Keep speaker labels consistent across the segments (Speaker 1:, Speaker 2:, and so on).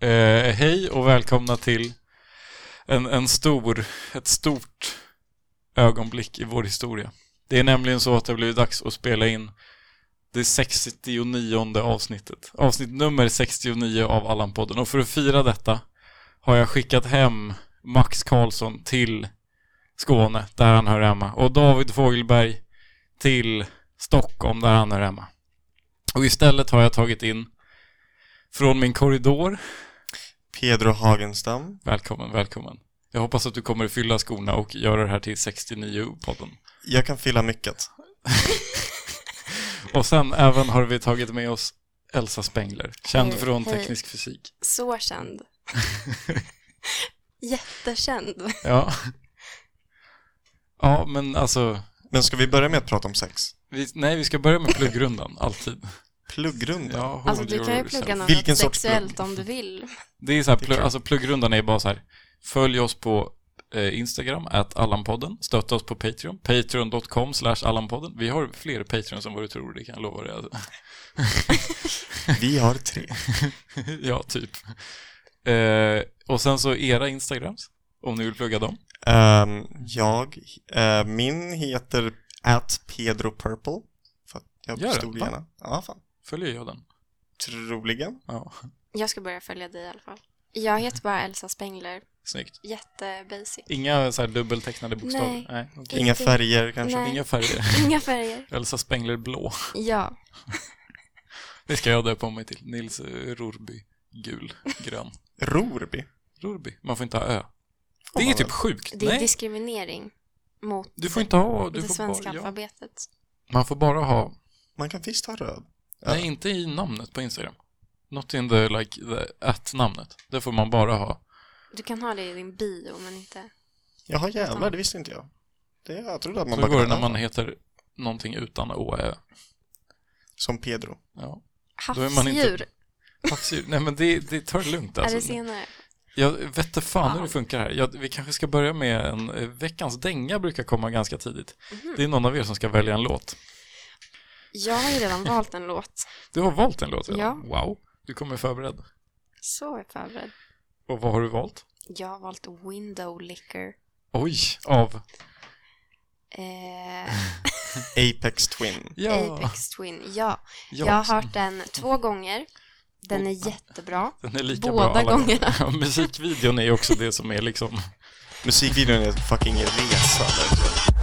Speaker 1: Eh, hej och välkomna till en, en stor, ett stort ögonblick i vår historia. Det är nämligen så att det har blivit dags att spela in det 69 avsnittet. Avsnitt nummer 69 av Allan-podden. Och för att fira detta har jag skickat hem Max Karlsson till Skåne, där han hör hemma. Och David Fogelberg till Stockholm, där han hör hemma. Och istället har jag tagit in från min korridor.
Speaker 2: Pedro Hagenstam.
Speaker 1: Välkommen, välkommen. Jag hoppas att du kommer att fylla skorna och göra det här till 69-podden.
Speaker 2: Jag kan fylla mycket.
Speaker 1: Och sen även har vi tagit med oss Elsa Spengler, känd
Speaker 3: Hej,
Speaker 1: från
Speaker 3: hej.
Speaker 1: teknisk fysik.
Speaker 3: Så känd. Jättekänd.
Speaker 1: Ja. Ja, men alltså,
Speaker 2: Men ska vi börja med att prata om sex?
Speaker 1: vi, nej vi ska börja med pluggrundan, alltid.
Speaker 2: Pluggrunda?
Speaker 1: Ja, hold
Speaker 3: Alltså du kan ju
Speaker 1: yourself.
Speaker 3: plugga något
Speaker 2: Vilken sorts
Speaker 3: sexuellt om du vill.
Speaker 1: Det är så här,
Speaker 2: Det är
Speaker 1: plugg,
Speaker 2: klart.
Speaker 1: alltså pluggrundan är bara så här, följ oss på eh, Instagram, att Allanpodden, stötta oss på Patreon, patreon.com slash Allanpodden. Vi har fler Patreons än vad du tror, det kan jag lova dig. Alltså.
Speaker 2: Vi har tre.
Speaker 1: ja, typ. Eh, och sen så era Instagrams, om ni vill plugga dem.
Speaker 2: Ehm, jag, eh, min heter at Pedro Purple. För att jag
Speaker 1: Gör det?
Speaker 2: förstod
Speaker 1: Fan.
Speaker 2: gärna. Ja, fan.
Speaker 1: Följer jag den?
Speaker 2: Troligen.
Speaker 1: Ja,
Speaker 3: Jag ska börja följa dig i alla fall. Jag heter bara Elsa Spengler.
Speaker 1: snyggt.
Speaker 3: Jättebasic.
Speaker 1: Inga så här dubbeltecknade bokstäver?
Speaker 3: Nej.
Speaker 1: okej.
Speaker 2: Inga färger kanske.
Speaker 3: Nej.
Speaker 1: Inga färger.
Speaker 3: Inga färger.
Speaker 1: Elsa Spengler blå.
Speaker 3: Ja.
Speaker 1: Det ska jag döpa om mig till. Nils eh, Rorby gul, grön.
Speaker 2: Rorby.
Speaker 1: Rorby. Man får inte ha ö.
Speaker 2: Får
Speaker 1: Det är
Speaker 2: man
Speaker 1: typ
Speaker 2: väl.
Speaker 1: sjukt.
Speaker 3: Det är
Speaker 1: Nej,
Speaker 3: diskriminering mot
Speaker 1: du får inte ha... Du
Speaker 3: det
Speaker 1: får
Speaker 3: svenska
Speaker 1: bara, ja.
Speaker 3: alfabetet.
Speaker 1: Man får bara ha...
Speaker 2: Man kan visst ha röd. Ja.
Speaker 1: Nej, inte i namnet på Instagram. Not in the, like, the at-namnet. Det får man bara ha.
Speaker 3: Du kan ha det i din bio men inte...
Speaker 2: Jaha, jävlar, det visste inte jag. Det, jag trodde att man
Speaker 1: Så
Speaker 2: bara
Speaker 1: går det
Speaker 2: kunde
Speaker 1: när
Speaker 2: ha.
Speaker 1: man heter någonting utan å och ä.
Speaker 2: Som Pedro.
Speaker 1: Ja. Då är man inte-
Speaker 3: Havsdjur
Speaker 1: Havsdjur. Nej, men det, det tar det lugnt
Speaker 3: är det
Speaker 1: alltså.
Speaker 3: senare.
Speaker 1: Jag vet inte fan hur det funkar här. Jag, vi kanske ska börja med en... eh, Veckans dänga brukar komma ganska tidigt. Det är någon av er som ska välja en låt.
Speaker 3: Mhm. Jag har ju redan valt en låt.
Speaker 1: Du har valt en låt redan? Wow. Du kommer förberedd.
Speaker 3: Så är jag förberedd.
Speaker 1: Och vad har du valt?
Speaker 3: Jag har valt Window Licker.
Speaker 1: Oj, av...
Speaker 3: Eh,
Speaker 2: Apex Twin.
Speaker 1: Ja,
Speaker 3: Apex Twin, ja.
Speaker 1: ja.
Speaker 3: Eh, Jag har hört den två gånger. Den är jättebra.
Speaker 1: Den är lika
Speaker 3: båda
Speaker 1: bra alla
Speaker 3: gångerna.
Speaker 1: Ja, musikvideon är också det som är liksom...
Speaker 2: Musikvideon är fucking resa. verkligen.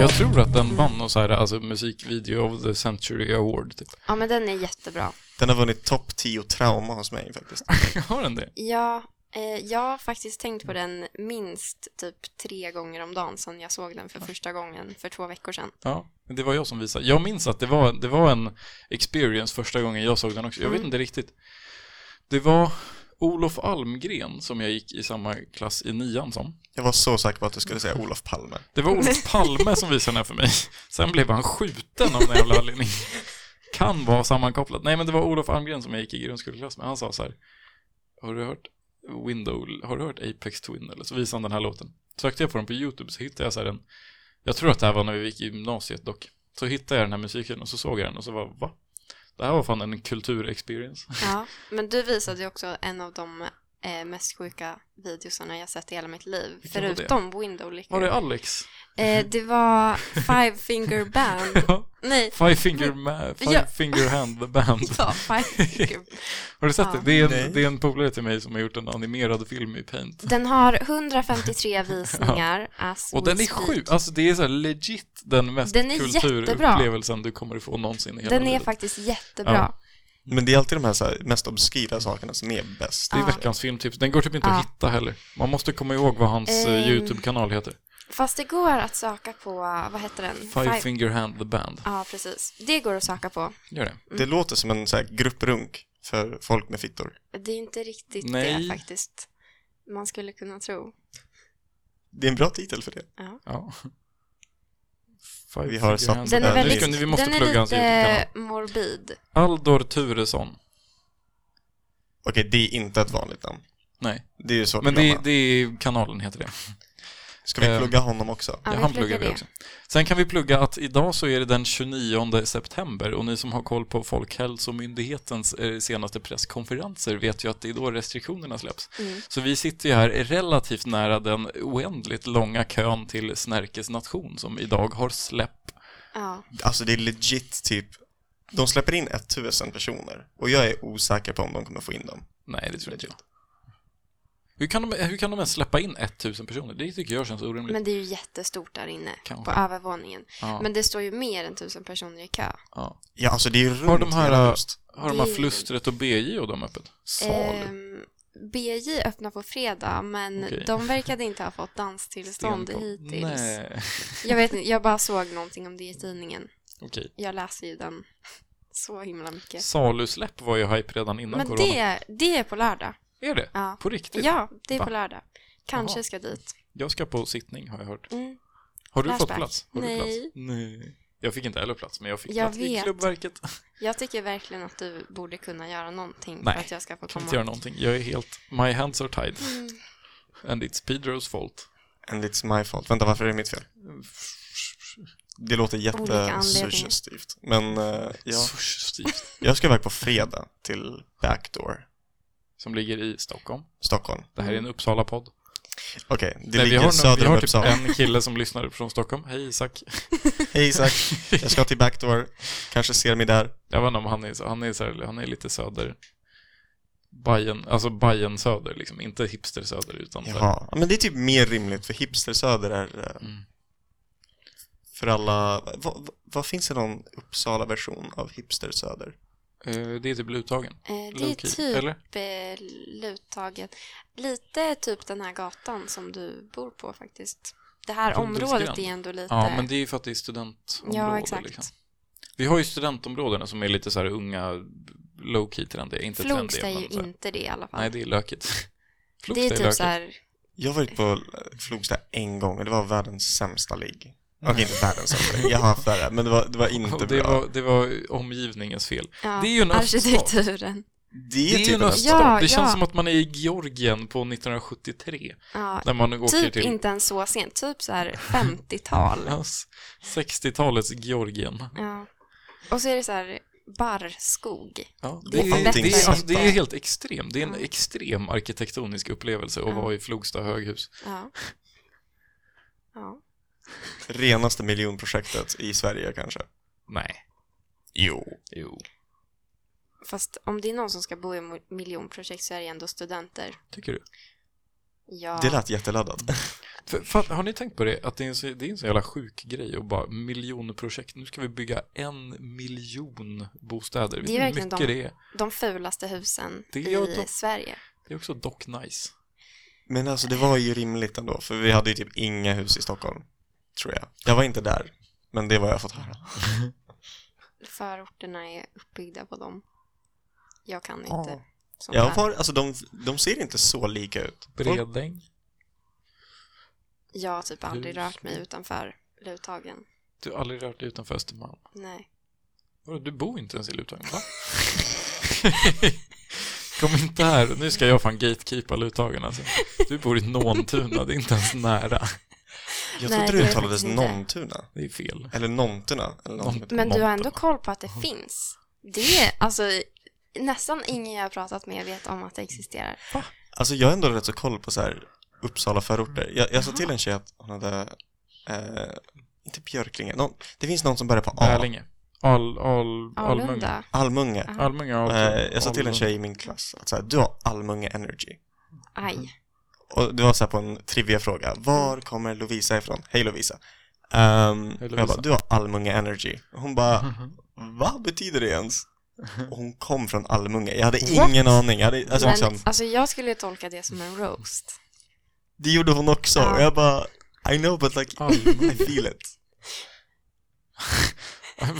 Speaker 1: Jag tror att den vann någon så här, alltså musikvideo of the century award. Typ.
Speaker 3: Ja, men den är jättebra.
Speaker 2: Den har vunnit topp 10 trauma hos mig faktiskt.
Speaker 1: Har den det?
Speaker 3: Ja, eh, jag har faktiskt tänkt på den minst typ tre gånger om dagen sedan jag såg den för första gången för två veckor sedan.
Speaker 1: Ja, men det var jag som visade. Jag minns att det var, det var en experience första gången jag såg den också. Jag vet
Speaker 3: Mm.
Speaker 1: inte riktigt. Det var Olof Almgren som jag gick i samma klass i nian som.
Speaker 2: Jag var så säker på att du skulle säga
Speaker 3: Mm.
Speaker 2: Olof Palme.
Speaker 1: Det var Olof Palme som visade den här för mig. Sen blev han skjuten av någon jävla anledning. Kan vara sammankopplat. Nej, men det var Olof Almgren som jag gick i grundskoleklass med. Han sa så här. Har du hört Window, har du hört Apex Twin? Eller så visade han den här låten. Sökte jag på den på YouTube så hittade jag så här en. Jag tror att det här var när vi gick i gymnasiet dock. Så hittade jag den här musiken och så såg jag den och så var va? Det här var fan en kulturexperience.
Speaker 3: Ja, men du visade ju också en av de eh, mest sjuka videosarna jag sett i hela mitt liv.
Speaker 1: Vilken var det?
Speaker 3: Förutom Window Licker.
Speaker 1: Var det Alex?
Speaker 3: eh, det var Five Finger Band.
Speaker 1: Ja.
Speaker 3: Nej,
Speaker 1: Five Finger, ma- five
Speaker 3: Ja.
Speaker 1: finger Hand the Band.
Speaker 3: ja, Five Finger
Speaker 1: Har du sett det?
Speaker 3: Ja.
Speaker 1: Det är,
Speaker 2: Nej.
Speaker 1: en, det är en polare till mig som har gjort en animerad film i Paint.
Speaker 3: Den har 153 visningar. as
Speaker 1: Och
Speaker 3: we
Speaker 1: den är
Speaker 3: speak.
Speaker 1: sjuk, alltså det är så här legit den mest
Speaker 3: Den är
Speaker 1: kulturupplevelsen du kommer ifrån någonsin i hela
Speaker 3: Den är
Speaker 1: livet.
Speaker 3: faktiskt jättebra.
Speaker 2: Men det är alltid de här, så här mest obskyra sakerna som är bäst.
Speaker 1: Det är veckans filmtips, den går typ inte
Speaker 3: Ja.
Speaker 1: att hitta heller. Man måste komma ihåg vad hans eh,
Speaker 3: Ehm,
Speaker 1: YouTube-kanal heter.
Speaker 3: Fast det går att söka på, vad heter den?
Speaker 1: Five, Finger Hand the Band.
Speaker 3: Ja, precis. Det går att söka på.
Speaker 1: Gör det.
Speaker 3: Mm.
Speaker 2: Det låter som en så här, grupprunk. för folk med fittor.
Speaker 3: Det är inte riktigt
Speaker 1: Nej.
Speaker 3: det faktiskt. Man skulle kunna tro.
Speaker 2: Det är en bra titel för det.
Speaker 1: Ja. Five
Speaker 2: Vi har
Speaker 1: Figure
Speaker 2: satt-
Speaker 1: Hands.
Speaker 3: Den är
Speaker 2: Ja, det
Speaker 3: väldigt,
Speaker 1: kunde vi måste
Speaker 3: den är
Speaker 1: plugga hans
Speaker 3: lite
Speaker 1: YouTube-kanal.
Speaker 3: morbid.
Speaker 1: Aldor Turesson.
Speaker 2: Okej, det är inte ett vanligt namn.
Speaker 1: Nej,
Speaker 2: Det är ju svårt
Speaker 1: men
Speaker 2: att
Speaker 1: det,
Speaker 2: glömma.
Speaker 1: det är kanalen heter det.
Speaker 2: Ska vi
Speaker 1: eh,
Speaker 2: plugga honom också?
Speaker 3: Ja,
Speaker 1: Ja,
Speaker 3: vi
Speaker 1: han
Speaker 3: pluggar
Speaker 1: pluggar vi
Speaker 3: det.
Speaker 1: också. Sen kan vi plugga att idag så är det den 29 september och ni som har koll på Folkhälsomyndighetens eh, senaste presskonferenser vet ju att det är då restriktionerna släpps.
Speaker 3: Mm.
Speaker 1: Så vi sitter ju här relativt nära den oändligt långa kön till Snärkes nation som idag har släpp.
Speaker 3: Ja,
Speaker 2: Alltså det är legit typ, de släpper in 1000 personer och jag är osäker på om de kommer få in dem.
Speaker 1: Nej, det tror inte jag. Hur kan, de, hur kan de ens släppa in 1000 personer? Det tycker jag känns orimligt.
Speaker 3: men det är ju jättestort där inne
Speaker 1: Kanske.
Speaker 3: på övervåningen.
Speaker 1: ja,
Speaker 3: Men det står ju mer än tusen personer i kö.
Speaker 1: ja.
Speaker 2: Ja, alltså det är ju runt
Speaker 1: Har de här,
Speaker 2: hela
Speaker 1: äh,
Speaker 2: höst.
Speaker 1: Har de här
Speaker 3: Det-
Speaker 1: Flustret och BJ och dem öppet?
Speaker 2: Salu.
Speaker 3: Ehm, BJ öppnar på fredag, men
Speaker 1: Okej.
Speaker 3: de verkade inte ha fått danstillstånd
Speaker 1: Stenkoll.
Speaker 3: hittills.
Speaker 1: Nej,
Speaker 3: Jag vet inte, jag bara såg någonting om det i tidningen.
Speaker 1: okej.
Speaker 3: Jag läser ju den så himla mycket.
Speaker 1: Salusläpp var ju hype redan innan
Speaker 3: Men
Speaker 1: corona.
Speaker 3: det, det är på lördag.
Speaker 1: Är det?
Speaker 3: Ja,
Speaker 1: På riktigt?
Speaker 3: ja det är
Speaker 1: Va?
Speaker 3: på lördag. Kanske
Speaker 1: Jaha.
Speaker 3: ska dit.
Speaker 1: Jag ska på sittning har jag hört.
Speaker 3: Mm.
Speaker 1: Har du fått
Speaker 3: Flashback.
Speaker 1: plats? Har
Speaker 3: Nej.
Speaker 1: Du plats? Nej. Jag fick inte heller plats, men jag fick
Speaker 3: Jag
Speaker 1: plats i
Speaker 3: vet.
Speaker 1: klubbverket.
Speaker 3: Jag tycker verkligen att du borde kunna göra någonting
Speaker 1: Nej,
Speaker 3: för att jag ska få
Speaker 1: Kan
Speaker 3: komma.
Speaker 1: inte göra någonting. Jag är helt... My hands are tied.
Speaker 3: Mm.
Speaker 1: And it's Pedros fault.
Speaker 2: And it's my fault. Vänta, varför är det mitt fel? Det låter
Speaker 3: Olika anledningar.
Speaker 2: jättesuggestivt. Men eh, ja,
Speaker 1: Så stivt.
Speaker 2: jag ska iväg på fredag till Backdoor,
Speaker 1: Som ligger i Stockholm.
Speaker 2: Stockholm.
Speaker 1: Det här är
Speaker 3: Mm.
Speaker 1: en Uppsala-podd.
Speaker 2: Okej, det
Speaker 1: Nej, vi
Speaker 2: ligger
Speaker 1: har, nog- vi
Speaker 2: söder om
Speaker 1: har typ
Speaker 2: Uppsala.
Speaker 1: en kille som lyssnar från Stockholm. Hej Isak.
Speaker 2: Hej Isak, jag ska till Backdoor. Kanske ser mig där.
Speaker 1: Jag vet inte om han är, så- han är, så här, han är lite söder. Bajen, alltså Bajen söder liksom. Inte hipster söder utan så här-
Speaker 2: Jaha, Ja, men det är typ mer rimligt för hipster söder är eh,
Speaker 1: Mm.
Speaker 2: för alla... Vad vad- vad finns det någon Uppsala-version av hipster söder?
Speaker 1: Eh, Det är typ Luthagen.
Speaker 3: Eh, Det är
Speaker 1: Low-key,
Speaker 3: typ
Speaker 1: eller?
Speaker 3: eh, Luthagen. Lite typ den här gatan som du bor på faktiskt. Det här
Speaker 1: Rundelsgränd.
Speaker 3: området är ändå lite...
Speaker 1: Ja, men det är ju för att det är studentområde. liksom.
Speaker 3: Ja, exakt.
Speaker 1: Vi har ju studentområdena som är lite så här unga, low-key trendiga, inte
Speaker 3: Flogs är
Speaker 1: trendiga.
Speaker 3: ju
Speaker 1: men så här-
Speaker 3: inte det i alla fall.
Speaker 1: Nej, det är lökigt. Flogs
Speaker 3: det är typ
Speaker 1: lökigt.
Speaker 3: så här...
Speaker 2: Jag har varit på eh, Flogsta en gång och det var världens sämsta ligg. Okej, inte världens sämsta ligg. Jag har haft värre, men det var, det var inte
Speaker 1: Och det,
Speaker 2: bra.
Speaker 1: var, det var omgivningens fel.
Speaker 3: Ja,
Speaker 1: Det är ju en öststat.
Speaker 3: arkitekturen.
Speaker 2: Det är typ en
Speaker 1: öststat.
Speaker 2: öststat.
Speaker 1: det känns
Speaker 3: ja.
Speaker 1: som att man är i Georgien på 1973.
Speaker 3: Ja,
Speaker 1: När man åker
Speaker 3: typ
Speaker 1: till
Speaker 3: inte ens så sent. Typ så här 50-tal.
Speaker 1: Ja, 60-talets Georgien.
Speaker 3: ja. Och så är det så här barrskog.
Speaker 1: Ja,
Speaker 2: Det
Speaker 1: det,
Speaker 2: är
Speaker 1: är, det,
Speaker 2: allting
Speaker 1: är, alltså, det är
Speaker 2: sant.
Speaker 1: helt extremt. Det är en
Speaker 3: Ja.
Speaker 1: extrem arkitektonisk upplevelse att
Speaker 3: Ja.
Speaker 1: vara i Flogsta höghus.
Speaker 3: Ja. Ja.
Speaker 2: Renaste miljonprojektet i Sverige kanske.
Speaker 1: Nej.
Speaker 2: Jo.
Speaker 1: Jo.
Speaker 3: Fast om det är någon som ska bo i mo- miljonprojekt så är det ändå studenter.
Speaker 1: Tycker du?
Speaker 3: Ja.
Speaker 2: Det lät jätteladdat.
Speaker 1: För, för, har ni tänkt på det? Att det är, en så, det är en så jävla sjuk grej och bara miljonprojekt. Nu ska vi bygga en miljon bostäder. Vet ni
Speaker 3: Det är
Speaker 1: hur
Speaker 3: verkligen
Speaker 1: mycket
Speaker 3: de-
Speaker 1: det är?
Speaker 3: de fulaste husen
Speaker 1: Det
Speaker 3: i
Speaker 1: är jag dock-
Speaker 3: Sverige.
Speaker 1: Det är också dock nice.
Speaker 2: Men alltså det var ju rimligt ändå, för vi hade ju typ inga hus i Stockholm, tror jag. Jag var inte där, men det var jag fått höra.
Speaker 3: Mm. Förorterna är uppbyggda på dem. Jag kan
Speaker 2: Ja.
Speaker 3: inte. sånt
Speaker 2: Jag
Speaker 3: där.
Speaker 2: var, alltså de, de ser inte så lika ut. Folk-
Speaker 1: Bredäng.
Speaker 3: jag har typ aldrig
Speaker 1: Hus.
Speaker 3: rört mig utanför Luthagen.
Speaker 1: Du har aldrig rört dig utanför Östermalm.
Speaker 3: Nej.
Speaker 1: Vadå, Du bor inte ens i Luthagen, va? Kom inte här. Nu ska jag fan gatekeepa Luthagen alltså. Du bor i Nåntuna, det är inte ens nära.
Speaker 2: Jag
Speaker 3: Nej,
Speaker 2: trodde
Speaker 3: det
Speaker 2: det
Speaker 3: är
Speaker 2: uttalades
Speaker 3: faktiskt inte. Mm.
Speaker 2: Nontuna,
Speaker 1: Det är fel.
Speaker 2: eller Nontuna, eller något.
Speaker 1: Nånt-
Speaker 3: Men du har ändå
Speaker 1: Nånta.
Speaker 3: koll på att det finns. Det är alltså nästan ingen jag har pratat med vet om att det existerar.
Speaker 2: Alltså jag har ändå rätt så koll på så här Uppsala förorter. Jag, jag sa
Speaker 3: Mm.
Speaker 2: till en tjej att hon hade, eh, inte Björklinge, någon, det finns någon som börjar på A,
Speaker 1: Bälinge. Al, al, Almunga.
Speaker 3: Alunda.
Speaker 2: Almunge.
Speaker 3: Ah,
Speaker 1: Almunga. Al,
Speaker 2: Eh, jag sa till en
Speaker 1: Almunga.
Speaker 2: tjej i min klass att så här, du har Almunge energy.
Speaker 3: Aj.
Speaker 2: Och det var så här på en triviafråga. Var
Speaker 1: Mm.
Speaker 2: kommer Lovisa ifrån? Hej Lovisa. Ehm, och Jag
Speaker 1: Lovisa. Mm-hmm.
Speaker 2: bara, du har Almunge energy. Och Hon bara, vad betyder det ens? Och hon kom från Almunge. Jag hade ingen aning. Jag hade, alltså,
Speaker 3: Men,
Speaker 2: liksom,
Speaker 3: alltså jag skulle ju tolka det som en roast.
Speaker 2: det gjorde hon också.
Speaker 3: Ja.
Speaker 2: Och jag bara, I know but like, I
Speaker 1: Almunga.
Speaker 2: feel it.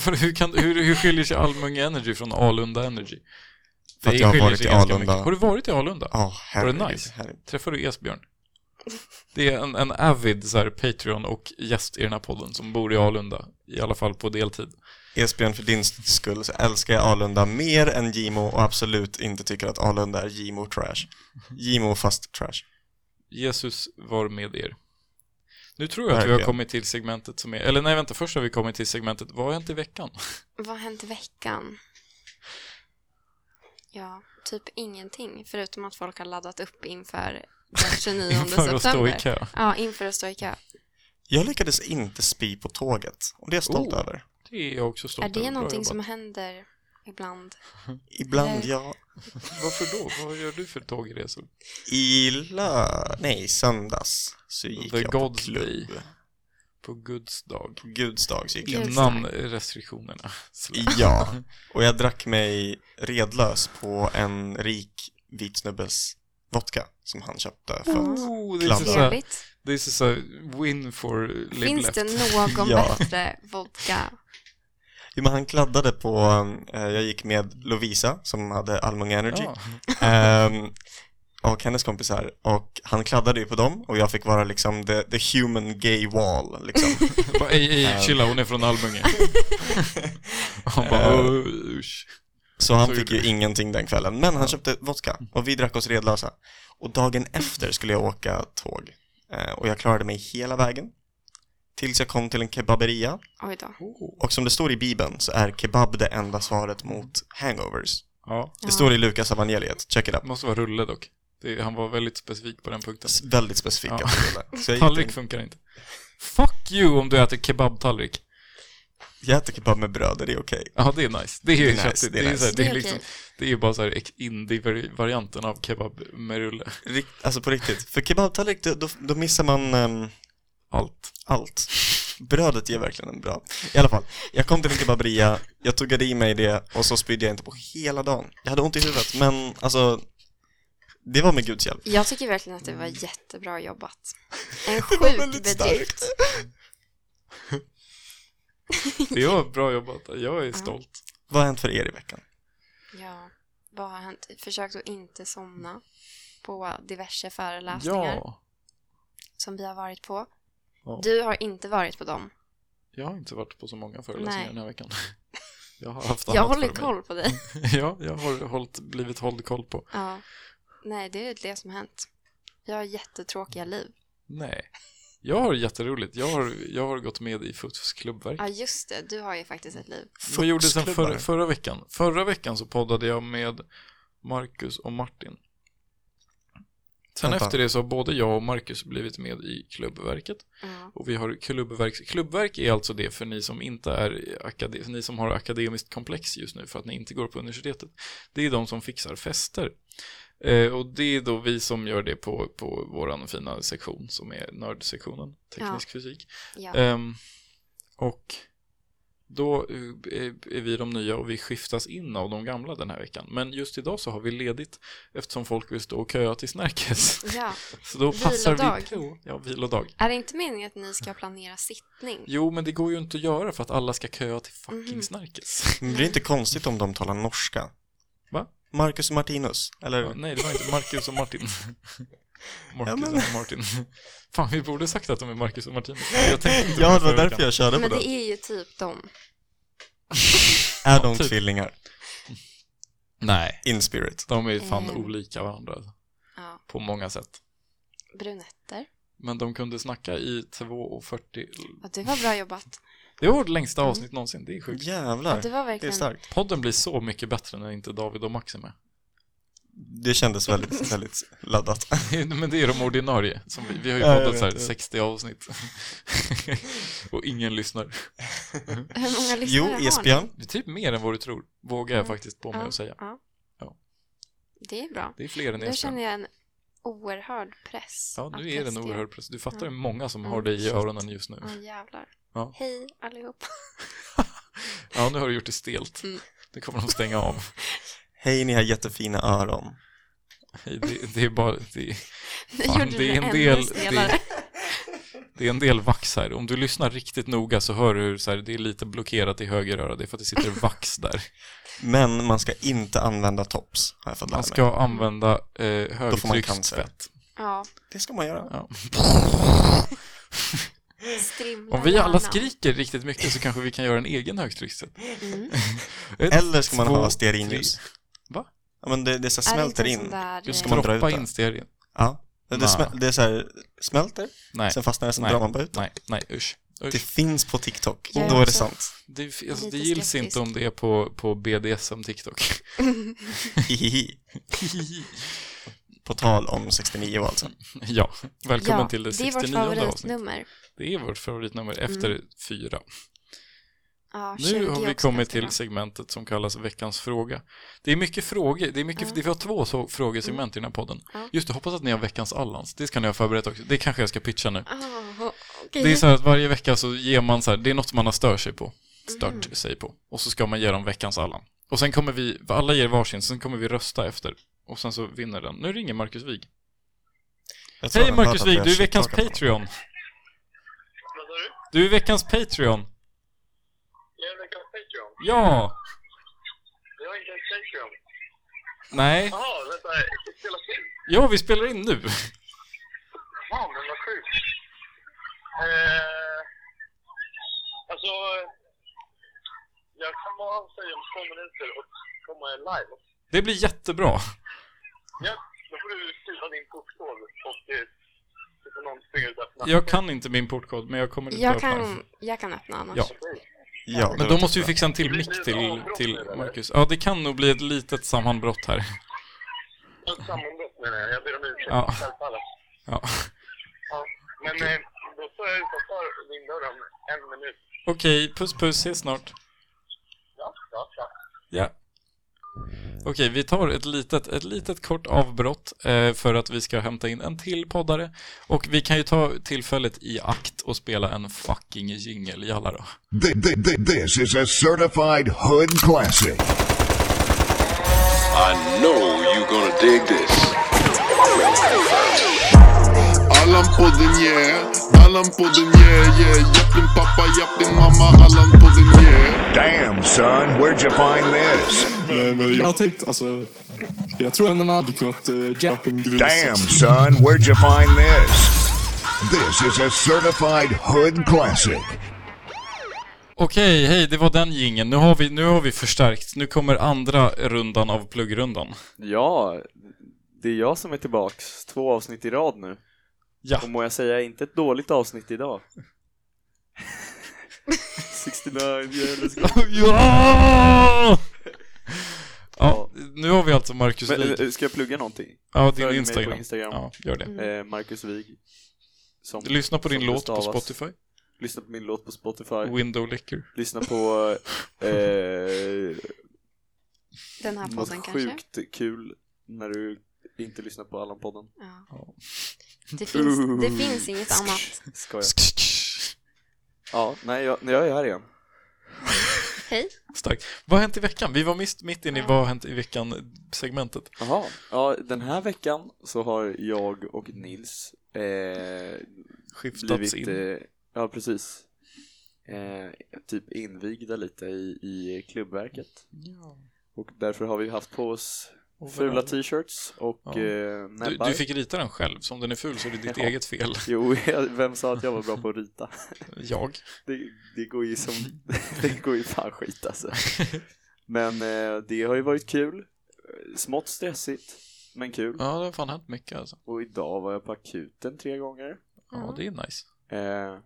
Speaker 1: För hur, kan, hur, hur skiljer sig Almunga Energy från Alunda Energy?
Speaker 2: För att jag har
Speaker 1: skiljer
Speaker 2: varit
Speaker 1: sig
Speaker 2: i
Speaker 1: ganska
Speaker 2: Alunda.
Speaker 1: mycket. Har du varit i Alunda?
Speaker 2: Ja, herregud.
Speaker 1: nice?
Speaker 2: herregud.
Speaker 1: Träffar du Esbjörn? Det är en, en avid så här, Patreon och gäst i den här podden som bor i Alunda, i alla fall på deltid.
Speaker 2: Esbjörn, för din skull så älskar jag Alunda mer än Gimo och absolut inte tycker att Alunda är Gimo trash.
Speaker 1: Mm-hmm.
Speaker 2: Gimo fast trash.
Speaker 1: Jesus var med er. Nu tror jag att vi har
Speaker 2: Verkligen.
Speaker 1: kommit till segmentet som är, eller nej vänta, först har vi kommit till segmentet Vad har hänt i veckan?
Speaker 3: Vad har hänt i veckan? Ja, typ ingenting. Förutom att folk har laddat upp inför den 29
Speaker 1: Inför att stå i
Speaker 3: september.
Speaker 1: kö.
Speaker 3: Ja, inför att stå i kö.
Speaker 2: Jag lyckades inte spy på tåget och det är jag stolt
Speaker 1: Oh.
Speaker 2: över.
Speaker 1: Det är jag också stolt
Speaker 3: Är det
Speaker 1: över. Bra
Speaker 3: någonting
Speaker 1: jobbat.
Speaker 3: som händer ibland?
Speaker 2: Ibland
Speaker 3: Nej.
Speaker 2: jag
Speaker 1: Varför då? Vad gör du för tågresor?
Speaker 2: i lö... Nej, söndags så gick
Speaker 1: The
Speaker 2: jag på
Speaker 1: God's
Speaker 2: klubb.
Speaker 1: Day. På Guds dag.
Speaker 2: På Guds dag så gick jag.
Speaker 3: Guds
Speaker 1: Innan
Speaker 3: dag.
Speaker 1: restriktionerna.
Speaker 2: Ja, och jag drack mig redlös på en rik vit snubbes vodka som han köpte för att
Speaker 1: Oh, this, is a,
Speaker 3: Trevligt.
Speaker 1: this is a win for live
Speaker 3: Finns
Speaker 1: left.
Speaker 3: det någon
Speaker 2: Ja.
Speaker 3: bättre vodka?
Speaker 2: Jo, men han kladdade på, eh, jag gick med Lovisa som hade Almunga Energy
Speaker 1: Ja.
Speaker 2: ehm, och hennes kompisar och han kladdade ju på dem och jag fick vara liksom the, the human gay wall liksom.
Speaker 1: Bara, ej, ej,
Speaker 2: Ehm.
Speaker 1: chilla, hon är från Almunge. Han bara, "Oh,
Speaker 2: Ehm.
Speaker 1: usch.
Speaker 2: Så han
Speaker 1: Så
Speaker 2: fick
Speaker 1: gjorde
Speaker 2: ju ingenting den kvällen, men han köpte vodka och vi drack oss redlösa. Och dagen efter skulle jag åka tåg eh, och jag klarade mig hela vägen tills jag kom till en kebaberia
Speaker 3: Oj då.
Speaker 2: och som det står i bibeln så är kebab det enda svaret mot hangovers.
Speaker 1: Ja,
Speaker 2: Det
Speaker 3: Ja.
Speaker 2: står i Lukas evangeliet, check it up.
Speaker 1: det måste vara rulle dock. Det, han var väldigt specifik på den punkten.
Speaker 2: S- Väldigt specifika
Speaker 1: Ja.
Speaker 2: ja. Så jag, gick
Speaker 1: Tallrik
Speaker 2: in,
Speaker 1: funkar inte. Fuck you om du äter kebabtallrik.
Speaker 2: jag äter kebab med bröd, är det okej?
Speaker 1: Ja, det är nice. Det är,
Speaker 2: Det är
Speaker 1: nice,
Speaker 2: nice,
Speaker 1: köttigt.
Speaker 2: det
Speaker 1: Det
Speaker 2: är
Speaker 1: är,
Speaker 2: nice.
Speaker 1: så här, det
Speaker 3: Det
Speaker 1: är,
Speaker 3: är
Speaker 1: liksom,
Speaker 3: okej.
Speaker 1: det är bara så här ex- indie-varianten av kebab med rulle.
Speaker 2: Rikt- Alltså på riktigt, för kebabtallrik då, då, då missar man ehm,
Speaker 1: Allt.
Speaker 2: allt. Brödet ger verkligen en bra. I alla fall, jag kom till en kebaberia, jag tuggade i mig det och så spydde jag inte på hela dagen. Jag hade ont i huvudet, men alltså, det var med Guds hjälp.
Speaker 3: Jag tycker verkligen att det var jättebra jobbat. En
Speaker 2: var
Speaker 3: sjuk
Speaker 2: väldigt
Speaker 3: bedrift.
Speaker 1: Det var bra jobbat. Jag är stolt.
Speaker 2: Vad har hänt för er i veckan?
Speaker 3: Ja, vad har hänt? Försökt att inte somna på diverse föreläsningar
Speaker 1: Ja.
Speaker 3: som vi har varit på.
Speaker 1: Ja.
Speaker 3: Du har inte varit på dem.
Speaker 1: Jag har inte varit på så många föreläsningar
Speaker 3: Nej.
Speaker 1: den här veckan. Jag har haft
Speaker 3: jag
Speaker 1: annat
Speaker 3: håller
Speaker 1: för mig. Mm.
Speaker 3: koll på dig.
Speaker 1: Ja, jag har hållit, blivit hålld koll på.
Speaker 3: Ja. Nej, det är det som har hänt. Vi har jättetråkiga liv.
Speaker 1: Nej. Jag har jätteroligt. Jag har, jag har gått med i fuskklubbar.
Speaker 3: Ja, just det. Du har ju faktiskt ett liv.
Speaker 1: Vad gjorde sen
Speaker 2: Fucksklubbar.
Speaker 1: förra, förra veckan? Förra veckan så poddade jag med Marcus och Martin. Sen
Speaker 2: Vänta.
Speaker 1: efter det så har både jag och Marcus blivit med i Klubbverket.
Speaker 3: Ja.
Speaker 1: Och vi har klubbverk. Klubbverk är alltså det för ni som inte är akade- för ni som har akademiskt komplex just nu för att ni inte går på universitetet. Det är de som fixar fester. Eh, och det är då vi som gör det på, på vår fina sektion som är nördsektionen, teknisk fysik.
Speaker 3: ja.
Speaker 1: Ehm, och då eh, är- är vi de nya och vi skiftas in av de gamla den här veckan. Men just idag så har vi ledigt eftersom folk vill stå och köa till Snärkes.
Speaker 3: ja.
Speaker 1: Så då passar
Speaker 3: Vilodag.
Speaker 1: vi på. Ja, vilodag.
Speaker 3: Är det inte meningen att ni ska planera sittning?
Speaker 1: Jo, men det går ju inte att göra för att alla ska köa till fucking
Speaker 3: Mhm.
Speaker 1: Snärkes.
Speaker 2: Men det är inte konstigt om de talar norska.
Speaker 1: Va?
Speaker 2: Marcus och Martinus, eller?
Speaker 1: Ja, Nej, det var inte Marcus och Martin. Marcus
Speaker 2: Ja, men-
Speaker 1: och Martin. Fan, vi borde sagt att de är Marcus och Martin. Jag tänkte inte på
Speaker 2: Ja, det var
Speaker 1: förra
Speaker 2: därför
Speaker 1: veckan.
Speaker 2: jag körde på
Speaker 3: Men
Speaker 2: den.
Speaker 3: det är ju typ dem.
Speaker 2: Är de
Speaker 1: typ.
Speaker 2: tvillingar?
Speaker 1: Nej.
Speaker 2: In spirit.
Speaker 1: De är fan
Speaker 3: Eh.
Speaker 1: olika varandra
Speaker 3: Ja.
Speaker 1: på många sätt.
Speaker 3: Brunetter.
Speaker 1: Men de kunde snacka i 2.40.
Speaker 3: Ja, det var bra jobbat.
Speaker 1: Det var vårt längsta
Speaker 3: Mm.
Speaker 1: avsnitt någonsin, det är sjukt.
Speaker 3: Ja,
Speaker 2: Jävlar,
Speaker 3: det var
Speaker 2: det är
Speaker 3: verkligen
Speaker 2: starkt.
Speaker 1: Podden blir så mycket bättre när inte David och Max är med.
Speaker 2: Det kändes väldigt, väldigt laddat.
Speaker 1: Men det är de ordinarie. Som vi, vi har ju
Speaker 2: Ja, jag
Speaker 1: poddat
Speaker 2: vet,
Speaker 1: så här
Speaker 2: jag vet.
Speaker 1: 60 avsnitt. och ingen lyssnar.
Speaker 3: Hur många
Speaker 2: Jo,
Speaker 3: lyssnare har ni?
Speaker 2: Esbjörn,
Speaker 1: Det är typ mer än vad du tror, vågar jag
Speaker 3: Mm.
Speaker 1: faktiskt på mig
Speaker 3: Ja.
Speaker 1: att säga.
Speaker 3: Det är bra.
Speaker 1: Det är fler än
Speaker 3: Nu
Speaker 1: Esbjörn.
Speaker 3: känner jag en oerhörd press.
Speaker 1: Ja,
Speaker 3: att
Speaker 1: nu är det en
Speaker 3: prestera.
Speaker 1: oerhörd press. Du fattar
Speaker 3: Ja.
Speaker 1: hur många som
Speaker 3: Mm.
Speaker 1: har dig i öronen just nu.
Speaker 3: Ja, jävlar.
Speaker 1: Ja.
Speaker 3: Hej allihop.
Speaker 1: Ja, nu har du gjort det stelt.
Speaker 3: Mm.
Speaker 1: Nu kommer de stänga av.
Speaker 2: hej ni har jättefina öron.
Speaker 1: Det, det är bara... Det,
Speaker 3: Nu
Speaker 1: Fan,
Speaker 3: gjorde
Speaker 1: det
Speaker 3: du
Speaker 1: är en
Speaker 3: ännu
Speaker 1: del-
Speaker 3: stelare.
Speaker 1: Det är en del vax här. Om du lyssnar riktigt noga så hör du hur så här, det är lite blockerat i höger öra. Det är för att det sitter vax där.
Speaker 2: Men man ska inte använda tops, har jag fått lära
Speaker 1: Man
Speaker 2: mig.
Speaker 1: ska använda eh,
Speaker 2: Då får man cancer.
Speaker 1: högtryckstvätt.
Speaker 3: Ja,
Speaker 2: Det ska man göra.
Speaker 1: Ja.
Speaker 3: strimla
Speaker 1: Om vi alla
Speaker 3: hjärnan.
Speaker 1: skriker riktigt mycket så kanske vi kan göra en egen högtryckstvätt.
Speaker 3: Mm.
Speaker 1: Ett,
Speaker 2: Eller ska man
Speaker 1: två,
Speaker 2: ha stearinljus.
Speaker 1: Va?
Speaker 2: Ja, men det, det så här
Speaker 3: Är det inte
Speaker 2: smälter
Speaker 3: en
Speaker 2: in.
Speaker 3: sån liksom Där, eh,
Speaker 1: Du
Speaker 2: Ska
Speaker 1: ska
Speaker 2: man dra ut
Speaker 1: droppa
Speaker 2: det?
Speaker 1: in stearin.
Speaker 2: Ja. Det,
Speaker 1: Nej.
Speaker 2: smäl, det är så här, smälter,
Speaker 1: Nej,
Speaker 2: sen fastnar det, sen
Speaker 1: Nej.
Speaker 2: drar man bara ut det.
Speaker 1: nej, nej, usch.
Speaker 2: Det
Speaker 1: usch.
Speaker 2: finns på TikTok,
Speaker 3: Jag är
Speaker 2: då är det
Speaker 3: också-
Speaker 2: sant.
Speaker 1: Det, alltså,
Speaker 3: lite
Speaker 1: det gills
Speaker 3: skeptisk.
Speaker 1: inte om det är på, på BDSM TikTok.
Speaker 2: Hihihi. På tal om alltså. 69 och allt sånt.
Speaker 1: ja, välkommen till det
Speaker 3: det är vårt Mm.
Speaker 1: 69 avsnittet.
Speaker 3: favoritnummer.
Speaker 1: Det är vårt favoritnummer efter fyra.
Speaker 3: Ja, 20
Speaker 1: Nu har vi
Speaker 3: också
Speaker 1: kommit
Speaker 3: ganska
Speaker 1: till
Speaker 3: bra.
Speaker 1: segmentet som kallas veckans fråga. Det är mycket frågor, det är mycket,
Speaker 3: Ja. Mm.
Speaker 1: vi har två så, frågesegment i den här podden.
Speaker 3: Ja.
Speaker 1: Just det, hoppas att ni har veckans Allans, det ska ni ha förberett också. Det kanske jag ska pitcha nu.
Speaker 3: Ah,
Speaker 1: Det är
Speaker 3: okej.
Speaker 1: så här att varje vecka så ger man så här, det är något man har stört sig på, stört
Speaker 3: Mm.
Speaker 1: sig på. Och så ska man ge dem veckans Allan. Och sen kommer vi, alla ger varsin, sen kommer vi rösta efter. Och sen så vinner den. Nu ringer Marcus Wig.
Speaker 2: Jag tror
Speaker 1: Hej
Speaker 2: han hört
Speaker 1: Marcus
Speaker 2: att
Speaker 1: Wig,
Speaker 2: jag
Speaker 1: du är veckans
Speaker 2: shittalkar på
Speaker 1: Patreon.
Speaker 2: honom.
Speaker 4: Vad sa du?
Speaker 1: Du är veckans Patreon.
Speaker 4: Jag är veckans Patreon.
Speaker 1: Ja!
Speaker 4: Jag är inte ens Patreon.
Speaker 1: Nej.
Speaker 4: Jaha, vänta. Det spelas in.
Speaker 1: Ja, vi spelar in nu.
Speaker 4: Ja, men vad sjukt. Eh, alltså, jag kan vara av sig om två minuter och komma live.
Speaker 1: Det blir jättebra.
Speaker 4: Ja, då får du skriva din portkod och eh, så får någon springa ut efter
Speaker 1: Jag kan inte min portkod, men jag kommer inte
Speaker 3: Jag
Speaker 1: öppna den.
Speaker 3: kan, jag kan öppna annars.
Speaker 1: Ja.
Speaker 2: Ja,
Speaker 1: Men då måste vi fixa en till mick
Speaker 4: Blir det
Speaker 1: till,
Speaker 4: avbrott
Speaker 1: till
Speaker 4: nu, eller?
Speaker 1: Marcus. Ja, det kan nog bli ett litet sammanbrott här.
Speaker 4: Ett sammanbrott menar jag. Jag ber om ursäkt.
Speaker 1: Ja.
Speaker 4: Självfallet.
Speaker 1: Ja.
Speaker 4: Ja, men eh, då står jag utanför din dörr om en minut.
Speaker 1: Okej, puss puss, ses snart.
Speaker 4: Ja, ja, ja.
Speaker 1: Ja. Okej, vi tar ett litet, ett litet kort avbrott eh, för att vi ska hämta in en till poddare. Och vi kan ju ta tillfället i akt och spela en fucking jingeljalla då.
Speaker 5: Th- th- th- This is a certified hood classic.
Speaker 6: I know you're gonna dig this.
Speaker 7: Allan podden yeah, Allan podden yeah, yeah Japp din pappa, japp din mamma, Allan podden yeah
Speaker 5: Damn, son, where'd you find this?
Speaker 8: Men, men jag har tänkt, alltså. Jag tror ändå man hade kunnat uh, jappa en grus.
Speaker 5: Damn, son, where'd you find this? This is a certified hood classic.
Speaker 1: Okej, hej, det var den jingeln. Nu har vi, nu har vi förstärkt. Nu kommer andra rundan av pluggrundan.
Speaker 9: Ja, det är jag som är tillbaks två avsnitt i rad nu.
Speaker 1: Ja.
Speaker 9: Och må jag säga, inte ett dåligt avsnitt idag. 69 jävla skit.
Speaker 1: ja! Ja,
Speaker 9: Ja.
Speaker 1: nu har vi alltså Marcus
Speaker 9: Men,
Speaker 1: Wig.
Speaker 9: eh, Ska jag plugga någonting?
Speaker 1: Ja,
Speaker 9: följ
Speaker 1: din
Speaker 9: mig
Speaker 1: Instagram.
Speaker 9: på Instagram.
Speaker 1: Ja, gör det.
Speaker 9: Eh, Marcus Wig. Som,
Speaker 1: Lyssna på din
Speaker 9: som
Speaker 1: låt
Speaker 9: bestavas.
Speaker 1: på Spotify.
Speaker 9: Lyssna på min låt på Spotify.
Speaker 1: Window Licker.
Speaker 9: Lyssna på eh,
Speaker 3: Den här
Speaker 9: något
Speaker 3: podden kanske?
Speaker 9: sjukt kul när du inte lyssnar på Allan-podden.
Speaker 3: Ja. Det, finns, det finns inget annat.
Speaker 9: Skojar. Ja, nej, jag, nej, jag är här igen.
Speaker 3: Hej.
Speaker 1: Starkt. Vad har hänt i veckan? Vi var mist, mitt inne i vad har hänt i veckan-segmentet.
Speaker 9: Jaha, ja den här veckan så har jag och Nils eh,
Speaker 1: Skiftats in.
Speaker 9: blivit, eh, ja precis, eh, typ invigda lite i, i klubbverket. Och därför har vi haft på oss fula t-shirts och
Speaker 1: Ja.
Speaker 9: eh,
Speaker 1: Du,
Speaker 9: näbbar.
Speaker 1: du fick rita den själv, så om den är ful så är det ditt
Speaker 9: Ja.
Speaker 1: eget fel.
Speaker 9: Jo, jag- vem sa att jag var bra på att rita?
Speaker 1: Jag.
Speaker 9: Det, det går ju som, det går ju fan skit alltså. Men eh, det har ju varit kul, smått stressigt, men kul.
Speaker 1: Ja, det har fan hänt mycket alltså.
Speaker 9: Och idag var jag på akuten tre gånger.
Speaker 3: Mm.
Speaker 1: Ja, det är nice.
Speaker 9: Eh,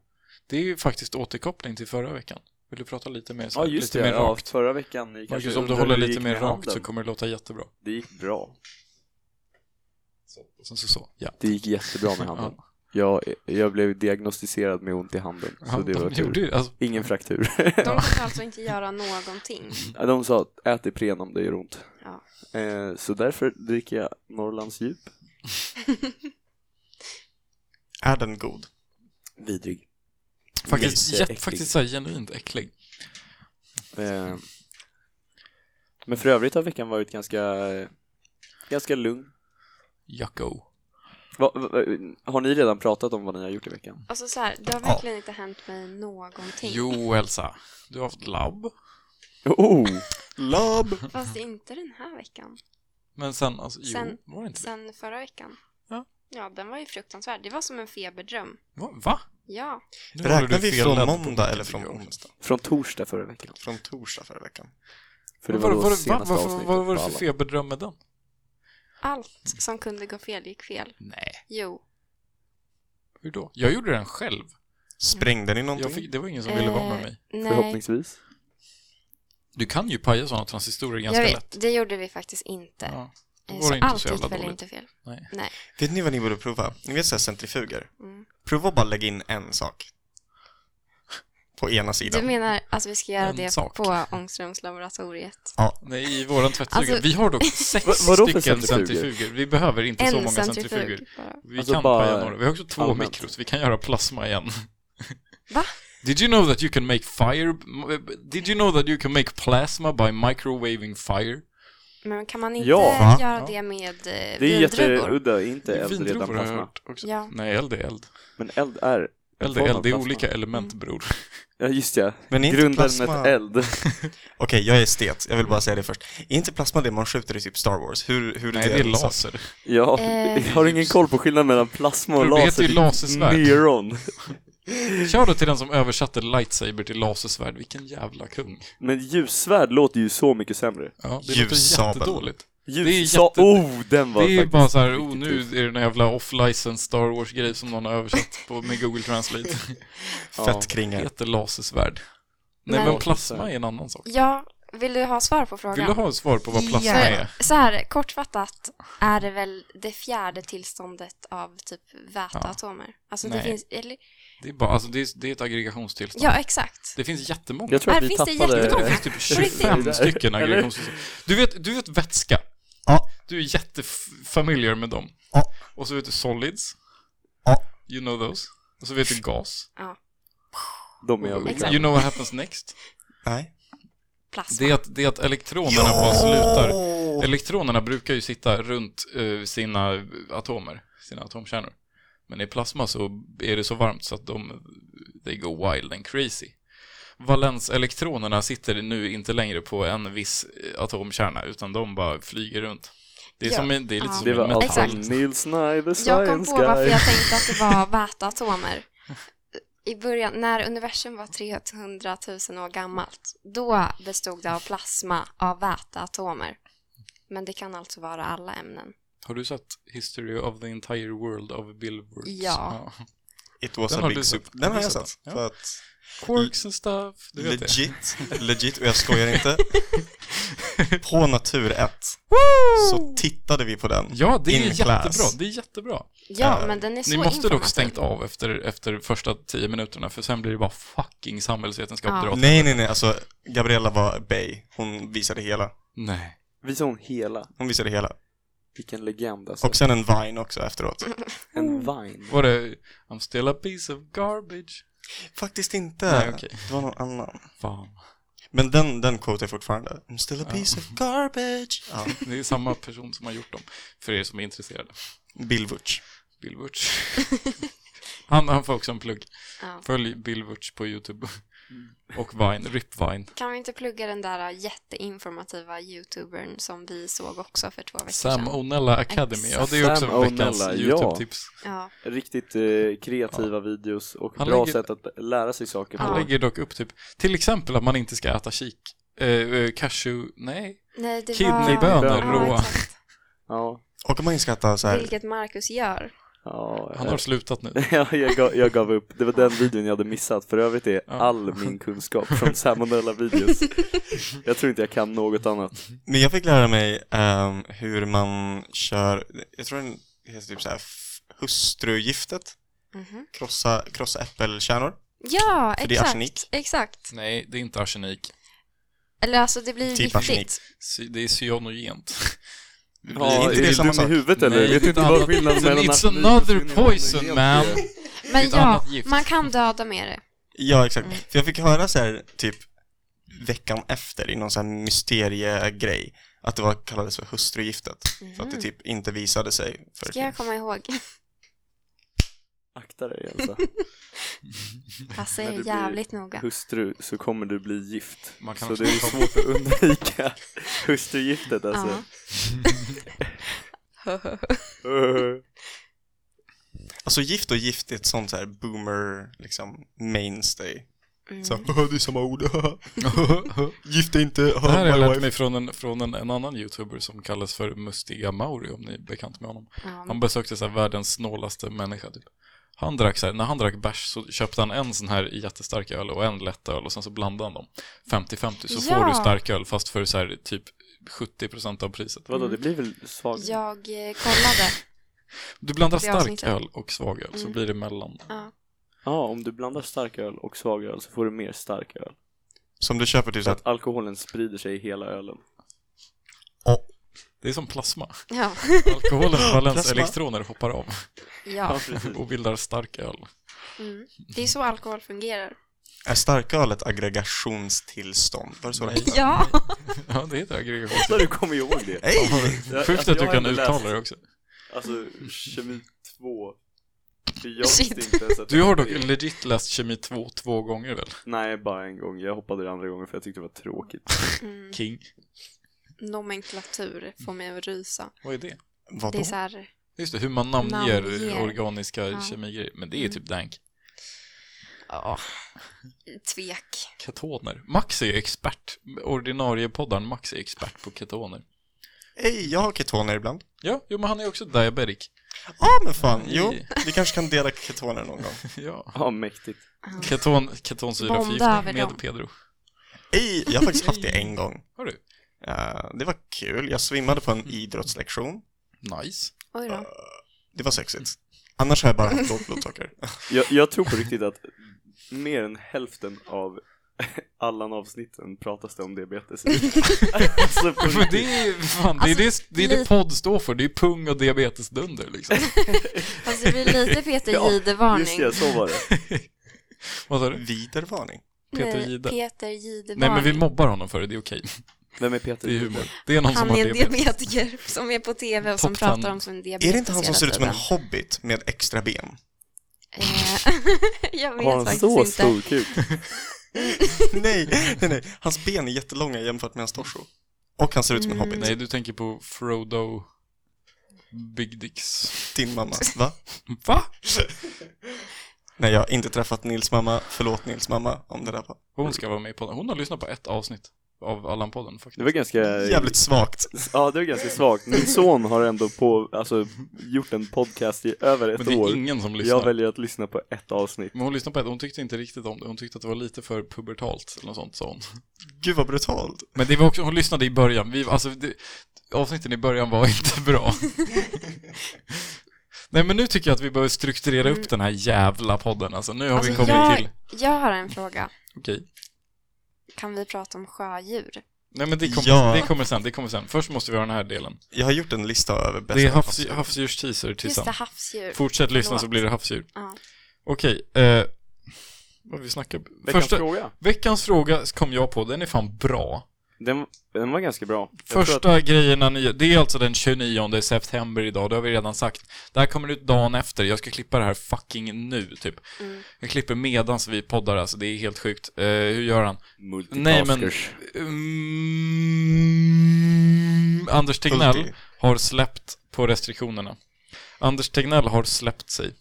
Speaker 1: Det är ju faktiskt återkoppling till förra veckan. Vill du prata lite mer, så
Speaker 9: ja
Speaker 1: här,
Speaker 9: just
Speaker 1: lite
Speaker 9: det,
Speaker 1: mer
Speaker 9: ja,
Speaker 1: rakt?
Speaker 9: förra veckan ni kanske
Speaker 1: Marcus, om du
Speaker 9: undrar
Speaker 1: håller
Speaker 9: hur det
Speaker 1: lite
Speaker 9: gick
Speaker 1: mer
Speaker 9: med
Speaker 1: rakt så
Speaker 9: handen.
Speaker 1: kommer det låta jättebra.
Speaker 9: Det gick bra.
Speaker 1: Och sen så, så. Ja.
Speaker 9: Det gick jättebra med handen.
Speaker 1: Ja.
Speaker 9: Jag, jag blev diagnostiserad med ont i handen, så
Speaker 1: Ja,
Speaker 9: det
Speaker 1: de
Speaker 9: var
Speaker 1: gjorde
Speaker 9: tur.
Speaker 1: ju, alltså,
Speaker 9: Ingen fraktur.
Speaker 3: De kan alltså inte göra någonting.
Speaker 1: Mm.
Speaker 9: De sa att ät Ipren om det gör ont.
Speaker 3: Ja.
Speaker 9: Eh, så därför dricker jag Norrlands djup.
Speaker 2: Är den god?
Speaker 9: Vidrig.
Speaker 1: faktiskt,
Speaker 9: Mycket
Speaker 1: jätt,
Speaker 9: äcklig.
Speaker 1: faktiskt så här, genuint äcklig.
Speaker 9: Eh, men för övrigt har veckan varit ganska, ganska lugn.
Speaker 1: Jacko.
Speaker 9: Va, va, har ni redan pratat om vad ni har gjort i veckan?
Speaker 3: Alltså så här, det har verkligen inte hänt mig någonting.
Speaker 1: Jo, Elsa. Du har haft labb.
Speaker 9: Oh!
Speaker 2: Lab!
Speaker 3: Fast inte den här veckan.
Speaker 1: Men sen, alltså,
Speaker 3: Sen-
Speaker 1: jo, var det inte det?
Speaker 3: Sen förra veckan.
Speaker 1: Ja.
Speaker 3: Ja, den var ju fruktansvärd. Det var som en feberdröm.
Speaker 1: Va? Va?
Speaker 3: Ja.
Speaker 1: Nu håller
Speaker 2: Räknar
Speaker 1: du
Speaker 2: vi
Speaker 1: fel
Speaker 2: från
Speaker 1: ladd på
Speaker 2: måndag eller
Speaker 1: mycket,
Speaker 2: från
Speaker 1: tycker jag.
Speaker 2: onsdag?
Speaker 9: Från torsdag förra veckan.
Speaker 2: Från torsdag förra veckan.
Speaker 9: För det
Speaker 1: Vad-
Speaker 9: var då
Speaker 1: vad- vad-
Speaker 9: senaste
Speaker 1: vad-
Speaker 9: avsnittet.
Speaker 1: Vad var det
Speaker 9: på
Speaker 1: för
Speaker 9: alla.
Speaker 1: feberdröm med den?
Speaker 3: Allt som kunde gå fel gick fel.
Speaker 1: Nej.
Speaker 3: Jo.
Speaker 1: Hur då? Jag gjorde den själv.
Speaker 2: Sprängde ni någonting?
Speaker 1: Jag fick, det var ingen som ville vara med
Speaker 3: Eh,
Speaker 1: mig.
Speaker 3: Nej,
Speaker 9: Förhoppningsvis.
Speaker 1: Du kan ju paja sådana transistorer
Speaker 3: jag
Speaker 1: ganska lätt.
Speaker 3: vet. Det gjorde vi faktiskt inte.
Speaker 1: Ja. Då
Speaker 3: Eh,
Speaker 1: var det
Speaker 3: Så
Speaker 1: inte så
Speaker 3: allt
Speaker 1: jävla
Speaker 3: gick väl
Speaker 1: dåligt.
Speaker 3: inte fel.
Speaker 2: Vet ni vad ni borde prova? Ni vet såhär centrifuger?
Speaker 3: Mm.
Speaker 2: Prova att bara lägga in en sak. På ena sidan.
Speaker 3: Du menar att vi ska göra
Speaker 1: En
Speaker 3: det
Speaker 1: sak.
Speaker 3: på Ångströmslaboratoriet?
Speaker 1: Nej, i våran tvättstuga.
Speaker 3: Alltså-
Speaker 1: vi har dock sex
Speaker 9: Vad- vadå för
Speaker 1: stycken centrifuger?
Speaker 9: centrifuger?
Speaker 1: Vi behöver inte så
Speaker 3: En
Speaker 1: många centrifuger.
Speaker 3: centrifug bara.
Speaker 1: Vi
Speaker 9: Alltså
Speaker 1: kan
Speaker 9: bara
Speaker 1: paja några. Vi har också två
Speaker 9: allmänt.
Speaker 1: mikros. Vi kan göra plasma igen.
Speaker 3: Va?
Speaker 1: Did you know that you can make fire... Did you know that you can make plasma by microwaving fire?
Speaker 3: Men kan man inte
Speaker 9: Ja, va?
Speaker 3: göra
Speaker 1: Ja.
Speaker 3: det med eh,
Speaker 9: Det är
Speaker 3: vindruvor?
Speaker 9: jätteudda, inte
Speaker 1: Det är
Speaker 9: eld redan
Speaker 1: vindruvor har jag
Speaker 9: plasma.
Speaker 1: hört också.
Speaker 3: Ja.
Speaker 1: Nej, eld är eld.
Speaker 9: Men eld är...
Speaker 1: Eld
Speaker 9: Form
Speaker 1: är
Speaker 9: av
Speaker 1: eld. Det är
Speaker 9: plasma.
Speaker 1: olika element, bror.
Speaker 9: Ja, just ja.
Speaker 2: Men är inte plasma-
Speaker 9: Grundämnet eld.
Speaker 2: Okej, jag är estet. Jag vill bara säga det först. Är inte plasma det man skjuter i typ Star Wars? Hur, hur
Speaker 1: Nej, det är
Speaker 2: en sak?
Speaker 1: laser.
Speaker 9: Ja,
Speaker 3: Eh.
Speaker 9: jag har ingen koll på skillnaden mellan plasma och
Speaker 1: Bror, det heter ju
Speaker 9: laser.
Speaker 1: lasersvärd.
Speaker 9: Neuron.
Speaker 1: Kör då till den som översatte lightsaber till lasersvärd. Vilken jävla kung.
Speaker 9: Men ljussvärd låter ju så mycket sämre.
Speaker 1: Ja, det låter
Speaker 2: Ljussabel.
Speaker 1: jättedåligt.
Speaker 9: Ljus...
Speaker 1: Det är
Speaker 9: sa-
Speaker 1: jätte-
Speaker 9: Oh, den var
Speaker 1: Det är
Speaker 9: faktiskt
Speaker 1: bara så här,
Speaker 9: riktigt
Speaker 1: oh,
Speaker 9: tuff.
Speaker 1: nu är det någon jävla off-license Star Wars-grej som någon har översatt på, med Google Translate.
Speaker 2: Fett
Speaker 1: Det
Speaker 2: kringar.
Speaker 1: heter lasersvärd. Nej,
Speaker 3: Men-
Speaker 1: men plasma är en annan sak.
Speaker 3: Ja, vill du ha svar på frågan?
Speaker 1: Vill du ha ett svar på vad plasma är?
Speaker 3: Så här, kortfattat är det väl det fjärde tillståndet av typ väteatomer. Alltså det
Speaker 1: Nej.
Speaker 3: finns, eller,
Speaker 1: Det är, bara, alltså, det är, det är ett aggregationstillstånd.
Speaker 3: ja exakt.
Speaker 1: Det finns jättemånga.
Speaker 9: Jag tror att
Speaker 3: Här
Speaker 9: vi
Speaker 3: finns det
Speaker 9: tappade...
Speaker 1: Det
Speaker 3: jättemånga.
Speaker 1: finns typ
Speaker 3: riktigt.
Speaker 1: 25 stycken
Speaker 9: Eller?
Speaker 1: aggregationstillstånd. Du vet, du vet vätska?
Speaker 2: Ja.
Speaker 1: Du är jättefamiljer med dem.
Speaker 2: Ja.
Speaker 1: Och så vet du solids.
Speaker 2: Ja.
Speaker 1: You know those. Och så vet du gas.
Speaker 9: De är överklämda.
Speaker 1: You know what happens next?
Speaker 2: Nej.
Speaker 3: Plasma.
Speaker 1: Det är att, det är att elektronerna bara slutar. Elektronerna brukar ju sitta runt eh, sina atomer, sina atomkärnor. Men i plasma så är det så varmt så att de, they go wild and crazy. Valenselektronerna sitter nu inte längre på en viss eh, atomkärna, utan de bara flyger runt. Det är,
Speaker 3: Ja.
Speaker 1: som en, det är lite
Speaker 3: Ja.
Speaker 1: som
Speaker 9: Det
Speaker 1: en
Speaker 9: var alltså
Speaker 1: metall.
Speaker 3: Exakt.
Speaker 9: Nils Nye, the
Speaker 3: Jag kom
Speaker 9: science
Speaker 3: på varför
Speaker 9: guy.
Speaker 3: jag tänkte att det var väteatomer. I början, när universum var 300 000 år gammalt, då bestod det av plasma av väteatomer. Men det kan alltså vara alla ämnen.
Speaker 1: Har du sett History of the Entire World of Billboards?
Speaker 3: Ja.
Speaker 2: It was
Speaker 1: Den
Speaker 2: a
Speaker 1: har du
Speaker 2: big
Speaker 1: sett.
Speaker 2: soup. Den har
Speaker 1: Du
Speaker 2: jag
Speaker 1: sett
Speaker 2: sett.
Speaker 1: den, ja.
Speaker 2: För att
Speaker 1: Quirks and stuff, du vet det.
Speaker 2: legit, legit, och jag skojar inte. På Natur 1 så tittade vi på den.
Speaker 1: Ja, det är
Speaker 2: In
Speaker 1: jättebra.
Speaker 2: class.
Speaker 1: det är jättebra.
Speaker 3: Ja,
Speaker 2: Eh,
Speaker 3: men den är så
Speaker 1: Ni måste dock
Speaker 3: informativ.
Speaker 1: stängt av efter, efter första tio minuterna, för sen blir det bara fucking samhällsvetenskap
Speaker 3: Ja.
Speaker 1: dra åt
Speaker 2: Nej, nej, nej. Alltså, Gabriella var bay. Hon visade hela.
Speaker 1: Nej.
Speaker 9: Visade hon hela?
Speaker 2: Hon visade hela.
Speaker 9: Vilken legend alltså.
Speaker 2: Och sen en vine också efteråt.
Speaker 9: En vine.
Speaker 1: Var det I'm still a piece of garbage?
Speaker 2: mm. Faktiskt inte.
Speaker 1: Nej, okej.
Speaker 2: Det var någon annan.
Speaker 1: Fan.
Speaker 2: Men den, den quote är fortfarande. I'm still a piece of garbage. Ja.
Speaker 1: Det är samma person som har gjort dem, för er som är intresserade.
Speaker 2: Bill Wurch.
Speaker 1: Bill Wurch. Han, han får också en plugg.
Speaker 3: Ja.
Speaker 1: Följ Bill Wurch på YouTube.
Speaker 3: Mm.
Speaker 1: Och Vine, Rip Vine.
Speaker 3: Kan vi inte plugga den där jätteinformativa youtubern som vi såg också för två veckor
Speaker 1: Sam
Speaker 3: sedan?
Speaker 1: Onella Academy. Ja, det är också
Speaker 9: Sam
Speaker 1: veckans
Speaker 9: O'Nella, ja.
Speaker 1: YouTube-tips.
Speaker 3: Ja,
Speaker 9: Riktigt eh, kreativa videos och
Speaker 1: Han
Speaker 9: bra
Speaker 1: lägger-
Speaker 9: sätt att lära sig saker på.
Speaker 1: Han lägger dock upp typ, till exempel att man inte ska äta kik. Eh, eh, cashew, nej.
Speaker 3: nej det var...
Speaker 1: Kidneybönor
Speaker 9: Kidneybönor.
Speaker 1: råa.
Speaker 3: Ja, exakt.
Speaker 9: Ja.
Speaker 2: Och om man inte ska äta så här.
Speaker 3: Vilket Marcus gör.
Speaker 9: ja
Speaker 1: Han har slutat nu.
Speaker 9: Ja, jag, gav, jag gav upp. Det var den videon jag hade missat. För övrigt är
Speaker 1: Ja.
Speaker 9: all min kunskap från salmonella-videos. Jag tror inte jag kan något annat.
Speaker 2: Men jag fick lära mig ehm, hur man kör, jag tror den heter typ så här f- hustrugiftet.
Speaker 3: Mhm.
Speaker 2: Krossa, krossa äppelkärnor.
Speaker 3: Ja,
Speaker 2: För det är arsenik.
Speaker 3: exakt. Exakt.
Speaker 1: Nej, det är inte arsenik.
Speaker 3: Eller alltså det blir
Speaker 2: Typ arsenik.
Speaker 3: giftigt.
Speaker 1: Sy- Det är cyanogent. Det blir-
Speaker 9: Ja,
Speaker 2: inte det
Speaker 9: är
Speaker 2: samma
Speaker 9: du dum
Speaker 2: sak?
Speaker 9: i huvudet eller?
Speaker 1: Nej,
Speaker 9: Vet
Speaker 1: det
Speaker 9: du
Speaker 1: är
Speaker 9: inte
Speaker 1: ett
Speaker 9: vad
Speaker 1: annat-
Speaker 9: skillnaden mellan
Speaker 1: It's
Speaker 9: arsenik och
Speaker 1: another
Speaker 9: cyanogent
Speaker 1: poison
Speaker 9: är?
Speaker 1: man.
Speaker 3: Men
Speaker 1: ett
Speaker 3: ja,
Speaker 1: annat gift.
Speaker 3: man kan döda med det.
Speaker 2: Ja, exakt. För jag fick höra så här typ veckan efter i någon sån här mysteriegrej Mm. att det var, kallades för hustrugiftet. För att det typ inte visade sig. För
Speaker 3: Ska jag komma Mm. ihåg?
Speaker 9: Akta dig alltså. Elsa.
Speaker 3: Passa
Speaker 9: Men
Speaker 3: er
Speaker 9: det blir-
Speaker 3: jävligt noga.
Speaker 9: Hustru så kommer du bli gift.
Speaker 1: Man kan
Speaker 9: Så
Speaker 1: också
Speaker 9: det är
Speaker 1: ta-
Speaker 9: svårt att undvika hustrugiftet alltså.
Speaker 3: Ja.
Speaker 2: Alltså gift och gift är ett sånt här boomer, liksom mainstay.
Speaker 3: Mm.
Speaker 2: Så här, det är samma ord, gift är inte,
Speaker 1: Det här har jag
Speaker 2: my
Speaker 1: lärt
Speaker 2: wife.
Speaker 1: mig från, en, från en, en annan youtuber som kallas för Mustiga Mauri, om ni är bekant med honom.
Speaker 3: Ja,
Speaker 1: Han besökte så här världens snålaste människa typ. Han drack så här, när han drack bärs så köpte han en sån här jättestark öl och en lätt öl och sen så blandade han dem. 50-50 så
Speaker 3: Ja.
Speaker 1: får du stark öl fast för så här typ 70% av priset.
Speaker 9: Vadå, det blir väl svagt?
Speaker 3: Jag eh, kollade.
Speaker 1: Du blandar
Speaker 3: Det
Speaker 1: stark
Speaker 3: avsnittet.
Speaker 1: öl och svag öl så
Speaker 3: Mm.
Speaker 1: blir det mellan.
Speaker 3: Ja.
Speaker 9: Ja, om du blandar starköl och svagröl så får du mer starköl.
Speaker 2: Som du köper till
Speaker 9: Så
Speaker 2: så att,
Speaker 9: att alkoholen sprider sig i hela ölen.
Speaker 1: Det är som plasma.
Speaker 3: Ja.
Speaker 1: Alkoholens valens
Speaker 2: Plasma.
Speaker 1: elektroner hoppar av
Speaker 9: Ja,
Speaker 3: ja.
Speaker 9: precis.
Speaker 1: och bildar stark öl.
Speaker 3: Mm. Det är så alkohol fungerar.
Speaker 2: är starköl ett aggregationstillstånd? Var det så det hette?
Speaker 3: Ja.
Speaker 1: Ja, det heter aggregation.
Speaker 9: Så du kommer ihåg det.
Speaker 2: Hej!
Speaker 9: Jag-
Speaker 1: Sjukt
Speaker 9: alltså,
Speaker 1: att
Speaker 9: jag
Speaker 1: du
Speaker 9: har
Speaker 1: kan
Speaker 9: ändå läst,
Speaker 1: uttala det också.
Speaker 9: Alltså, kemi 2. För Jag
Speaker 3: Shit.
Speaker 9: visste inte ens att
Speaker 1: Du har dock
Speaker 9: det-
Speaker 1: legit läst kemi 2 två gånger väl?
Speaker 9: Nej, bara en gång. Jag hoppade det andra gången för jag tyckte det var tråkigt.
Speaker 3: Mm.
Speaker 1: King.
Speaker 3: Nomenklatur får mig att rysa.
Speaker 1: Vad är det?
Speaker 2: Vadå?
Speaker 3: Det är så här,
Speaker 1: Just det, hur man namnger,
Speaker 3: Namnger.
Speaker 1: organiska
Speaker 3: Ja. Mm.
Speaker 1: kemigrejer. Men det är typ dank.
Speaker 3: ja, mm, tvek.
Speaker 1: Ketoner. Max är ju expert. Ordinarie poddaren Max är expert på ketoner.
Speaker 2: Hej, jag har ketoner ibland.
Speaker 1: Ja, jo, men han är också diabetic.
Speaker 2: Ja men fan, jo,
Speaker 1: Nej.
Speaker 2: vi kanske kan dela ketoner någon gång.
Speaker 1: Ja.
Speaker 9: Ja, mäktigt.
Speaker 1: Keton,
Speaker 3: Bonda över
Speaker 1: ketonsyraförgiftning med
Speaker 3: dem.
Speaker 1: Pedro.
Speaker 2: Hej, jag har faktiskt haft det en gång.
Speaker 1: Har du?
Speaker 2: Eh, det var kul, jag svimmade på en idrottslektion. Eh,
Speaker 1: Nice.
Speaker 3: Oj då.
Speaker 2: Det var sexigt. Annars har jag bara haft lågt blodsocker.
Speaker 9: Jag, jag tror på riktigt att mer än hälften av alla avsnitten pratas det om diabetes. alltså, på
Speaker 1: Men
Speaker 9: riktigt.
Speaker 1: det är fan,
Speaker 3: Alltså,
Speaker 1: det är det, det, är det
Speaker 3: lite-
Speaker 1: podd står för. Det är pung och diabetesdunder liksom.
Speaker 3: Alltså det blir lite Peter
Speaker 9: Ja,
Speaker 3: Jihde-varning.
Speaker 9: Just det, så var det.
Speaker 1: Vad sa du?
Speaker 2: Vidervarning.
Speaker 1: Peter
Speaker 3: Nej,
Speaker 1: Jihde.
Speaker 3: Peter Jihde-varning.
Speaker 1: Nej, men vi mobbar honom för det. Det är okej.
Speaker 9: Vem är Peter?
Speaker 1: Det är humor. Det är någon som
Speaker 3: Han
Speaker 1: har
Speaker 3: är en
Speaker 1: diabetes.
Speaker 3: diabetiker som är på tv och som
Speaker 1: Topptan.
Speaker 3: pratar om sin diabetes
Speaker 2: Är det inte han som
Speaker 3: hela
Speaker 2: ser ut som en
Speaker 3: tiden?
Speaker 2: hobbit med extra ben?
Speaker 3: Eh, Jag vet
Speaker 9: Har han
Speaker 3: faktiskt
Speaker 9: så
Speaker 3: inte.
Speaker 9: stor kuk?
Speaker 2: nej, nej, nej. Hans ben är jättelånga jämfört med hans torso. Och han ser ut som en hobbit.
Speaker 1: Nej, du tänker på Frodo Big Dicks.
Speaker 2: Din mamma, va?
Speaker 1: Va?
Speaker 2: Nej, jag har inte träffat Nils mamma. Förlåt Nils mamma om det där var
Speaker 1: Hon ska vara med på Hon har lyssnat på ett avsnitt av Allan-podden
Speaker 9: Det
Speaker 1: faktiskt.
Speaker 9: var ganska...
Speaker 2: jävligt svagt.
Speaker 9: Ja, det var ganska svagt. Min son har ändå på, alltså, gjort en podcast i över ett
Speaker 1: Men det
Speaker 9: år.
Speaker 1: är ingen som lyssnar.
Speaker 9: Jag väljer att lyssna på ett avsnitt.
Speaker 1: Men hon lyssnade på ett, hon tyckte inte riktigt om det. Hon tyckte att det var lite för pubertalt eller något sånt sa hon.
Speaker 2: Gud vad brutalt.
Speaker 1: Men det var också, hon lyssnade i början. Vi, alltså, det, avsnitten i början var inte bra. Nej men nu tycker jag att vi behöver strukturera upp den här jävla podden alltså. Nu har vi
Speaker 3: Mm. Alltså,
Speaker 1: kommit till...
Speaker 3: jag, jag har en fråga.
Speaker 1: Okej.
Speaker 3: Kan vi prata om sjödjur?
Speaker 1: Nej men det kommer,
Speaker 2: Ja.
Speaker 1: det kommer sen, det kommer sen. Först måste vi ha den här delen.
Speaker 2: Jag har gjort en lista över bästa
Speaker 1: Det är
Speaker 2: havs-
Speaker 1: havs, havsdjurs-teaser till
Speaker 3: Just det,
Speaker 1: sen.
Speaker 3: havsdjur.
Speaker 1: Fortsätt lyssna så
Speaker 3: Förlåt.
Speaker 1: blir det havsdjur.
Speaker 3: Ja.
Speaker 1: Okej, eh, vad vi snackar...
Speaker 9: Veckans
Speaker 1: Första,
Speaker 9: fråga.
Speaker 1: veckans fråga kom jag på, den är fan bra.
Speaker 9: Den, den var ganska bra. Jag tror att-
Speaker 1: Första grejerna ni, det är alltså den 29 september idag, det har vi redan sagt. Det här kommer ut dagen efter, jag ska klippa det här fucking nu typ.
Speaker 9: Mm.
Speaker 1: Jag klipper medans vi poddar alltså, det är helt sjukt. Eh, hur gör han? Nej men...
Speaker 9: Multitaskers.
Speaker 1: Mm, Anders Tegnell
Speaker 2: Multi.
Speaker 1: har släppt på restriktionerna. Anders Tegnell har släppt sig.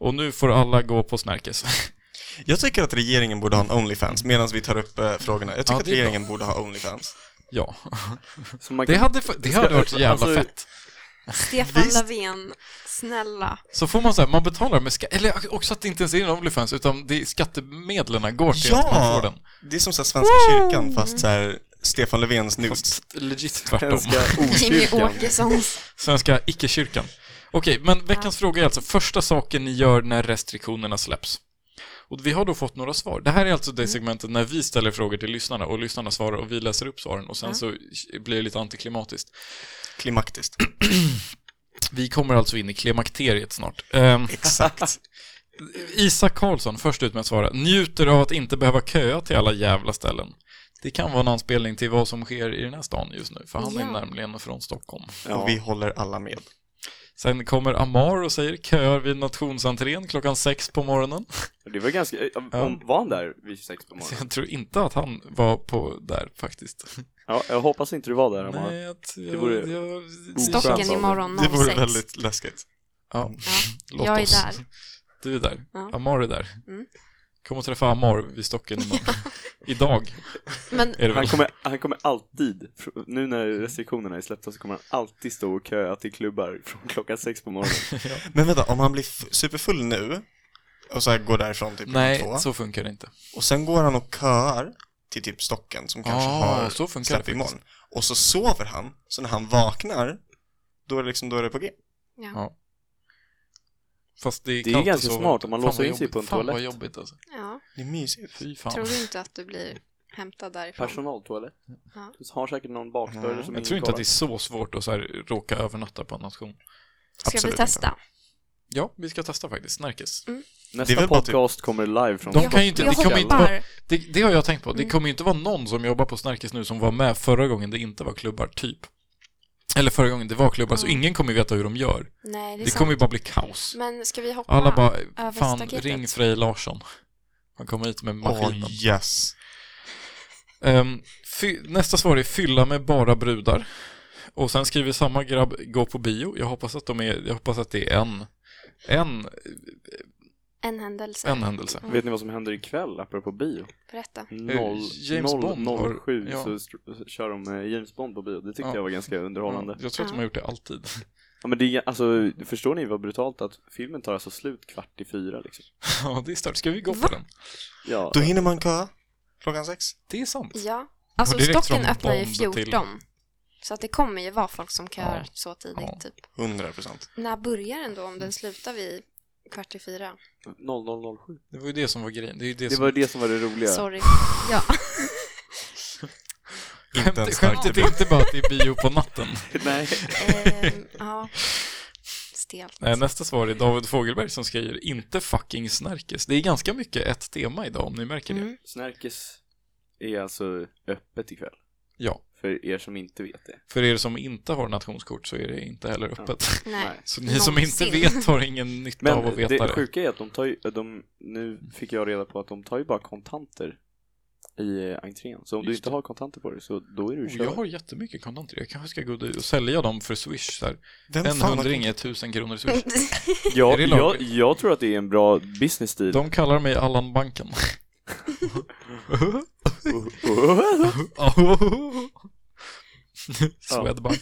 Speaker 1: Och nu får alla gå på Snärkes.
Speaker 2: Jag tycker att regeringen borde ha en Onlyfans medan vi tar upp eh, frågorna. Jag tycker
Speaker 1: Ja,
Speaker 2: att
Speaker 1: det är bra.
Speaker 2: regeringen borde ha Onlyfans.
Speaker 1: ja.
Speaker 9: Så man
Speaker 1: Det
Speaker 9: kan-
Speaker 1: hade, fa- det hade varit så jävla
Speaker 9: Alltså,
Speaker 1: fett.
Speaker 3: Stefan
Speaker 2: Visst.
Speaker 3: Löfven, snälla.
Speaker 1: Så får man så här, man betalar med skatt, eller också att det inte ens är en Onlyfans, utan det, skattemedlen går till att man får
Speaker 2: Ja!
Speaker 1: den.
Speaker 2: Det är som så här Svenska kyrkan fast så här Stefan Löfvens nudes.
Speaker 1: Legit tvärtom.
Speaker 9: Svenska
Speaker 3: Jimmy
Speaker 9: okyrkan.
Speaker 3: Åkessons.
Speaker 1: Svenska icke-kyrkan. Okej, men veckans fråga är alltså första saken ni gör när restriktionerna släpps. Och vi har då fått några svar. Det här är alltså det segmentet när vi ställer frågor till lyssnarna och lyssnarna svarar och vi läser upp svaren och sen så blir det lite antiklimatiskt.
Speaker 2: Klimaktiskt.
Speaker 1: Vi kommer alltså in i klimakteriet snart. Ehm,
Speaker 2: Exakt.
Speaker 1: Isak Karlsson, först ut med att svara, njuter av att inte behöva köa till alla jävla ställen. Det kan vara en anspelning till vad som sker i den här stan just nu, för han är
Speaker 3: Ja.
Speaker 1: nämligen från Stockholm.
Speaker 9: Ja.
Speaker 2: Och vi håller alla med.
Speaker 1: Sen kommer Amar och säger köar vid nationsentrén klockan sex på morgonen.
Speaker 9: Det var ganska, eh, om,
Speaker 1: Ja.
Speaker 9: om, var han där vid sex på
Speaker 1: Så
Speaker 9: morgonen?
Speaker 1: jag tror inte att han var på där faktiskt.
Speaker 9: Ja, jag hoppas inte du var där Amar.
Speaker 1: Nej, att jag,
Speaker 9: Det vore-
Speaker 1: jag,
Speaker 9: Skönt av
Speaker 3: Stocken
Speaker 9: dig.
Speaker 3: imorgon
Speaker 2: Det
Speaker 3: 06.
Speaker 2: vore väldigt läskigt.
Speaker 1: Ja,
Speaker 3: Ja,
Speaker 1: låt
Speaker 3: jag är
Speaker 1: oss.
Speaker 3: där.
Speaker 1: Du är där.
Speaker 3: Ja.
Speaker 1: Amar är där.
Speaker 3: Mm.
Speaker 1: Kom och träffa Amar vid stocken imorgon. Idag är
Speaker 3: Men
Speaker 1: det väl.
Speaker 9: Han kommer, han kommer alltid, fr- nu när restriktionerna är släppta så kommer han alltid stå och köa till klubbar från klockan sex på morgonen.
Speaker 2: Men vänta, om han blir f- superfull nu och så här går därifrån typ klockan
Speaker 1: Nej,
Speaker 2: två
Speaker 1: så funkar det inte.
Speaker 2: och sen går han och köar till typ stocken som kanske
Speaker 1: Ah,
Speaker 2: har
Speaker 1: så funkar det
Speaker 2: släpp
Speaker 1: faktiskt.
Speaker 2: imorgon. Och så sover han, så när han vaknar då är det liksom, då är det på G.
Speaker 1: Fast det är,
Speaker 9: Det är
Speaker 1: kallt
Speaker 9: ganska
Speaker 1: och så-
Speaker 9: smart om man
Speaker 1: Fan
Speaker 9: låser
Speaker 1: vad
Speaker 9: in sig
Speaker 1: jobbigt.
Speaker 9: på en
Speaker 1: Fan vad
Speaker 9: toalett.
Speaker 1: jobbigt alltså.
Speaker 3: ja,
Speaker 2: Det är mysigt.
Speaker 1: Fy fan.
Speaker 3: tror du inte att du blir hämtad därifrån?
Speaker 9: Personaltoalett.
Speaker 3: Ja.
Speaker 9: Så har säkert någon bakdörr
Speaker 2: Mm.
Speaker 9: som
Speaker 1: Jag
Speaker 9: ingen
Speaker 1: tror inte att det är så
Speaker 9: kollar.
Speaker 1: svårt att så här, råka övernatta på en nation.
Speaker 3: Ska vi
Speaker 2: Absolut
Speaker 3: testa?
Speaker 1: Ja, vi ska testa faktiskt. Snärkes.
Speaker 2: det är
Speaker 9: Nästa
Speaker 2: väl bara typ-
Speaker 9: podcast kommer live från
Speaker 1: De
Speaker 3: Jag
Speaker 1: kan ju
Speaker 3: hop-
Speaker 1: inte-
Speaker 3: jag
Speaker 1: det kommer inte
Speaker 3: hoppar.
Speaker 1: Det, det har jag tänkt på. Det
Speaker 9: Mm.
Speaker 1: kommer ju inte vara någon som jobbar på Snärkes nu som var med förra gången det inte var klubbar, typ. Eller förra gången det var klubbar, så ingen kommer ju veta hur de gör.
Speaker 3: Nej, det är
Speaker 1: Det
Speaker 3: sant.
Speaker 1: kommer ju bara bli kaos.
Speaker 3: Men ska vi hoppa?
Speaker 1: Alla bara,
Speaker 3: över
Speaker 1: fan,
Speaker 3: staketet."
Speaker 1: ring Frej Larsson. Han kommer hit med
Speaker 2: Åh
Speaker 1: maskinen.
Speaker 2: yes.
Speaker 1: Ehm, fy, nästa svar är fylla med bara brudar. Och sen skriver samma grabb, gå på bio. Jag hoppas att, de är, jag hoppas att det är en, en,
Speaker 3: En händelse.
Speaker 1: en händelse.
Speaker 9: Vet ni vad som händer ikväll apropå bio?
Speaker 3: Berätta.
Speaker 9: Noll-
Speaker 1: Eh, James
Speaker 9: noll-
Speaker 1: Bond
Speaker 9: noll
Speaker 1: har-
Speaker 9: sju
Speaker 1: ja.
Speaker 9: så st- kör de eh, James Bond på bio. Det tyckte
Speaker 1: Ja. Mm.
Speaker 9: jag var ganska underhållande.
Speaker 1: Jag tror att de har gjort det alltid.
Speaker 9: Ja, men det är, alltså, förstår ni vad brutalt att filmen tar alltså slut kvart i fyra liksom?
Speaker 1: Ja, det är stört. Ska vi gå på
Speaker 3: Va?
Speaker 1: den?
Speaker 9: Ja,
Speaker 2: Då hinner man köa klockan sex.
Speaker 1: Det är sant.
Speaker 3: Ja. Alltså
Speaker 1: Och direkt
Speaker 3: stocken
Speaker 1: från
Speaker 3: öppnar ju
Speaker 1: Bond liksom till-
Speaker 3: 14. Så att det kommer ju vara folk som kör
Speaker 1: Ja.
Speaker 3: så tidigt
Speaker 1: Ja.
Speaker 3: typ.
Speaker 2: 100 procent.
Speaker 3: När börjar den då om den slutar vid kvart i fyra?
Speaker 9: 0007.
Speaker 1: Det var ju det som var grejen. Det, är ju det
Speaker 9: Det
Speaker 1: som...
Speaker 9: var det som var det roliga.
Speaker 3: Sorry. Ja.
Speaker 2: Inte en
Speaker 1: Skämt,
Speaker 2: stark
Speaker 1: skämtet är inte bara att det är bio på natten.
Speaker 9: Nej.
Speaker 3: Ehm, ja. Stelt.
Speaker 1: Nej, Eh, Nästa svar är David Fogelberg som skriver inte fucking snärkes. Det är ganska mycket ett tema idag om ni märker det.
Speaker 3: Mm.
Speaker 9: Snärkes är alltså öppet ikväll.
Speaker 1: Ja,
Speaker 9: För er som inte vet det.
Speaker 1: för er som inte har nationskort så är det inte heller öppet.
Speaker 3: Nej.
Speaker 1: Så ni som inte
Speaker 3: Någonsin.
Speaker 1: vet har ingen nytta
Speaker 9: Men
Speaker 1: av att veta
Speaker 9: det,
Speaker 1: det.
Speaker 9: sjuka är att de tar ju, de, nu fick jag reda på att de tar ju bara kontanter i eh, entrén. Så om du
Speaker 1: Just
Speaker 9: inte
Speaker 1: det.
Speaker 9: har kontanter på dig så då är du
Speaker 1: Oh, jag
Speaker 9: körd.
Speaker 1: har jättemycket kontanter. Jag kanske ska gå dit och sälja dem för swish. Så här.
Speaker 2: Vem
Speaker 1: En
Speaker 2: fan har- typ
Speaker 1: hundring är tusen kronor i swish.
Speaker 9: Ja,
Speaker 1: Är det
Speaker 9: jag,
Speaker 1: lagligt?
Speaker 9: jag tror att det är en bra business deal.
Speaker 1: De kallar mig Allan-banken. Swedbank.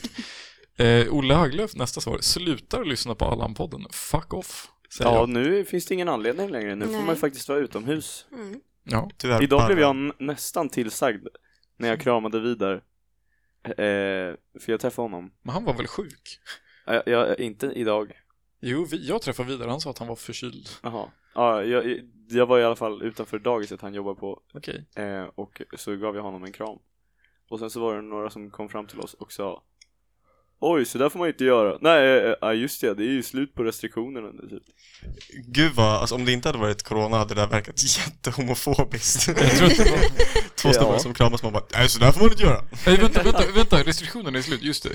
Speaker 1: Eh, Olle Haglöf, nästa svar. Slutar lyssna på Allan-podden. Fuck off. Säger
Speaker 9: ja,
Speaker 1: jag.
Speaker 9: nu finns det ingen anledning längre. Nu får
Speaker 3: Nej.
Speaker 9: man ju faktiskt vara utomhus.
Speaker 3: Mm.
Speaker 1: Ja.
Speaker 2: Tyvärr
Speaker 9: Idag blev
Speaker 2: bara-
Speaker 9: jag n- nästan tillsagd när jag kramade Vidar. Eh, för jag träffade honom.
Speaker 1: Men han var väl sjuk?
Speaker 9: Eh, jag, inte idag.
Speaker 1: Jo, vi, jag träffade vidare. Han sa att han var förkyld.
Speaker 9: Jaha. Ja, jag, jag var i alla fall utanför dagiset han jobbar på
Speaker 1: Okej.
Speaker 9: eh, och så gav jag honom en kram. Och sen så var det några som kom fram till oss och sa Oj, så där får man inte göra. Nej, eh, eh, ja, just det, det är ju slut på restriktionerna nu typ.
Speaker 2: Gud vad, alltså om det inte hade varit corona hade det där verkat jättehomofobiskt.
Speaker 1: Jag tror att det var...
Speaker 2: Två snubbar
Speaker 9: Ja.
Speaker 2: som kramas man bara Nej så där får man inte göra.
Speaker 1: Nej, vänta, vänta, vänta. Restriktionerna är slut. Just det.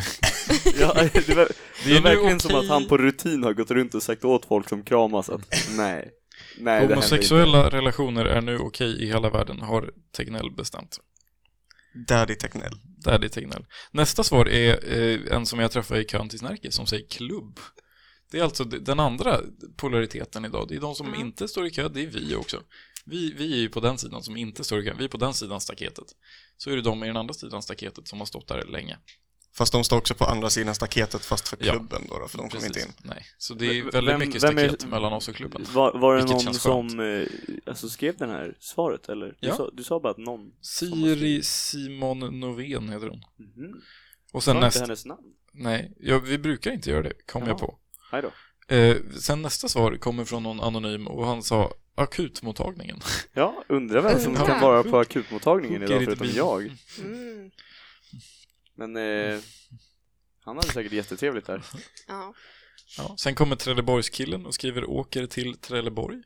Speaker 9: Ja, det var, det
Speaker 1: nu
Speaker 9: är verkligen
Speaker 1: okej.
Speaker 9: som att han på rutin har gått runt och sagt åt folk som kramas att nej, nej det händer inte.
Speaker 1: Homosexuella relationer är nu okej i hela världen, har Tegnell bestämt.
Speaker 2: Daddy Tegnell.
Speaker 1: Daddy Tegnell. Nästa svar är eh, en som jag träffade i kön till Snärke som säger klubb. Det är alltså d- den andra polariteten idag. Det är de som
Speaker 3: Mm.
Speaker 1: inte står i kö, det är vi också. Vi, vi är ju på den sidan som inte står i kö, vi är på den sidan staketet. Så är det de i den andra sidan staketet som har stått där länge.
Speaker 2: Fast de står också på andra sidan staketet fast för
Speaker 1: Ja.
Speaker 2: klubben då, då för de kommer inte in.
Speaker 1: Nej. Så det är
Speaker 9: Men
Speaker 1: väldigt
Speaker 9: vem-
Speaker 1: mycket
Speaker 9: vem är-
Speaker 1: staket mellan oss och klubben.
Speaker 9: Var, var det
Speaker 1: Vilket
Speaker 9: någon
Speaker 1: känns
Speaker 9: som eh, alltså, skrev den här svaret eller? Du,
Speaker 1: Ja.
Speaker 9: sa, du sa bara att någon?
Speaker 1: Siri Simon Novén heter hon.
Speaker 9: Mhm.
Speaker 1: Och
Speaker 9: Sa
Speaker 1: sen
Speaker 9: inte
Speaker 1: nästa...
Speaker 9: hennes namn?
Speaker 1: Nej, ja, vi brukar inte göra det, kom
Speaker 9: Jaha.
Speaker 1: jag på.
Speaker 9: Nej då.
Speaker 1: Eh, sen nästa svar kommer från någon anonym och han sa akutmottagningen.
Speaker 9: Ja, undrar vem som
Speaker 3: Undrar.
Speaker 9: kan vara på akutmottagningen idag
Speaker 1: Sjuker i
Speaker 9: förutom
Speaker 1: bil.
Speaker 9: jag.
Speaker 3: Mm.
Speaker 9: Men eh, han hade säkert jättetrevligt där.
Speaker 3: Ja.
Speaker 1: Ja. Sen kommer Trelleborgskillen och skriver åker till Trelleborg.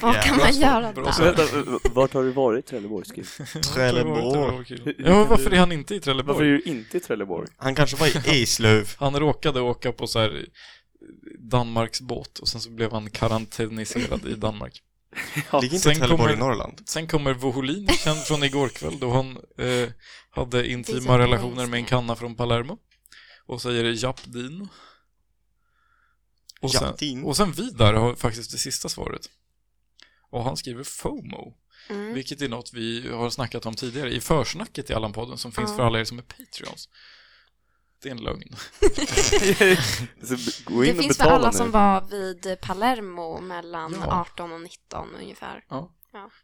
Speaker 3: Vad
Speaker 2: Ja,
Speaker 3: kan
Speaker 2: bra
Speaker 3: man
Speaker 2: svar.
Speaker 3: göra
Speaker 1: Bra
Speaker 3: där?
Speaker 1: svar.
Speaker 9: Vänta, v- vart har du varit Trelleborgskille?
Speaker 2: Trelleborg.
Speaker 1: Ja, varför är han inte i
Speaker 9: Varför är
Speaker 1: Trelleborg?
Speaker 9: du inte i Trelleborg?
Speaker 2: Han kanske var i Eslöv.
Speaker 1: Han råkade åka på så här eh, Danmarks båt och sen så blev han karantäniserad i Danmark.
Speaker 2: Ligger inte
Speaker 1: sen
Speaker 2: Trelleborg
Speaker 1: kommer-
Speaker 2: i Norrland?
Speaker 1: Sen kommer Voholin, känd från igår kväll, då han eh, hade
Speaker 3: Det är
Speaker 1: intima
Speaker 3: så
Speaker 1: relationer med en
Speaker 3: konstigt.
Speaker 1: kanna från Palermo. Och säger Japp din. Och sen,
Speaker 2: Japtin.
Speaker 1: och sen Vidar har faktiskt det sista svaret. Och han skriver FOMO,
Speaker 3: Mm.
Speaker 1: vilket är något vi har snackat om tidigare i försnacket i Allan-podden som finns
Speaker 3: Ja.
Speaker 1: för alla er som är Patreons. Det är en lögn.
Speaker 9: Så gå
Speaker 3: Det
Speaker 9: in och
Speaker 3: finns för
Speaker 9: betala
Speaker 3: alla
Speaker 9: nu.
Speaker 3: som var vid Palermo mellan
Speaker 1: Ja.
Speaker 3: 18 och 19 ungefär.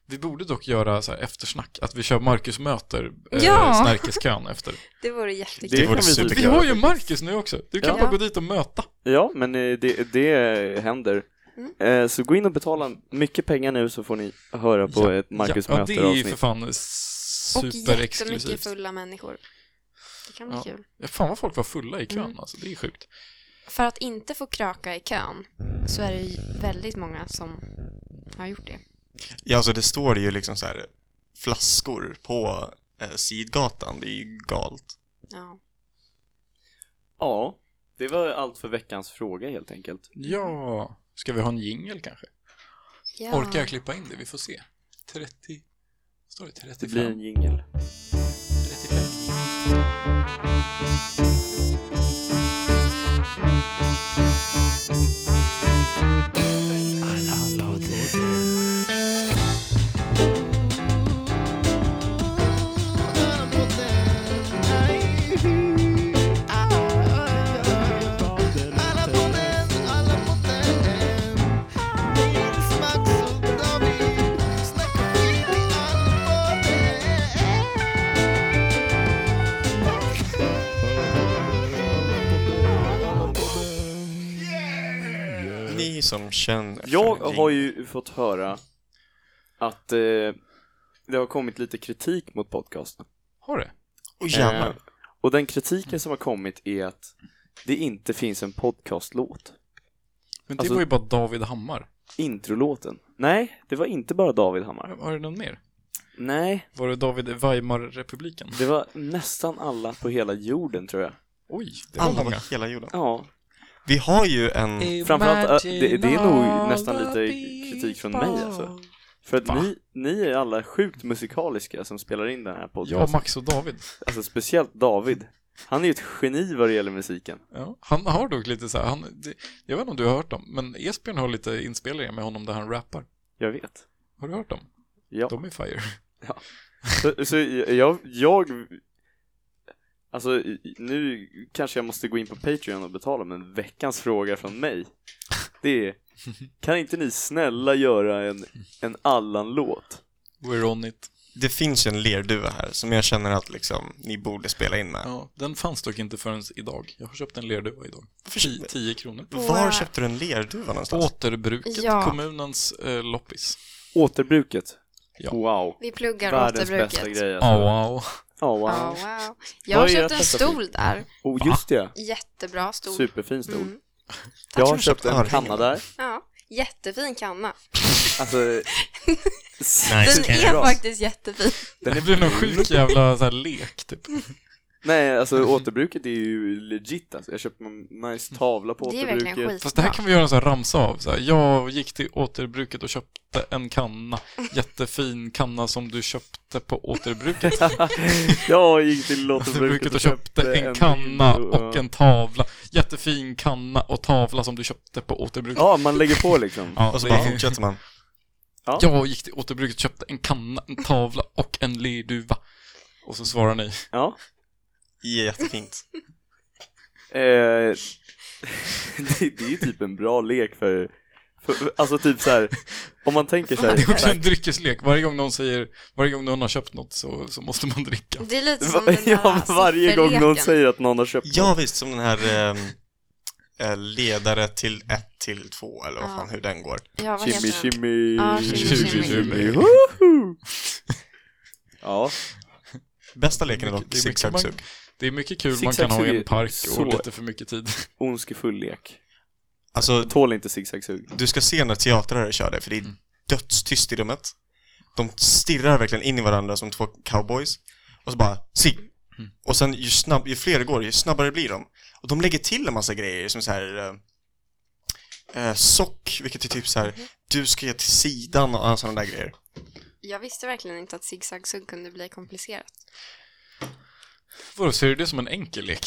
Speaker 1: Vi borde dock göra så här eftersnack, att vi kör Marcus möter eh,
Speaker 3: Ja.
Speaker 1: Snärkeskön efter.
Speaker 3: Det vore
Speaker 9: Det,
Speaker 3: jättekul.
Speaker 9: kan
Speaker 2: vore
Speaker 9: vi
Speaker 2: superkul.
Speaker 1: Vi
Speaker 9: tycka.
Speaker 1: har ju Marcus nu också! Du kan
Speaker 3: Ja.
Speaker 1: bara gå dit och möta.
Speaker 9: Ja, men eh, det, det händer.
Speaker 3: Mm.
Speaker 9: Eh, Så gå in och betala mycket pengar nu så får ni höra på ett Marcus
Speaker 1: ja, ja, det är ju för
Speaker 9: möter-avsnitt.
Speaker 1: fan
Speaker 3: Och jättemycket
Speaker 1: superexklusivt.
Speaker 3: fulla människor. Det kan bli
Speaker 1: Ja.
Speaker 3: kul.
Speaker 1: Ja, fan vad folk var fulla i kön
Speaker 3: Mm.
Speaker 1: alltså, det är sjukt.
Speaker 3: För att inte få kröka i kön så är det ju väldigt många som har gjort det.
Speaker 2: Ja, alltså det står ju liksom så här flaskor på eh, sidgatan. Det är ju galt.
Speaker 3: Ja.
Speaker 9: Ja, det var allt för veckans fråga helt enkelt.
Speaker 1: Ja, ska vi ha en jingle kanske?
Speaker 3: Ja.
Speaker 1: Orkar jag klippa in det? Vi får se. 30... Står det
Speaker 9: Det blir
Speaker 1: 35?
Speaker 9: en jingel.
Speaker 1: 35? Eh.
Speaker 2: Ni som känner
Speaker 9: Jag
Speaker 2: för en
Speaker 9: har
Speaker 2: jing-
Speaker 9: ju fått höra att eh, det har kommit lite kritik mot podcasten.
Speaker 1: Har det?
Speaker 2: Oj, jävlar.
Speaker 9: Eh, och den kritiken som har kommit är att det inte finns en podcastlåt.
Speaker 1: Men
Speaker 9: Alltså-
Speaker 1: det var ju bara David Hammar.
Speaker 9: Introlåten. Nej, det var inte bara David Hammar.
Speaker 1: Var det någon mer?
Speaker 9: Nej,
Speaker 1: Var det David Weimar-republiken?
Speaker 9: det var nästan alla på hela jorden tror jag.
Speaker 1: Oj, det var
Speaker 2: Alla på
Speaker 1: många. Eh.
Speaker 2: hela jorden.
Speaker 9: Ja,
Speaker 2: Vi har ju en...
Speaker 9: Mm. Framförallt, äh, det- det är nog nästan lite kritik från mig, alltså. för att
Speaker 1: Va?
Speaker 9: ni, ni är alla sjukt musikaliska som spelar in den här
Speaker 1: Ja,
Speaker 9: podcasten.
Speaker 1: Max och David.
Speaker 9: Alltså speciellt David. Han är ju ett geni vad det gäller musiken.
Speaker 1: Ja, han har dock lite så här, han, det, jag vet inte om du har hört dem, men Esbjörn har lite inspelningar med honom där han rappar.
Speaker 9: Jag vet.
Speaker 1: Har du hört dem?
Speaker 9: Ja.
Speaker 1: De är fire.
Speaker 9: Så, så jag, jag... Alltså i- nu kanske jag måste gå in på Patreon och betala, men veckans fråga från mig, det är Kan inte ni snälla göra en, en Allan-låt?
Speaker 1: We're on it.
Speaker 2: Det finns ju en lerduva här som jag känner att liksom ni borde spela in med.
Speaker 1: Ja, den fanns dock inte förrän idag. Jag har köpt en lerduva idag.
Speaker 2: Varför-
Speaker 1: 10 kronor.
Speaker 2: Var köpte du en lerduva någonstans?
Speaker 1: Återbruket,
Speaker 3: Ja.
Speaker 1: kommunens eh, loppis.
Speaker 9: Återbruket?
Speaker 1: Ja.
Speaker 9: Wow.
Speaker 3: Vi pluggar
Speaker 9: Världens bästa
Speaker 3: återbruket.
Speaker 9: grej alltså.
Speaker 1: Ja, wow.
Speaker 9: Ja, wow.
Speaker 3: Ja, wow. Jag har
Speaker 9: Vad är
Speaker 3: köpt
Speaker 9: ert
Speaker 3: en
Speaker 9: bästa
Speaker 3: stol där.
Speaker 9: Oh, just det.
Speaker 3: Jättebra stol.
Speaker 9: Superfin stol.
Speaker 3: Mm.
Speaker 9: Jag har
Speaker 2: tror jag
Speaker 9: köpt en
Speaker 2: köpte
Speaker 9: kanna
Speaker 2: örhängen.
Speaker 9: där.
Speaker 3: Ja, jättefin kanna.
Speaker 9: Alltså...
Speaker 2: Nice.
Speaker 3: Den är faktiskt jättefin.
Speaker 1: Det blir någon sjuk jävla så här, lek, typ.
Speaker 9: Nej, alltså återbruket är ju legit alltså. Jag köpte en nice tavla på
Speaker 3: Det är verkligen
Speaker 9: återbruket.
Speaker 1: Fast det här
Speaker 3: skitbra.
Speaker 1: kan vi göra en sån här ramsa av. Så här. Jag gick till återbruket och köpte en kanna. Jättefin kanna som du köpte på återbruket.
Speaker 9: jag gick till
Speaker 1: Återbruket och köpte en kanna och en tavla. Jättefin kanna och tavla som du köpte på återbruket.
Speaker 9: Ja, man lägger på liksom.
Speaker 1: Ja,
Speaker 2: Och så
Speaker 1: det-
Speaker 2: bara fortsätter man.
Speaker 1: Jag gick till återbruket och köpte en kanna, en tavla och en lerduva. Och så svarar ni.
Speaker 9: Ja.
Speaker 2: Jättefint.
Speaker 9: Eh, det, det är ju typ en bra lek för, för, för alltså typ så här. om man tänker så
Speaker 1: Det är
Speaker 9: här.
Speaker 1: också en dryckeslek. Varje gång någon säger, varje gång någon har köpt något så, så måste man dricka.
Speaker 3: Det är lite som den
Speaker 9: Va-
Speaker 3: där alltså,
Speaker 9: Ja, varje gång någon
Speaker 3: sifferleken.
Speaker 9: säger att någon har köpt
Speaker 2: Ja visst, som den här ehm, eh, ledare till 1 till 2 eller vad
Speaker 3: Ja.
Speaker 2: fan hur den går.
Speaker 3: Ja, vad
Speaker 9: Chimmy
Speaker 3: heter den?
Speaker 9: chimmy
Speaker 3: Ja, chimmy,
Speaker 1: chimmy.
Speaker 9: Woho! Ja,
Speaker 2: Bästa leken är dock
Speaker 1: Mycket- det är mycket
Speaker 2: zigzag-sug.
Speaker 1: Det är mycket kul man kan ha i en park och lite för mycket tid.
Speaker 9: ondskefull lek
Speaker 2: Alltså,
Speaker 9: Tål inte zigzag-sug
Speaker 1: Mm.
Speaker 2: du ska se när teatrare kör det, för det är dödstyst i rummet. De stirrar verkligen in i varandra som två cowboys. Och så bara sig.
Speaker 1: Mm.
Speaker 2: Och sen ju, snabb, ju fler det går, ju snabbare blir de. Och de lägger till en massa grejer som så här eh, eh, sock, vilket är typ så här du ska ge till sidan och sådana där grejer.
Speaker 3: Jag visste verkligen inte att zigzag kunde bli komplicerat.
Speaker 1: Vadå, ser du det som en enkel lek?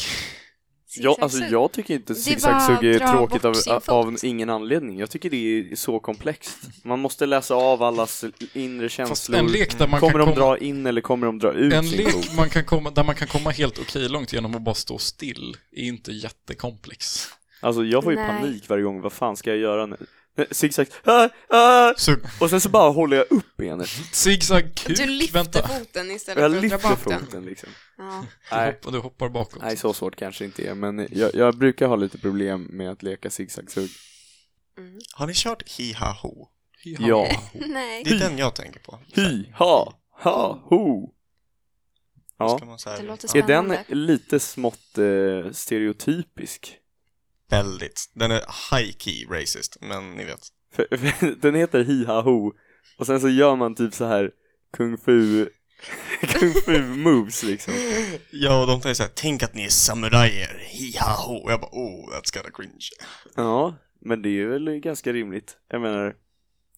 Speaker 9: Ja,
Speaker 3: Zigzag-sugg.
Speaker 9: alltså jag tycker inte
Speaker 3: Det är bara
Speaker 9: zigzag är
Speaker 3: att dra
Speaker 9: tråkigt av,
Speaker 3: bort sin fot.
Speaker 9: av ingen anledning. Jag tycker det är så komplext. Man måste läsa av allas inre
Speaker 1: Fast
Speaker 9: känslor.
Speaker 1: en lek där man
Speaker 9: kommer
Speaker 1: kan
Speaker 9: de
Speaker 1: komma...
Speaker 9: dra in eller kommer de dra ut
Speaker 1: En
Speaker 9: sin fot?
Speaker 1: lek man kan komma, där man kan komma helt okej långt genom att bara stå still är inte jättekomplex.
Speaker 9: Alltså jag får ju
Speaker 3: Nej.
Speaker 9: panik varje gång, vad fan ska jag göra nu? Nej, Zigzag, ah, ah!
Speaker 2: Så
Speaker 9: och sen så bara håller jag upp benet
Speaker 1: Zigzag kuk,
Speaker 3: Du lyfter
Speaker 1: vänta.
Speaker 3: foten
Speaker 9: och
Speaker 3: istället
Speaker 9: jag
Speaker 3: för att dra
Speaker 9: lyfter
Speaker 3: bak den.
Speaker 9: foten liksom.
Speaker 3: Ja.
Speaker 1: Du
Speaker 9: Nej,
Speaker 1: hoppar, du hoppar bakåt.
Speaker 9: nej, så svårt kanske inte är, men jag, jag brukar ha lite problem med att leka zigzag-sugg.
Speaker 2: har ni kört hi ha ho?
Speaker 9: Ja,
Speaker 3: Nej.
Speaker 2: Det är den jag tänker på.
Speaker 9: hi, ha, ha, ho. Ja,
Speaker 2: Ska man så här,
Speaker 3: Det låter
Speaker 9: är den
Speaker 3: spännande.
Speaker 9: lite smått eh, stereotypisk?
Speaker 2: Väldigt. Den är high key racist, men ni vet.
Speaker 9: För, för, den heter hi, ha, ho och sen så gör man typ så här kung fu, kung fu moves liksom.
Speaker 2: Ja, och de säger såhär, tänk att ni är samurajer, hi ha ho. Och jag bara, oh, that's kinda cringe.
Speaker 9: Ja, men det är väl ganska rimligt. Jag menar,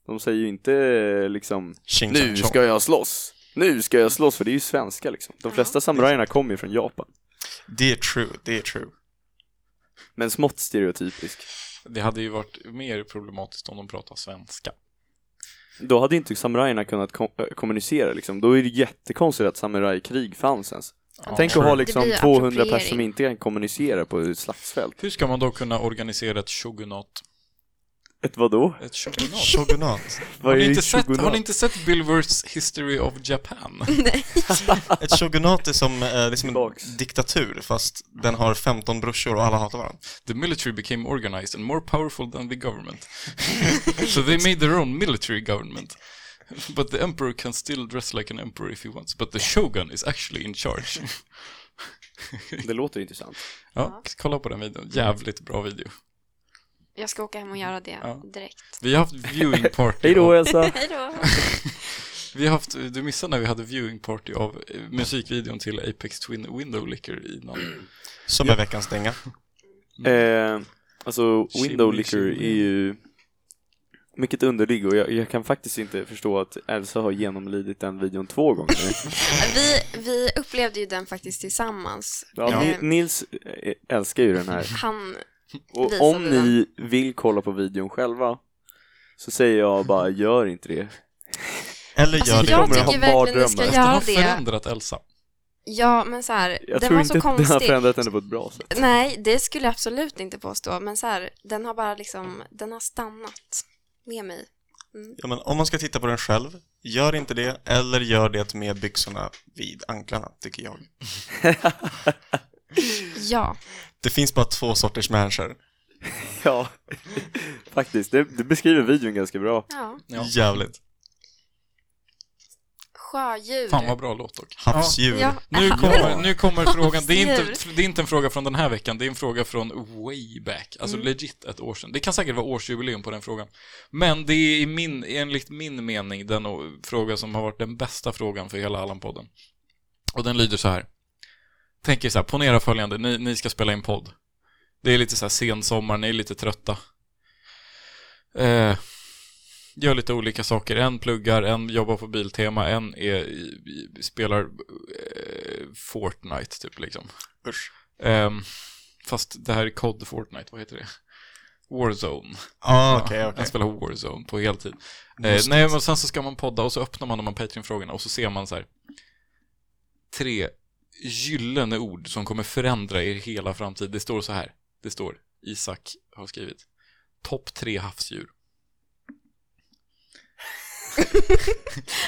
Speaker 9: de säger ju inte eh, liksom
Speaker 2: Ching,
Speaker 9: Nu
Speaker 2: chong,
Speaker 9: ska jag slåss! Nu ska jag slåss, för det är ju svenska liksom. De flesta samurajerna kommer ju från Japan.
Speaker 2: Det är true, det är true.
Speaker 9: Men smått stereotypisk.
Speaker 1: Det hade ju varit mer problematiskt om de pratade svenska.
Speaker 9: Då hade inte samurajerna kunnat kom- äh, kommunicera liksom. Då är det jättekonstigt att samurajkrig fanns ens. Tänk att ha liksom
Speaker 3: Det blir
Speaker 9: 200 personer som
Speaker 3: appropriering.
Speaker 9: inte kan kommunicera på ett slagsfält.
Speaker 1: Hur ska man då kunna organisera ett shogunat?
Speaker 9: Ett vadå?
Speaker 1: Ett shogunat?
Speaker 2: Shogunat.
Speaker 9: Vad
Speaker 1: Har ni,
Speaker 9: är
Speaker 1: inte
Speaker 9: ett
Speaker 1: sett, har
Speaker 9: shogunat?
Speaker 1: ni inte sett Bill Wurths History of Japan?
Speaker 2: Ett shogunat är som, eh, det är som
Speaker 9: Tillbaks.
Speaker 2: en diktatur, fast den har 15 brorsor och alla hatar varandra.
Speaker 1: The military became organized and more powerful than the government. so they made their own military government. But the emperor can still dress like an emperor if he wants. But the shogun is actually in charge.
Speaker 9: Det låter intressant.
Speaker 1: ja, kolla på den videon. Jävligt bra video.
Speaker 3: Jag ska åka hem och göra det
Speaker 1: Ja.
Speaker 3: direkt.
Speaker 1: Vi har haft viewing party.
Speaker 9: Hej då
Speaker 1: av-
Speaker 9: Elsa!
Speaker 3: Hej då!
Speaker 1: vi har haft, du missade när vi hade viewing party av eh, musikvideon till Apex Twin Window Licker innan.
Speaker 2: Som är veckans dänga.
Speaker 9: Eh, alltså,
Speaker 1: Mm. Shimmy,
Speaker 9: Window Licker
Speaker 1: shimmy.
Speaker 9: är ju mycket underlig och jag, jag kan faktiskt inte förstå att Elsa har genomlidit den videon två gånger.
Speaker 3: Vi, vi upplevde ju den faktiskt tillsammans.
Speaker 9: ja.
Speaker 3: Eh,
Speaker 9: Ni- Nils eh, älskar ju den här.
Speaker 3: Han,
Speaker 9: Och
Speaker 3: Visade
Speaker 9: om ni vill kolla på videon själva så säger jag bara, gör inte det.
Speaker 2: Eller
Speaker 3: alltså
Speaker 2: gör
Speaker 3: jag
Speaker 9: kommer
Speaker 2: det.
Speaker 9: att ha
Speaker 3: tycker verkligen ni ska
Speaker 9: mardrömmar.
Speaker 1: Den har
Speaker 3: göra det.
Speaker 1: förändrat Elsa.
Speaker 3: Ja, men så här, den
Speaker 9: Jag tror
Speaker 3: var
Speaker 9: inte
Speaker 3: så
Speaker 9: att den har
Speaker 3: konstig.
Speaker 9: förändrat henne på ett bra sätt.
Speaker 3: Nej, det skulle jag absolut inte påstå, men så här, den har bara liksom, den har stannat med mig.
Speaker 2: Ja, men om man ska titta på den själv, gör inte det, eller gör det med byxorna vid anklarna, tycker jag.
Speaker 3: Ja,
Speaker 2: Det finns bara två sorters människor.
Speaker 9: Ja, faktiskt. Det, det beskriver videon ganska bra.
Speaker 3: ja.
Speaker 1: Ja.
Speaker 2: Jävligt.
Speaker 3: Sjödjur.
Speaker 1: Fan vad bra låt dock.
Speaker 2: Havsdjur.
Speaker 3: ja. äh,
Speaker 1: Nu kommer, nu kommer frågan, det är, inte,
Speaker 3: Absolut.
Speaker 1: det är inte en fråga från den här veckan, det är en fråga från way back, alltså legit ett år sedan. Det kan säkert vara årsjubileum på den frågan. Men det är i min, enligt min mening den o- fråga som har varit den bästa frågan för hela Allan-podden. Och den lyder så här. Tänk er så här, ponera följande, ni, ni ska spela in podd. Det är lite så här sensommar, ni är lite trötta. Eh, gör lite olika saker. En pluggar, en jobbar på Biltema, en är, i- i- spelar eh, Fortnite typ liksom.
Speaker 2: Usch.
Speaker 1: Ehm, fast det här är COD Fortnite, vad heter det? Warzone.
Speaker 2: Ah, okej, liksom- okej.
Speaker 1: Han spelar Warzone på heltid. Eh,
Speaker 2: Just
Speaker 1: nej, men sen så ska man podda och så öppnar man de här Patreon-frågorna och så ser man så här tre gyllene ord som kommer förändra er hela framtid. Det står så här. Det står, Isak har skrivit, topp tre havsdjur.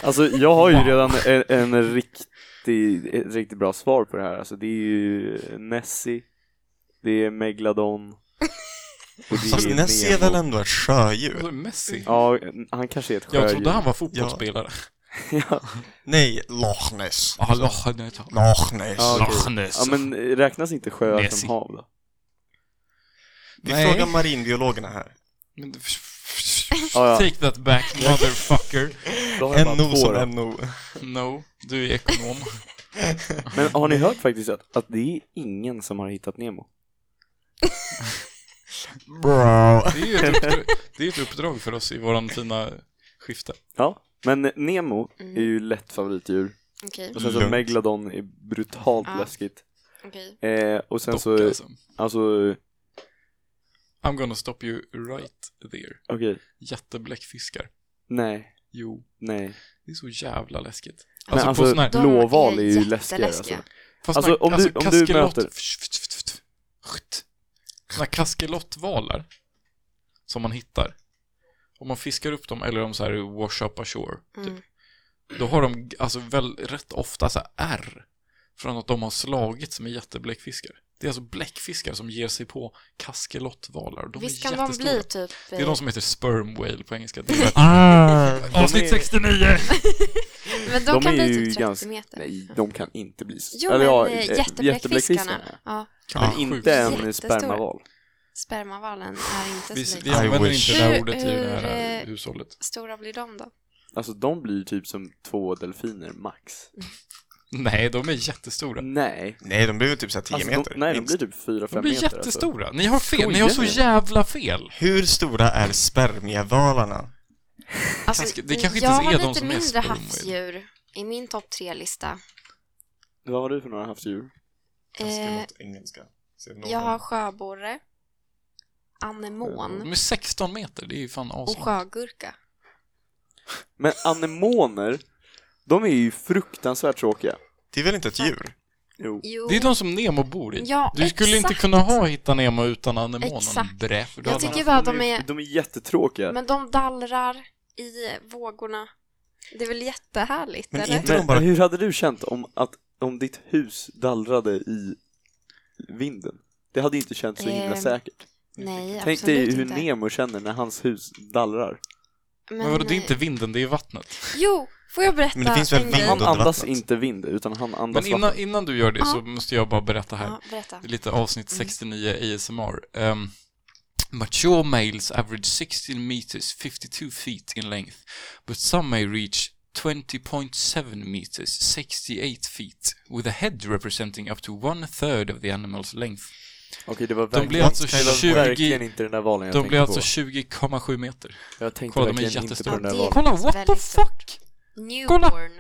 Speaker 9: Alltså, jag har ju redan en, en riktig, ett riktigt bra svar på det här. Alltså, det är ju Nessie, det är Megalodon och det
Speaker 2: Fast
Speaker 9: är
Speaker 2: Nessie är
Speaker 9: Nemo.
Speaker 2: väl ändå ett sjödjur?
Speaker 1: Vad är Messi?
Speaker 9: Ja, han kanske är ett
Speaker 1: Jag
Speaker 9: sjödjur.
Speaker 1: trodde han var fotbollsspelare.
Speaker 9: ja.
Speaker 2: Nej, Loch Ness.
Speaker 1: Ja. Loch Ness.
Speaker 2: Loch Ness.
Speaker 9: Ja, okej.
Speaker 1: Loch Ness.
Speaker 9: ja, men räknas inte sjöar
Speaker 1: Nessie.
Speaker 9: som hav då?
Speaker 2: Vi
Speaker 1: Nej.
Speaker 2: frågar marinbiologerna här.
Speaker 1: Men det-
Speaker 9: Ja, ja.
Speaker 1: Take that back motherfucker.
Speaker 9: Då har jag bara
Speaker 2: NO
Speaker 9: två
Speaker 2: som
Speaker 9: då.
Speaker 2: NO.
Speaker 1: No, du är ekonom.
Speaker 9: Men har ni hört faktiskt att, att det är ingen som har hittat Nemo?
Speaker 2: Bro.
Speaker 1: Det är ju ett uppdrag, det är ett uppdrag för oss i våran fina skifte.
Speaker 9: Ja, men Nemo
Speaker 3: Mm.
Speaker 9: är ju lätt favoritdjur.
Speaker 3: Okej,
Speaker 9: Och sen så
Speaker 2: Lugnt.
Speaker 9: Megalodon är brutalt
Speaker 3: Ja.
Speaker 9: läskigt.
Speaker 3: okej.
Speaker 9: Eh, och sen
Speaker 1: Dock,
Speaker 9: så,
Speaker 1: alltså.
Speaker 9: alltså,
Speaker 1: I'm gonna stop you right there.
Speaker 9: okej,
Speaker 1: Jättebläckfiskar.
Speaker 9: nej,
Speaker 1: Jo,
Speaker 9: nej.
Speaker 1: det är så jävla läskigt.
Speaker 9: Men
Speaker 1: Alltså,
Speaker 9: alltså,
Speaker 1: på sån här...
Speaker 3: De
Speaker 9: blåval är ju
Speaker 3: är
Speaker 9: läskigare alltså.
Speaker 3: jätteläskiga.
Speaker 1: Fast
Speaker 9: alltså,
Speaker 1: när,
Speaker 9: om du- om du
Speaker 1: kaskelot-
Speaker 9: möter-
Speaker 1: Såna här kaskelotvalar som man hittar. Om man fiskar upp dem eller de så här wash up ashore. Typ,
Speaker 3: Mm.
Speaker 1: Då har de alltså väl, rätt ofta så här ärr från att de har slagits med jättebläckfiskar. Det är alltså bläckfiskar som ger sig på kaskelotvalar. De
Speaker 3: Visst
Speaker 1: är
Speaker 3: kan de
Speaker 1: jättestora.
Speaker 3: bli typ...
Speaker 1: Det är de som heter sperm whale på engelska. Det är
Speaker 9: är-
Speaker 1: Ah, Avsnitt 69!
Speaker 3: Men de,
Speaker 9: de
Speaker 3: kan
Speaker 9: är
Speaker 3: bli
Speaker 9: ju
Speaker 3: typ 30
Speaker 9: ganska-
Speaker 3: meter.
Speaker 9: Nej, de kan inte bli så.
Speaker 3: Jo,
Speaker 9: eller ja,
Speaker 3: men
Speaker 9: eh,
Speaker 3: eh, jättebläckfiskarna. Ja,
Speaker 9: Men
Speaker 1: Ja, Ah, sjukt.
Speaker 9: inte en
Speaker 3: Jättestora.
Speaker 9: spermaval.
Speaker 3: spermavalen är inte
Speaker 1: Vi,
Speaker 3: så
Speaker 1: vi
Speaker 3: liten.
Speaker 1: använder
Speaker 2: wish.
Speaker 1: inte det
Speaker 3: Hur-
Speaker 1: där ordet i det
Speaker 3: hur,
Speaker 1: här
Speaker 3: eh,
Speaker 1: hushållet.
Speaker 3: Stora blir de då?
Speaker 9: Alltså de blir typ som två delfiner max.
Speaker 1: Nej, de är
Speaker 9: Mm,
Speaker 1: jättestora.
Speaker 9: Nej.
Speaker 2: Nej, de blir väl typ såhär 10
Speaker 9: Alltså, de,
Speaker 2: meter.
Speaker 9: nej, de
Speaker 2: minst.
Speaker 9: blir typ 4-5 meter.
Speaker 1: De blir
Speaker 9: alltså.
Speaker 1: jättestora. Ni har fel.
Speaker 9: Skojar
Speaker 1: Ni har så
Speaker 9: ni?
Speaker 1: jävla fel.
Speaker 2: Hur stora är spermiavalarna?
Speaker 3: Alltså,
Speaker 1: Ganska- det kanske inte
Speaker 3: jag
Speaker 1: ens är
Speaker 3: har
Speaker 1: de
Speaker 3: lite
Speaker 1: som är
Speaker 3: mindre
Speaker 1: spermor.
Speaker 3: havsdjur i min topp tre-lista.
Speaker 9: Vad har du för några havsdjur?
Speaker 3: Eh,
Speaker 2: Kaskelot, engelska. Ser någon-
Speaker 3: jag har sjöborre, anemon
Speaker 1: De är 16 meter. Det är ju fan
Speaker 3: Mm. och
Speaker 1: asmånga.
Speaker 3: sjögurka.
Speaker 9: Men anemoner, de är ju fruktansvärt tråkiga.
Speaker 2: Det är väl inte ett djur?
Speaker 9: Jo.
Speaker 3: Jo,
Speaker 1: Det är de som Nemo bor i.
Speaker 3: Ja,
Speaker 1: du skulle inte
Speaker 3: exakt.
Speaker 1: kunna ha Hitta Nemo utan anemonen.
Speaker 3: Exakt.
Speaker 1: Brä, för då
Speaker 3: Jag
Speaker 1: hade
Speaker 3: tycker
Speaker 1: han-
Speaker 3: bara att
Speaker 9: de
Speaker 3: de
Speaker 9: är,
Speaker 3: är...
Speaker 9: de är jättetråkiga.
Speaker 3: Men de dallrar i vågorna. Det är väl jättehärligt,
Speaker 2: Men
Speaker 3: eller?
Speaker 2: inte- de
Speaker 9: Men
Speaker 2: bara-
Speaker 9: hur hade du känt om, att, om ditt hus dallrade i vinden? Det hade inte känts så himla
Speaker 3: Eh,
Speaker 9: säkert.
Speaker 3: Nej,
Speaker 9: Tänk
Speaker 3: absolut
Speaker 9: dig hur
Speaker 3: inte.
Speaker 9: Nemo känner när hans hus dallrar.
Speaker 1: Men vadå, det är
Speaker 3: eh,
Speaker 1: inte vinden, det är vattnet.
Speaker 3: Jo, får jag berätta
Speaker 2: Men det finns väl
Speaker 3: en
Speaker 2: vind
Speaker 3: grej?
Speaker 9: Han
Speaker 2: under
Speaker 9: andas
Speaker 2: vattnet.
Speaker 9: inte vind, utan han andas
Speaker 1: Men innan, innan du gör det så måste jag bara berätta här.
Speaker 3: Ja, Mm. berätta.
Speaker 1: Det är lite avsnitt 69 ASMR. Um, mature males average 16 meters, 52 feet in length, but some may reach 20.7 meters, 68 feet, with a head representing up to one third of the animal's length.
Speaker 9: Okej, det var verkligen,
Speaker 1: blir alltså
Speaker 9: det var
Speaker 1: 20
Speaker 9: verkligen inte den där valen jag
Speaker 1: De
Speaker 9: tänkte
Speaker 1: blir alltså
Speaker 9: på.
Speaker 1: 20,7 meter.
Speaker 9: Jag tänkte
Speaker 1: Kolla, de är
Speaker 9: verkligen inte på den
Speaker 1: jättestora.
Speaker 9: där
Speaker 3: Ja,
Speaker 9: valen.
Speaker 3: det-
Speaker 1: Kolla, what the
Speaker 3: väldigt stort.
Speaker 1: fuck!
Speaker 3: Newborn.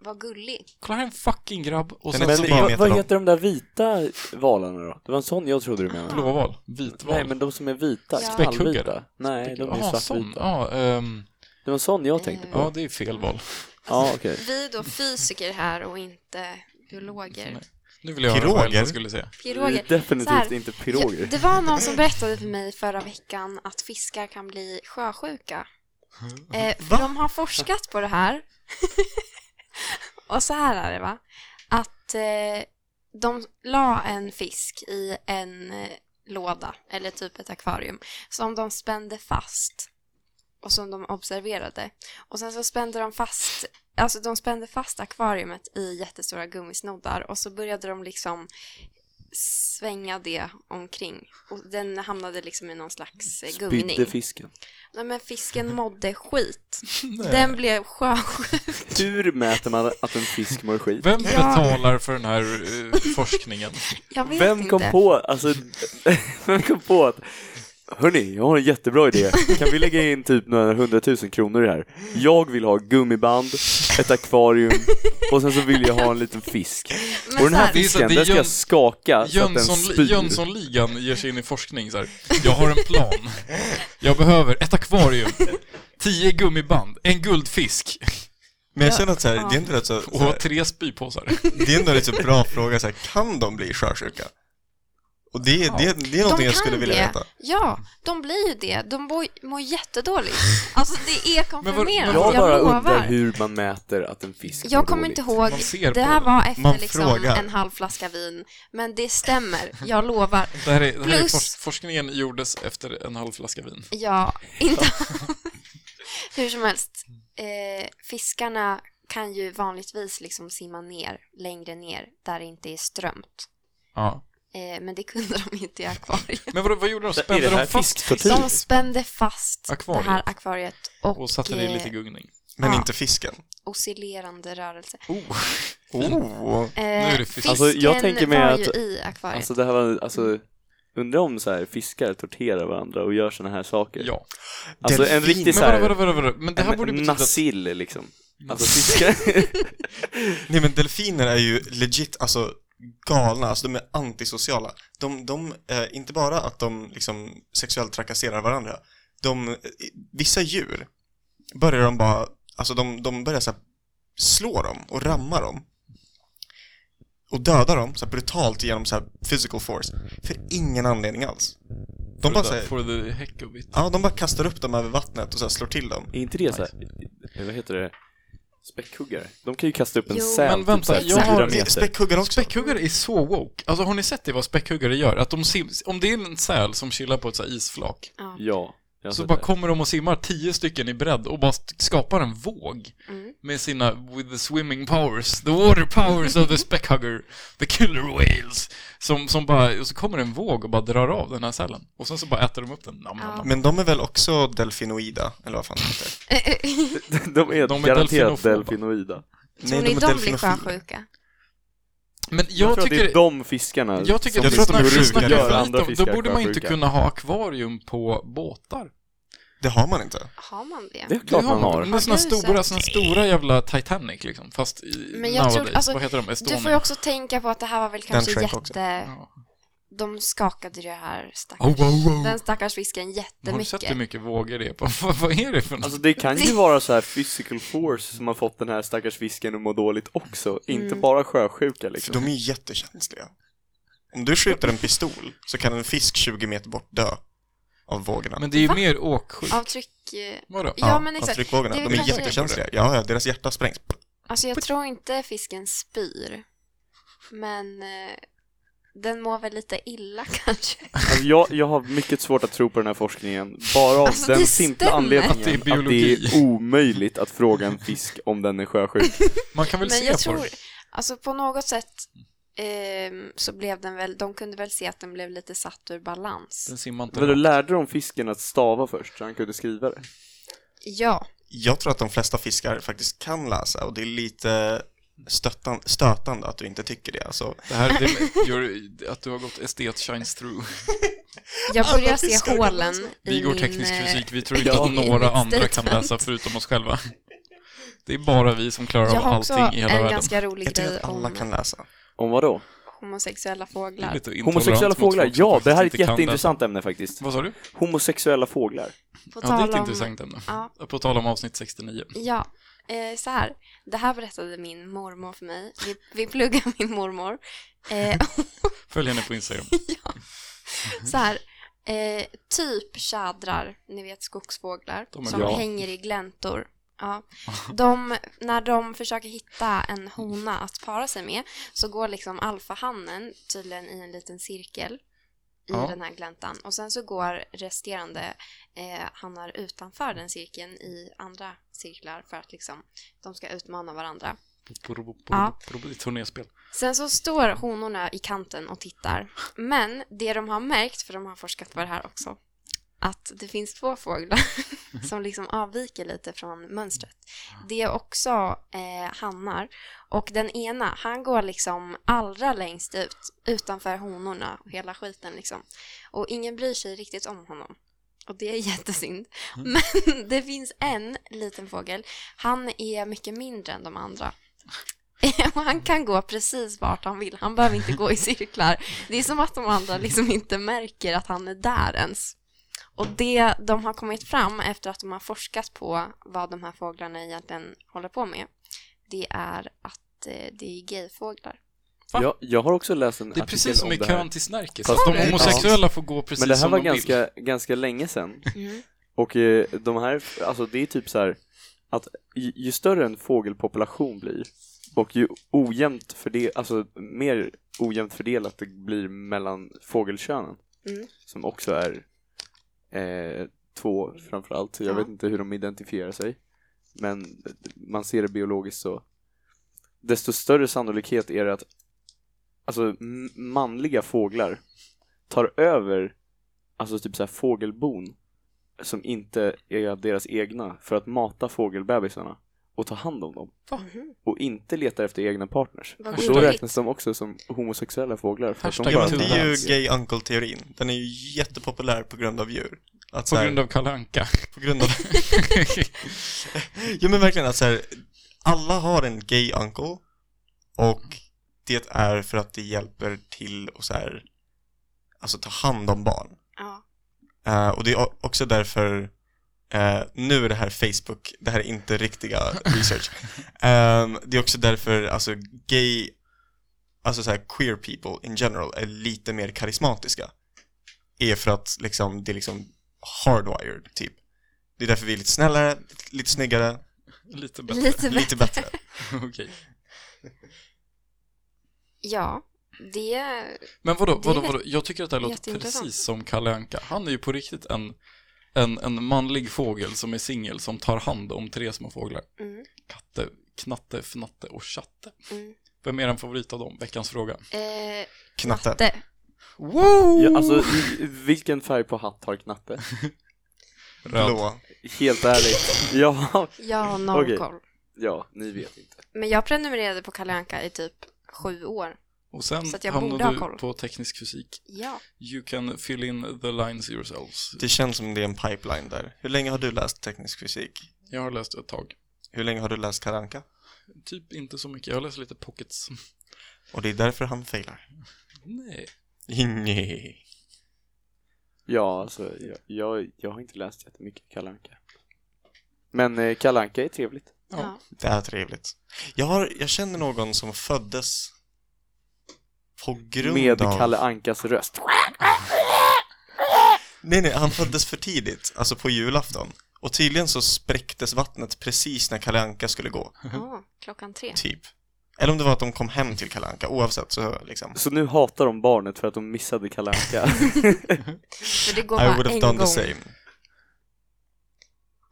Speaker 3: Vad gullig.
Speaker 1: Kolla här är en fucking grabb och
Speaker 2: Den
Speaker 1: sen
Speaker 2: är
Speaker 1: så
Speaker 2: väldigt-
Speaker 1: bara
Speaker 9: Vad,
Speaker 2: meter
Speaker 9: vad
Speaker 2: lång.
Speaker 9: heter de där vita valarna då? Det var en sån jag trodde du menade.
Speaker 1: blåval, vitval.
Speaker 9: Nej, men de som är vita.
Speaker 3: Ja.
Speaker 1: Späckhuggare.
Speaker 9: knallvita. Nej, de är
Speaker 1: Jaha, sån.
Speaker 9: svartvita.
Speaker 1: Ja, Ah, ehm,
Speaker 9: Det var en sån jag tänkte på.
Speaker 1: ja, det är fel val.
Speaker 9: Ja, okej.
Speaker 3: Vi är då fysiker här och inte
Speaker 1: Mm.
Speaker 3: biologer.
Speaker 1: Nu vill jag höra vad
Speaker 2: Piroger.
Speaker 1: Elsa skulle säga.
Speaker 9: Det
Speaker 3: Piroger.
Speaker 9: är
Speaker 3: Så här,
Speaker 9: Definitivt inte piroger.
Speaker 3: Ja, det var någon som berättade för mig förra veckan att fiskar kan bli sjösjuka. Eh, för de har forskat på det här. och så här är det va. Att eh, de la en fisk i en eh, låda eller typ ett akvarium som de spände fast och som de observerade. Och sen så spände de fast, alltså de spände fast akvariumet i jättestora gummisnoddar och så började de liksom svänga det omkring. Och den hamnade liksom i någon slags eh, gungning.
Speaker 9: Spydde fisken.
Speaker 3: Nej men fisken mådde skit. Den blev sjösjuk.
Speaker 9: Hur mäter man att en fisk mår skit?
Speaker 1: Vem
Speaker 3: Ja.
Speaker 1: betalar för den här eh, forskningen?
Speaker 3: Jag vet
Speaker 9: Vem
Speaker 3: inte.
Speaker 9: kom på, alltså, vem kom på att Hörni, jag har en jättebra idé. Kan vi lägga in typ några hundratusen kronor i det här? Jag vill ha gummiband, ett akvarium och sen så vill jag ha en liten fisk.
Speaker 3: Men
Speaker 9: Och den
Speaker 3: så
Speaker 9: här
Speaker 3: här,
Speaker 1: Det är så-
Speaker 9: fisken,
Speaker 1: det är
Speaker 9: den ska jag
Speaker 1: Jöns-
Speaker 9: skaka så att Alltså, den
Speaker 1: Jönsson,
Speaker 9: spyr.
Speaker 1: Jönssonligan ger sig in i forskning så här. Jag har en plan. Jag behöver ett akvarium, tio gummiband, en guldfisk
Speaker 2: Men jag känner att så här,
Speaker 3: Ja.
Speaker 2: det är ändå rätt så, så här,
Speaker 1: och tre spypåsar.
Speaker 2: det är ändå en rätt så bra fråga så här, kan de bli sjösjuka? Och det, det, det är
Speaker 3: de
Speaker 2: någonting jag
Speaker 3: kan
Speaker 2: skulle vilja
Speaker 3: det.
Speaker 2: veta.
Speaker 3: Ja, de blir ju det. De mår, mår jättedåligt. Alltså det är konfirmerat,
Speaker 1: men vad-
Speaker 3: jag,
Speaker 9: Jag bara undrar
Speaker 3: lovar.
Speaker 9: hur man mäter att en fisk mår
Speaker 3: Jag kommer
Speaker 9: dåligt.
Speaker 3: inte ihåg,
Speaker 1: Man ser på
Speaker 3: det här
Speaker 1: dem.
Speaker 3: var efter
Speaker 2: Man
Speaker 3: liksom
Speaker 2: frågar.
Speaker 3: en halv flaska vin, men det stämmer, jag lovar.
Speaker 1: Det här är, det här är
Speaker 3: Plus-
Speaker 1: fors- forskningen gjordes efter en halv flaska vin.
Speaker 3: Ja, inte Hur som helst, eh, fiskarna kan ju vanligtvis liksom simma ner, längre ner, där det inte är strömt.
Speaker 1: Ja.
Speaker 3: Eh, men det kunde de inte i akvariet.
Speaker 1: Men vad, vad gjorde de?
Speaker 9: Är
Speaker 1: Spände
Speaker 9: det här
Speaker 1: de fast
Speaker 9: fisktortyr?
Speaker 3: De spände fast
Speaker 1: Akvariet.
Speaker 3: det här akvariet och,
Speaker 1: och satte det i
Speaker 3: eh,
Speaker 1: lite gungning?
Speaker 2: Men
Speaker 3: Ja.
Speaker 2: inte fisken.
Speaker 3: oscillerande rörelse.
Speaker 1: Oh.
Speaker 2: Oh.
Speaker 3: Eh,
Speaker 1: är det fisk.
Speaker 3: fisken
Speaker 9: Alltså, jag tänker mig
Speaker 3: var
Speaker 9: att-
Speaker 3: ju i akvariet.
Speaker 9: Alltså det här var, alltså Undrar om så här, fiskar torterar varandra och gör såna här saker?
Speaker 1: Ja.
Speaker 9: Alltså en
Speaker 2: Delfin.
Speaker 9: riktig
Speaker 1: Men
Speaker 9: så här,
Speaker 1: vadå, vadå, vadå, vadå? Men det här
Speaker 9: en
Speaker 1: borde betyda att... Mm.
Speaker 9: nasill liksom Alltså fiskar
Speaker 2: Nej men delfiner är ju legit, alltså galna, alltså de är antisociala. De, de eh, inte bara att de liksom sexuellt trakasserar varandra, de, eh, vissa djur börjar de bara, alltså de, de börjar så här, slå dem och ramma dem. Och döda dem så här, brutalt genom så här, physical force, för ingen anledning alls. De bara, så här,
Speaker 1: For the heck of it.
Speaker 2: ja, de bara kastar upp dem över vattnet och så här, slår till dem.
Speaker 9: Är inte det så här, eh, vad heter det? Späckhuggare? De kan ju kasta upp en
Speaker 3: Jo.
Speaker 9: säl
Speaker 1: Men
Speaker 9: typ
Speaker 1: vänta,
Speaker 9: så här,
Speaker 1: jag har-
Speaker 9: fyra
Speaker 2: Det är
Speaker 9: meter
Speaker 2: Späckhuggare också.
Speaker 1: Späckhuggare är så woke. Alltså har ni sett det vad späckhuggare gör? Att de sim- om det är en säl som chillar på ett så här isflak
Speaker 3: ja.
Speaker 9: Ja, Alltså, jag har
Speaker 1: så
Speaker 9: sett
Speaker 1: bara
Speaker 9: det.
Speaker 1: kommer de och simmar tio stycken i bredd och bara st- skapar en våg
Speaker 3: Mm.
Speaker 1: med sina with the swimming powers, the water powers of the speckhugger, the killer whales som, som bara, och så kommer en våg och bara drar av den här sälen och sen så bara äter de upp den. Nam, nam,
Speaker 3: Ja.
Speaker 1: nam.
Speaker 2: Men de är väl också delfinoida, eller vad fan det heter?
Speaker 9: De är,
Speaker 1: De är
Speaker 9: garanterat
Speaker 1: delfinofoba.
Speaker 9: delfinoida
Speaker 3: Tror ni
Speaker 2: är
Speaker 3: de blir
Speaker 2: delfinofila.
Speaker 3: sjösjuka?
Speaker 1: Men jag,
Speaker 9: Jag, tror att det
Speaker 1: tycker,
Speaker 9: är de fiskarna
Speaker 1: jag tycker
Speaker 9: som liksom
Speaker 1: att
Speaker 2: Jag tror att de
Speaker 1: vi
Speaker 2: är
Speaker 1: snackar, snackar
Speaker 2: sjuka. Gör
Speaker 1: för lite
Speaker 9: andra
Speaker 1: om,
Speaker 9: fiskar
Speaker 1: då borde man ju inte
Speaker 9: sjuka.
Speaker 1: kunna ha akvarium på båtar.
Speaker 2: Det har man inte.
Speaker 3: Har man det?
Speaker 9: Det är klart
Speaker 1: Det
Speaker 9: man har
Speaker 1: Men såna
Speaker 3: Har du
Speaker 1: stora,
Speaker 3: sett?
Speaker 1: såna stora jävla Titanic liksom, fast i
Speaker 3: Men jag tror-
Speaker 1: nowadays.
Speaker 3: alltså,
Speaker 1: vad heter de? Estonia?
Speaker 3: Du får ju också tänka på att det här var väl kanske
Speaker 2: sjönk
Speaker 3: jätte...
Speaker 2: också.
Speaker 1: Ja.
Speaker 3: De skakade ju det här stackars...
Speaker 1: Oh, wow, wow.
Speaker 3: Den stackars fisken
Speaker 1: Har du sett hur
Speaker 3: jättemycket.
Speaker 1: mycket vågor det är på? Vad, vad är det för något?
Speaker 9: Alltså det kan ju vara så här physical force som har fått den här stackars fisken att må dåligt också, inte bara sjösjuka
Speaker 2: För
Speaker 9: liksom.
Speaker 2: de är ju jättekänsliga. Om du skjuter en pistol så kan en fisk 20 meter bort dö av vågorna.
Speaker 1: Men det är ju mer åksjuk.
Speaker 3: Avtryck... eh,
Speaker 1: Vadå?
Speaker 3: Ja, men exakt.
Speaker 2: Avtryckvågorna.
Speaker 3: Det är
Speaker 2: De
Speaker 3: väl
Speaker 2: är
Speaker 3: kanske-
Speaker 2: jättekänsliga. Ja, ja, deras hjärta sprängs.
Speaker 3: Alltså jag tror inte fisken spyr. Men eh, den mår väl lite illa kanske.
Speaker 9: Alltså, jag, jag har mycket svårt att tro på den här forskningen, bara av
Speaker 3: Alltså,
Speaker 9: den
Speaker 3: det
Speaker 9: simpla
Speaker 3: stämmer.
Speaker 9: anledningen
Speaker 1: Att det är
Speaker 9: att det,
Speaker 1: biologi.
Speaker 9: är omöjligt att fråga en fisk om den är sjösjuk.
Speaker 1: Man kan väl
Speaker 3: Men
Speaker 1: se
Speaker 3: jag
Speaker 1: på
Speaker 3: tror...
Speaker 1: det?
Speaker 3: Alltså på något sätt ehm, så blev den väl... De kunde väl se att den blev lite satt ur balans.
Speaker 1: Den simmar inte.
Speaker 9: Men du
Speaker 1: rakt.
Speaker 9: lärde de fisken att stava först, så han kunde skriva det?
Speaker 3: Ja.
Speaker 2: Jag tror att de flesta fiskar faktiskt kan läsa och det är lite stötan, stötande att du inte tycker det. Alltså,
Speaker 1: Det här det gör att du har gått estet shines through.
Speaker 3: Jag
Speaker 2: Alla
Speaker 3: börjar se
Speaker 2: fiskar kan
Speaker 3: hålen
Speaker 2: läsa.
Speaker 3: i
Speaker 1: Vi går
Speaker 3: min,
Speaker 1: teknisk
Speaker 3: eh,
Speaker 1: fysik, vi tror inte
Speaker 3: ja.
Speaker 1: att några
Speaker 3: min
Speaker 1: andra kan
Speaker 3: statement.
Speaker 1: läsa förutom oss själva. Det är bara vi som klarar
Speaker 3: Jag
Speaker 1: av
Speaker 3: har också
Speaker 1: allting i hela
Speaker 3: en
Speaker 1: världen.
Speaker 3: ganska rolig
Speaker 2: jag tycker
Speaker 3: grej
Speaker 2: att alla
Speaker 3: om
Speaker 2: kan läsa.
Speaker 9: Om vad då?
Speaker 3: homosexuella
Speaker 1: Det är
Speaker 3: fåglar.
Speaker 1: lite intolerant
Speaker 9: Homosexuella
Speaker 1: mot
Speaker 9: fåglar?
Speaker 1: folk som
Speaker 9: Ja, det här är ett
Speaker 1: faktiskt inte kan
Speaker 9: jätteintressant ämne faktiskt.
Speaker 1: läsa. Vad sa du?
Speaker 9: Homosexuella fåglar.
Speaker 3: På
Speaker 1: Ja, det är
Speaker 3: tal
Speaker 1: ett
Speaker 3: om-
Speaker 1: intressant ämne.
Speaker 3: Ja.
Speaker 1: På tal om avsnitt 69.
Speaker 3: Ja, eh, så här. Det här berättade min mormor för mig. Vi, vi pluggar min mormor. Eh,
Speaker 1: Följ henne på Instagram.
Speaker 3: så här. Eh, typ tjädrar, ni vet skogsfåglar,
Speaker 1: De är
Speaker 3: som
Speaker 1: bra.
Speaker 3: hänger i gläntor. Ja. De, när de försöker hitta en hona att para sig med så går liksom alfahannen tydligen i en liten cirkel i
Speaker 1: Ja.
Speaker 3: den här gläntan och sen så går resterande eh, hannar utanför den cirkeln i andra cirklar för att liksom, de ska utmana varandra. Ja.
Speaker 1: Det är turnéspel.
Speaker 3: Sen så står honorna i kanten och tittar. Men det de har märkt, för de har forskat på det här också, att det finns två fåglar som liksom avviker lite från mönstret. Det är också eh, hannar. Och den ena, han går liksom allra längst ut, utanför honorna och hela skiten liksom. Och ingen bryr sig riktigt om honom. Och det är jättesynd. Men det finns en liten fågel. Han är mycket mindre än de andra. Och han kan gå precis vart han vill. Han behöver inte gå i cirklar. Det är som att de andra liksom inte märker att han är där ens. Och det de har kommit fram efter att de har forskat på vad de här fåglarna egentligen håller på med, det är att eh, det är gayfåglar.
Speaker 1: Va?
Speaker 9: Jag, jag har också läst en
Speaker 1: Det är
Speaker 9: artikel
Speaker 1: precis som
Speaker 9: om
Speaker 1: i
Speaker 9: det här.
Speaker 1: kön till Snärket.
Speaker 9: Fast-
Speaker 1: De homosexuella får gå precis
Speaker 9: Men det här
Speaker 1: som
Speaker 9: var
Speaker 1: de vill.
Speaker 9: ganska, ganska länge sedan.
Speaker 3: Mm.
Speaker 9: Och eh, de här, alltså det är typ så här att ju, ju större en fågelpopulation blir och ju ojämnt fördel, alltså mer ojämnt fördelat det blir mellan fågelkönen
Speaker 3: Mm.
Speaker 9: som också är eh, två framförallt. Jag
Speaker 3: Ja.
Speaker 9: vet inte hur de identifierar sig men man ser det biologiskt så desto större sannolikhet är det att alltså m- manliga fåglar tar över, alltså typ så här fågelbon som inte är deras egna för att mata fågelbebisarna och ta hand om dem.
Speaker 3: Mhm.
Speaker 9: Och inte letar efter egna partners.
Speaker 3: Vad
Speaker 9: Och då
Speaker 3: gulligt.
Speaker 9: räknas de också som homosexuella fåglar. För att de
Speaker 1: Hashtag
Speaker 9: bara
Speaker 2: Men det är ju
Speaker 9: dans.
Speaker 2: gay uncle-teorin. Den är ju jättepopulär på grund av djur. Att
Speaker 1: På
Speaker 2: så här-
Speaker 1: grund av Kalle Anka.
Speaker 2: På grund av... ja men verkligen att så här, alla har en gay uncle och det är för att det hjälper till och så här, alltså ta hand om barn.
Speaker 3: Ja.
Speaker 2: Eh, och det är o- också därför, eh, nu är det här Facebook, det här är inte riktiga research. Ehm, det är också därför, alltså gay, alltså så här queer people in general är lite mer karismatiska. Är för att liksom, det är liksom hardwired typ. Det är därför vi är lite snällare, lite snyggare,
Speaker 1: Lite bättre.
Speaker 3: Lite bättre.
Speaker 2: lite bättre.
Speaker 1: Okej.
Speaker 3: Ja, det...
Speaker 1: Men vadå,
Speaker 3: Det är
Speaker 1: vadå,
Speaker 3: väl
Speaker 1: vadå? Jag tycker att det här låter
Speaker 3: jätteintressant.
Speaker 1: precis som Kalle Anka. Han är ju på riktigt en, en, en manlig fågel som är singel som tar hand om tre små fåglar.
Speaker 3: Mm,
Speaker 1: Katte, Knatte, Fnatte och Chatte.
Speaker 3: mm.
Speaker 1: Vem är den favorit av dem? Veckans fråga.
Speaker 3: Eh,
Speaker 2: Knatte.
Speaker 3: det,
Speaker 1: Wow!
Speaker 9: Ja, alltså, i- vilken färg på hatt har knatte?
Speaker 2: Blå.
Speaker 9: Helt ärligt. Ja,
Speaker 3: jag har noll
Speaker 9: Okej.
Speaker 3: koll.
Speaker 9: ja, ni vet inte.
Speaker 3: Men jag prenumererade på Kalle Anka i typ sju år.
Speaker 1: Och sen
Speaker 3: så att jag borde ha
Speaker 1: hamnade du
Speaker 3: koll.
Speaker 1: på teknisk fysik.
Speaker 3: Ja.
Speaker 1: You can fill in the lines yourselves.
Speaker 2: Det känns som det är en pipeline där. Hur länge har du läst teknisk fysik?
Speaker 1: Jag har läst ett tag.
Speaker 2: Hur länge har du läst Karanka?
Speaker 1: Typ inte så mycket. Jag har läst lite pockets.
Speaker 2: Och det är därför han failar.
Speaker 1: Nej.
Speaker 2: Nej.
Speaker 9: Ja, alltså, jag, jag, jag har inte läst jättemycket Kalle Anka. Men eh, Kalle Anka är trevligt.
Speaker 1: Ja.
Speaker 3: ja.
Speaker 2: Det är trevligt. Jag, har, jag känner någon som föddes på grund
Speaker 9: Med
Speaker 2: av...
Speaker 9: Kalle Ankas röst.
Speaker 2: Nej, nej, han föddes för tidigt, alltså på julafton. Och tydligen så spräcktes vattnet precis när Kalle Anka skulle gå,
Speaker 3: Ah, klockan tre.
Speaker 2: typ. Eller om det var att de kom hem till Kalle Anka, oavsett så liksom.
Speaker 9: Så nu hatar de barnet för att de missade Kalle Anka.
Speaker 3: För det går
Speaker 2: I would
Speaker 3: bara
Speaker 2: have
Speaker 3: en
Speaker 2: done
Speaker 3: gång.
Speaker 2: the same.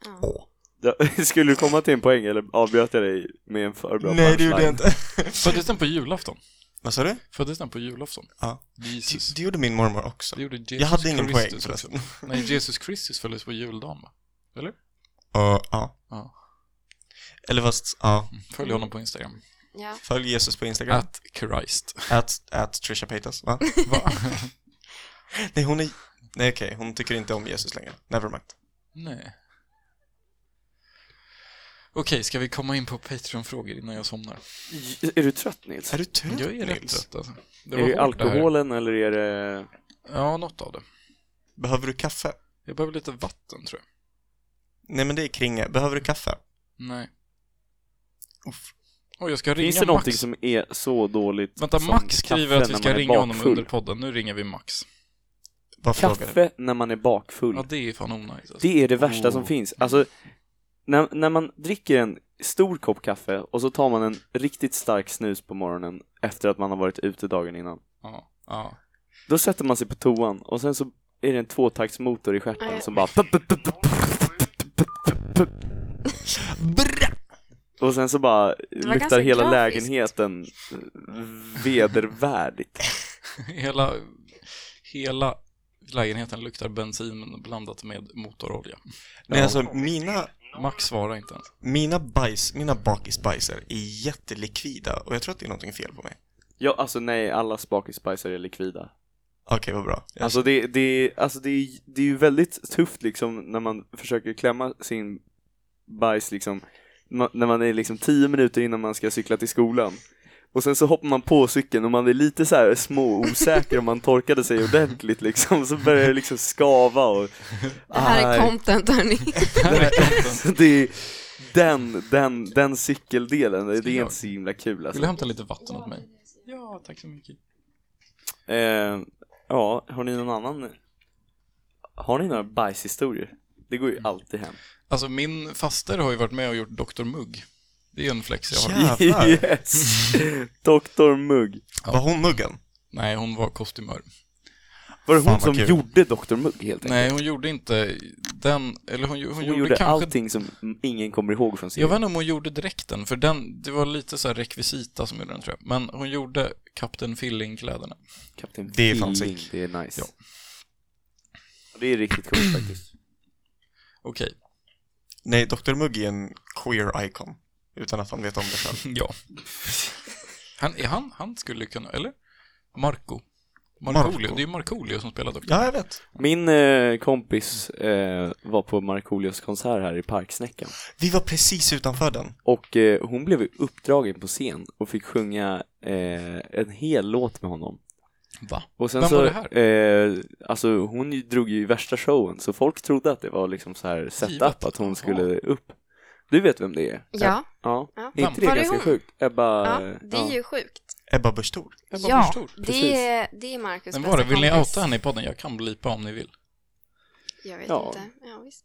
Speaker 3: Ja.
Speaker 2: Åh.
Speaker 9: Ja, Skulle du komma till en poäng eller avbröt jag dig med en för bra
Speaker 2: Nej, det gjorde
Speaker 9: punchline?
Speaker 2: jag inte.
Speaker 1: Föddes den på julafton?
Speaker 2: Vad sa du?
Speaker 1: Föddes den på julafton?
Speaker 2: Ja.
Speaker 1: Jesus.
Speaker 2: Det, det gjorde min mormor också.
Speaker 1: Det gjorde Jesus
Speaker 2: Jag hade ingen
Speaker 1: Christus
Speaker 2: poäng
Speaker 1: också.
Speaker 2: förresten.
Speaker 1: Nej, Jesus Kristus föddes på juldagen va? Eller?
Speaker 2: Uh, ja.
Speaker 1: Ja.
Speaker 2: Eller fast, ja.
Speaker 1: Följ honom på Instagram.
Speaker 3: Ja.
Speaker 2: Följ Jesus på Instagram.
Speaker 1: At Christ.
Speaker 2: At, at Trisha Paytas, va?
Speaker 1: Va?
Speaker 2: Nej, hon är... Nej, okej. Hon tycker inte om Jesus längre. Nevermind.
Speaker 1: Nej. Okej, ska vi komma in på Patreon-frågor innan jag somnar?
Speaker 9: J- Är du trött Nils?
Speaker 2: Är du trött,
Speaker 1: Jag är rätt
Speaker 2: Mm. Nils?
Speaker 1: trött alltså. Det
Speaker 9: är det
Speaker 1: hårt här.
Speaker 9: alkoholen eller är det...
Speaker 1: Ja, något av det.
Speaker 2: Behöver du kaffe?
Speaker 1: Jag behöver lite vatten tror jag.
Speaker 2: Nej, men det är kringe. Behöver du kaffe?
Speaker 1: Nej.
Speaker 2: Uff.
Speaker 1: Oj, jag ska ringa
Speaker 9: Finns det
Speaker 1: Max.
Speaker 9: någonting som är så dåligt
Speaker 1: Vänta,
Speaker 9: som
Speaker 1: Max skriver
Speaker 9: kaffe
Speaker 1: att vi
Speaker 9: när
Speaker 1: ska
Speaker 9: man är
Speaker 1: ringa honom
Speaker 9: bakfull?
Speaker 1: under podden. Nu ringer vi Max.
Speaker 2: Vad frågar du?
Speaker 9: Kaffe när man är bakfull.
Speaker 1: Ja, det är fan onajs alltså.
Speaker 9: Det är det värsta som
Speaker 2: Oh.
Speaker 9: finns. Alltså, när, när man dricker en stor kopp kaffe och så tar man en riktigt stark snus på morgonen efter att man har varit ute dagen innan.
Speaker 1: Ja, ja.
Speaker 9: Då sätter man sig på toan och sen så är det en tvåtaktsmotor i stjärten som bara...
Speaker 2: Brr!
Speaker 9: Och sen så bara
Speaker 3: var ganska
Speaker 9: luktar hela
Speaker 3: grafiskt.
Speaker 9: lägenheten eh, vedervärdigt.
Speaker 1: Hela, hela lägenheten luktar bensin blandat med motorolja.
Speaker 2: Nej, alltså mina,
Speaker 1: Max svarar inte ens.
Speaker 2: mina bajs, mina bakisbajsar är jättelikvida och jag tror att det är någonting fel på mig.
Speaker 9: Ja, alltså nej, alla spakispicer är likvida.
Speaker 2: Okej, vad bra. Jag-
Speaker 9: Alltså det, det, alltså det, är- det är ju väldigt tufft liksom när man försöker klämma sin bajs liksom, ma- när man är liksom tio minuter innan man ska cykla till skolan. Och sen så hoppar man på cykeln och man är lite så här små osäker om man torkade sig ordentligt liksom, så börjar det liksom skava och...
Speaker 3: Det här är
Speaker 9: Aj.
Speaker 3: content hörni.
Speaker 1: Här är konten.
Speaker 9: det är den, den, den cykeldelen, det
Speaker 1: jag-
Speaker 9: är inte så himla kul
Speaker 1: Vill du
Speaker 9: alltså.
Speaker 1: hämta lite vatten åt mig? Ja, tack så mycket.
Speaker 9: Eh, ja, har ni någon annan? Har ni några bajshistorier? Det går ju alltid hem.
Speaker 1: Alltså min faster har ju varit med och gjort Dr. Mugg. Det är en flex jag har.
Speaker 2: Jävlar!
Speaker 9: Yes! Dr Mugg.
Speaker 2: Var hon muggen?
Speaker 1: Nej, hon var kostymör.
Speaker 9: Var det hon
Speaker 2: Fan, vad
Speaker 9: som
Speaker 2: kul.
Speaker 9: gjorde Dr Mugg helt enkelt?
Speaker 1: Nej, hon gjorde inte den, eller hon, hon,
Speaker 9: hon,
Speaker 1: gjorde,
Speaker 9: gjorde,
Speaker 1: kanske...
Speaker 9: allting som ingen kommer ihåg från
Speaker 1: Jag
Speaker 9: serien.
Speaker 1: vet inte om hon gjorde dräkten, för den, det var lite så här rekvisita som gjorde den tror jag. Men hon gjorde Kapten Filling-kläderna.
Speaker 9: Kapten
Speaker 2: Det är fan
Speaker 9: Feeling,
Speaker 2: sick.
Speaker 9: Det är nice.
Speaker 1: Ja.
Speaker 9: Det är riktigt coolt faktiskt.
Speaker 1: Okej,
Speaker 2: Nej, Dr. Mugg är en queer icon. Utan att han vet om det själv.
Speaker 1: ja. Han, är han, han skulle kunna, eller? Marco.
Speaker 2: Marco.
Speaker 1: Markoolio, det är ju Markoolio som spelar doktor.
Speaker 2: Ja, jag vet.
Speaker 9: Min eh, kompis eh, var på Markoolios konsert här i Parksnäckan
Speaker 2: Vi var precis utanför den.
Speaker 9: och eh, hon blev uppdragen på scen och fick sjunga eh, en hel låt med honom.
Speaker 1: Va?
Speaker 9: Och sen
Speaker 1: Vem
Speaker 9: så,
Speaker 1: var det här?
Speaker 9: Eh, alltså hon ju- drog ju värsta showen så folk trodde att det var liksom så här
Speaker 1: Givet.
Speaker 9: setup att hon skulle upp. Du vet vem det är?
Speaker 3: Ja,
Speaker 9: Ja.
Speaker 3: Ja.
Speaker 9: Är inte det
Speaker 3: Var det
Speaker 9: ganska
Speaker 3: hon?
Speaker 9: sjukt? Ebba... eh,
Speaker 3: ja det är ju sjukt.
Speaker 2: Ebba Busch Thor.
Speaker 1: Ebba
Speaker 3: Ja,
Speaker 1: Busch Thor.
Speaker 9: precis.
Speaker 3: det är, det är Marcus
Speaker 1: Men
Speaker 3: bästa
Speaker 1: var det, vill ni
Speaker 3: kompis.
Speaker 1: outa henne i podden? Jag kan blipa om ni vill.
Speaker 3: Jag vet
Speaker 9: Ja.
Speaker 3: inte. Ja, visst.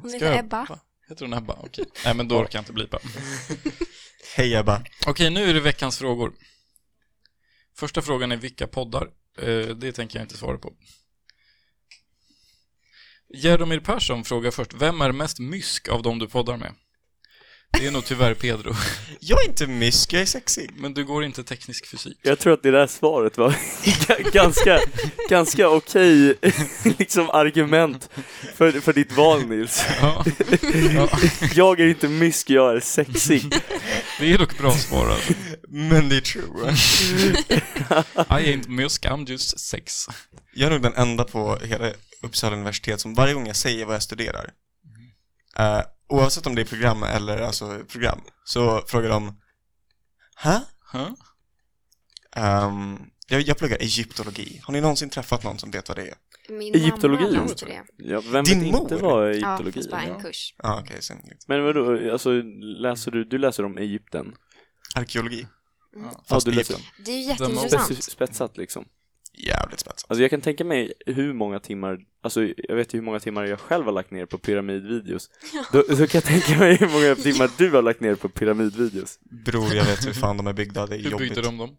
Speaker 3: Hon
Speaker 1: Ska
Speaker 3: heter
Speaker 1: jag-
Speaker 3: Ebba.
Speaker 1: Va? Heter hon Ebba? Okej. Nej, men då orkar jag inte blipa.
Speaker 2: Hej Ebba.
Speaker 1: Okej, nu är det veckans frågor. Första frågan är vilka poddar? Eh, det tänker jag inte svara på. Jeromir Persson frågar först, vem är mest mysk av de du poddar med? Det är nog tyvärr Pedro,
Speaker 2: Jag är inte mysk, jag är sexig.
Speaker 1: men du går inte teknisk fysik.
Speaker 9: Jag tror att det där svaret var g- ganska, ganska okej liksom argument för, för ditt val Nils.
Speaker 1: Ja. Ja,
Speaker 9: Jag är inte mysk, jag är sexig.
Speaker 1: det är dock bra svar alltså.
Speaker 2: Men det är true.
Speaker 1: I ain't mysk, I'm just sex.
Speaker 2: Jag är nog den enda på hela Uppsala universitet som varje gång jag säger vad jag studerar, eh, oavsett om det är program eller alltså program, så frågar de Hä?
Speaker 1: Huh?
Speaker 2: Ehm, jag, jag pluggar egyptologi. Har ni någonsin träffat någon som vet vad det är?
Speaker 3: Min
Speaker 9: Egyptologi,
Speaker 3: mamma
Speaker 9: tror
Speaker 3: läste det.
Speaker 9: Ja, vem
Speaker 2: Din
Speaker 9: vet inte
Speaker 2: mor?
Speaker 9: vad
Speaker 3: Ja,
Speaker 9: egyptologi
Speaker 3: fast bara
Speaker 9: är?
Speaker 3: en kurs.
Speaker 2: Ja, Ah, okej. sen
Speaker 9: Men vadå, alltså läser du, du läser om Egypten?
Speaker 2: Arkeologi.
Speaker 3: Mm.
Speaker 2: Fast
Speaker 9: Ja, du
Speaker 2: Egypten.
Speaker 3: Det är ju
Speaker 1: var
Speaker 9: Spets-
Speaker 3: jätteintressant.
Speaker 9: Spetsat liksom.
Speaker 2: Jävligt spetsat.
Speaker 9: Alltså jag kan tänka mig hur många timmar, alltså jag vet ju hur många timmar jag själv har lagt ner på pyramidvideos. Då, då kan jag tänka mig hur många timmar du har lagt ner på pyramidvideos.
Speaker 2: Bror, jag vet hur fan de är byggda. Det är
Speaker 1: Hur byggde
Speaker 2: jobbigt.
Speaker 1: de dem?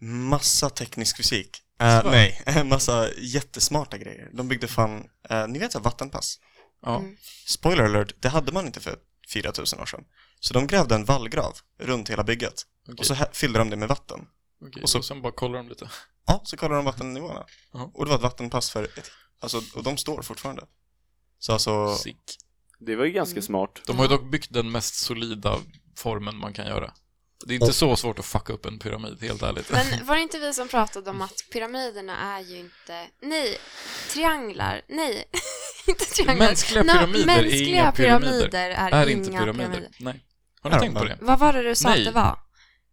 Speaker 2: Massa teknisk fysik. Eh,
Speaker 1: Svär.
Speaker 2: nej, en massa jättesmarta grejer. De byggde fan, eh, ni vet så här vattenpass?
Speaker 1: Ja.
Speaker 3: Mm.
Speaker 2: Spoiler alert, det hade man inte för 4000 år sedan. Så de grävde en vallgrav runt hela bygget
Speaker 1: Okej.
Speaker 2: och så här, fyllde de det med vatten.
Speaker 1: Okej,
Speaker 2: Och så-
Speaker 1: och sen bara kollar de lite.
Speaker 2: Ja, så kollade de vattennivåerna.
Speaker 1: Ja.
Speaker 2: Och det var ett vattenpass för ett, alltså, och de står fortfarande. Så alltså,
Speaker 1: Sick.
Speaker 9: Det var ju
Speaker 1: Mm.
Speaker 9: ganska smart.
Speaker 1: De har ju dock byggt den mest solida formen man kan göra. Det är inte så svårt att fucka upp en pyramid, helt ärligt.
Speaker 3: Men var det inte vi som pratade om att pyramiderna är ju inte... Nej, trianglar. Nej, inte trianglar.
Speaker 1: Mänskliga
Speaker 3: Nå,
Speaker 1: pyramider är
Speaker 3: mänskliga
Speaker 1: inga pyramider.
Speaker 3: pyramider är,
Speaker 1: är
Speaker 3: inga
Speaker 1: inte pyramider. Nej. Har ni
Speaker 2: Ja,
Speaker 1: tänkt på
Speaker 2: men-
Speaker 1: det?
Speaker 3: Vad var det du sa
Speaker 1: Nej.
Speaker 3: att det var?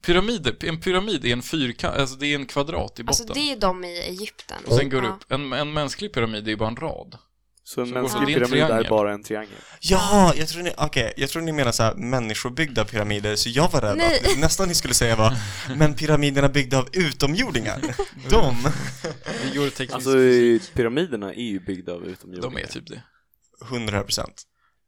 Speaker 1: Pyramider, en pyramid är en fyrkant, alltså det är en kvadrat i botten.
Speaker 3: Alltså det är ju de i Egypten.
Speaker 1: Och sen går det
Speaker 3: Ja.
Speaker 1: upp. En, en mänsklig pyramid är ju bara en rad.
Speaker 9: Så en
Speaker 1: Så
Speaker 9: mänsklig
Speaker 1: går det en
Speaker 9: pyramid är
Speaker 1: triangel.
Speaker 9: bara en triangel.
Speaker 2: ja, jag tror ni, okej, jag tror ni menar så här människobyggda pyramider, så jag var rädd
Speaker 3: Nej.
Speaker 2: att det nästan ni skulle säga var, men pyramiderna byggda av utomjordingar, de,
Speaker 1: Det går tekniskt.
Speaker 9: Alltså pyramiderna är ju byggda av
Speaker 1: de är
Speaker 9: utomjordingar.
Speaker 1: typ det.
Speaker 2: 100%.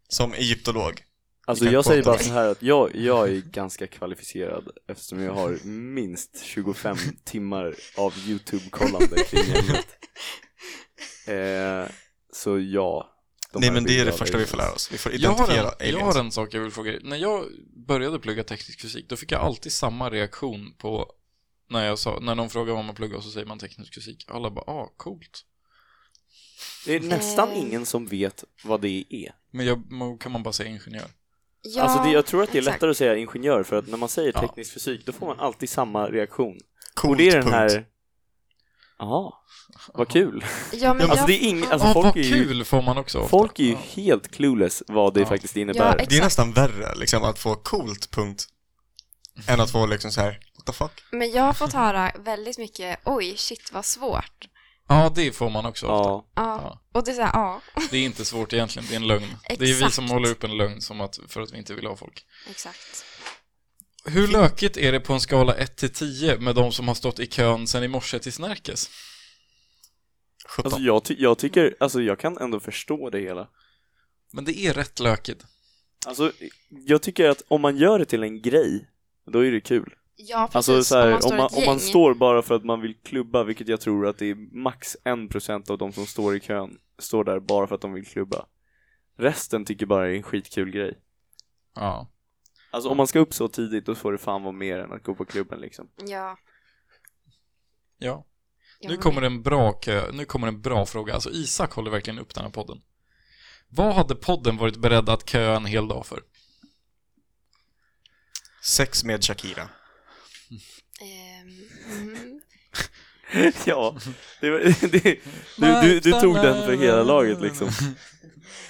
Speaker 2: Som egyptolog.
Speaker 9: Alltså
Speaker 2: Vi kan
Speaker 9: jag säger
Speaker 2: prata
Speaker 9: bara
Speaker 2: om
Speaker 9: så här att jag, jag är ganska kvalificerad eftersom jag har minst 25 timmar av YouTube-kollande kring ämnet. Eh, så ja. de
Speaker 2: Nej
Speaker 9: här
Speaker 2: men det är det
Speaker 9: byggda
Speaker 2: första vi får lära
Speaker 9: aliens.
Speaker 2: oss. Vi får
Speaker 1: Jag har,
Speaker 2: identifiera
Speaker 1: en, jag
Speaker 2: aliens.
Speaker 1: har en sak jag vill fråga er. När jag började plugga teknisk fysik, då fick jag alltid samma reaktion på när, jag sa, när någon frågar vad man pluggar och så säger man teknisk fysik. Alla bara, ah, coolt.
Speaker 9: Det är nästan
Speaker 3: Eh.
Speaker 9: ingen som vet vad det är.
Speaker 1: Men jag, man- kan man bara säga ingenjör?
Speaker 3: Ja,
Speaker 9: alltså det, jag tror att det är
Speaker 3: exakt.
Speaker 9: lättare att säga ingenjör för att när man säger
Speaker 1: Ja.
Speaker 9: teknisk fysik då får man alltid samma reaktion. Och
Speaker 2: Coolt,
Speaker 9: det är den
Speaker 2: punkt.
Speaker 9: här Jaha, vad kul.
Speaker 3: Ja, men
Speaker 9: Alltså
Speaker 3: jag...
Speaker 9: det är ing...
Speaker 1: Ja,
Speaker 9: alltså, folk,
Speaker 1: vad
Speaker 9: är ju...
Speaker 1: kul får man också ofta.
Speaker 9: folk är ju
Speaker 1: Ja.
Speaker 9: helt clueless vad det
Speaker 1: Ja.
Speaker 9: faktiskt
Speaker 3: Ja,
Speaker 9: innebär.
Speaker 3: exakt.
Speaker 2: Det är nästan värre liksom att få coolt punkt än att få liksom så här what the fuck?
Speaker 3: Men jag har fått höra väldigt mycket, oj, shit vad svårt.
Speaker 1: Ja, det får man också ofta.
Speaker 9: Ja,
Speaker 3: Ja.
Speaker 1: Ja.
Speaker 3: Och det är så här, ja,
Speaker 1: Det är inte svårt egentligen, det är en lögn. Det är vi som
Speaker 3: Exakt.
Speaker 1: håller upp en lögn som att, för att vi inte vill ha folk.
Speaker 3: exakt.
Speaker 1: Hur lökigt är det på en skala 1 till 10 med de som har stått i kön sedan i morse till Snärkes?
Speaker 2: 17.
Speaker 9: alltså jag, ty- jag tycker, alltså jag kan ändå förstå det hela.
Speaker 1: Men det är rätt lökigt.
Speaker 9: Alltså, jag tycker att om man gör det till en grej, då är det kul.
Speaker 3: Ja, precis.
Speaker 9: Alltså så här,
Speaker 3: om
Speaker 9: om,
Speaker 3: man står i
Speaker 9: man, om, man,
Speaker 3: ett gäng.
Speaker 9: står bara för att man vill klubba, vilket jag tror att det är max 1% av de som står i kön, står där bara för att de vill klubba. Resten tycker bara det är en skitkul grej.
Speaker 1: Ja.
Speaker 9: Alltså om man ska upp så tidigt då får det fan vara mer än att gå på klubben liksom.
Speaker 3: Ja.
Speaker 1: Ja.
Speaker 3: jag
Speaker 1: Nu
Speaker 3: håller
Speaker 1: kommer
Speaker 3: med.
Speaker 1: en bra kö, nu kommer en bra fråga. Alltså Isak håller verkligen upp den här podden. Vad hade podden varit beredd att köa en hel dag för?
Speaker 2: Sex med Shakira.
Speaker 3: Ehm, mhm.
Speaker 9: ja, det, var- det, du, du, du tog den för hela
Speaker 3: eh,
Speaker 9: laget liksom.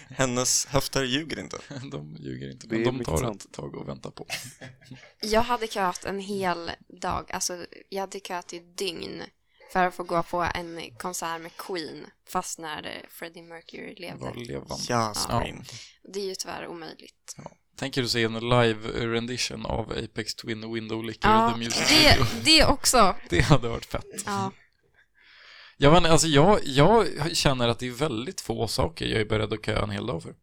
Speaker 2: Hennes höfter ljuger inte.
Speaker 1: De ljuger inte,
Speaker 9: Det
Speaker 1: men
Speaker 9: är
Speaker 1: de
Speaker 9: mycket
Speaker 1: tar
Speaker 9: sant.
Speaker 1: ett tag och väntar på.
Speaker 3: Jag hade köat en hel dag, alltså jag hade köat i dygn för att få gå på en konsert med Queen fast när eh, Freddie Mercury levde.
Speaker 1: Var levande.
Speaker 2: Jasmin.
Speaker 3: Det är ju tyvärr omöjligt.
Speaker 1: Tänker du se en live rendition av Apex Twin Window Licker
Speaker 3: Ja,
Speaker 1: the Music
Speaker 3: det,
Speaker 1: Video?
Speaker 3: det också.
Speaker 1: Det hade varit fett.
Speaker 3: Ja.
Speaker 1: Jag, vet inte, alltså jag, jag känner att det är väldigt få saker jag är beredd att köa en hel dag för.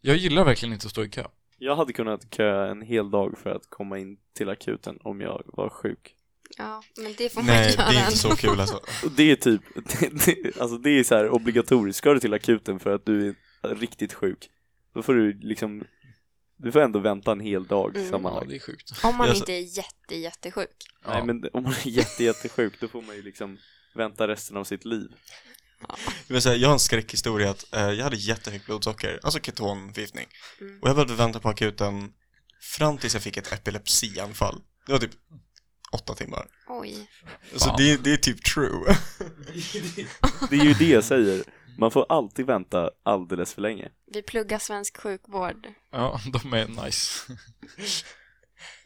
Speaker 1: Jag gillar verkligen inte att stå i kö.
Speaker 9: Jag hade kunnat köa en hel dag för att komma in till akuten om jag var sjuk.
Speaker 3: ja, men det får man
Speaker 2: Nej, det
Speaker 3: göra.
Speaker 2: är inte
Speaker 3: ändå.
Speaker 2: så kul alltså.
Speaker 9: Och det är typ, det, det, alltså det är så här obligatoriskt. Ska du till akuten för att du är riktigt sjuk, då får du liksom, du får ändå vänta en hel dag
Speaker 3: Mm.
Speaker 1: Ja,
Speaker 9: sammanlagt.
Speaker 1: det är sjukt.
Speaker 3: Om man
Speaker 2: Jag-
Speaker 3: inte är jätte, jättesjuk.
Speaker 9: Nej men om man är jätte, jättesjuk då får man ju liksom vänta resten av sitt liv.
Speaker 2: Jag, vill säga, jag har en skräckhistoria att eh, jag hade jättehögt blodsocker, alltså ketonförgiftning.
Speaker 3: Mm.
Speaker 2: Och jag behövde vänta på akuten fram tills jag fick ett epilepsianfall. Det var typ åtta timmar.
Speaker 3: Oj.
Speaker 2: Så
Speaker 1: Fan.
Speaker 2: det, det är typ true.
Speaker 9: Det är ju det jag säger. Man får alltid vänta alldeles för länge.
Speaker 3: Vi pluggar svensk sjukvård.
Speaker 1: Ja, de är nice.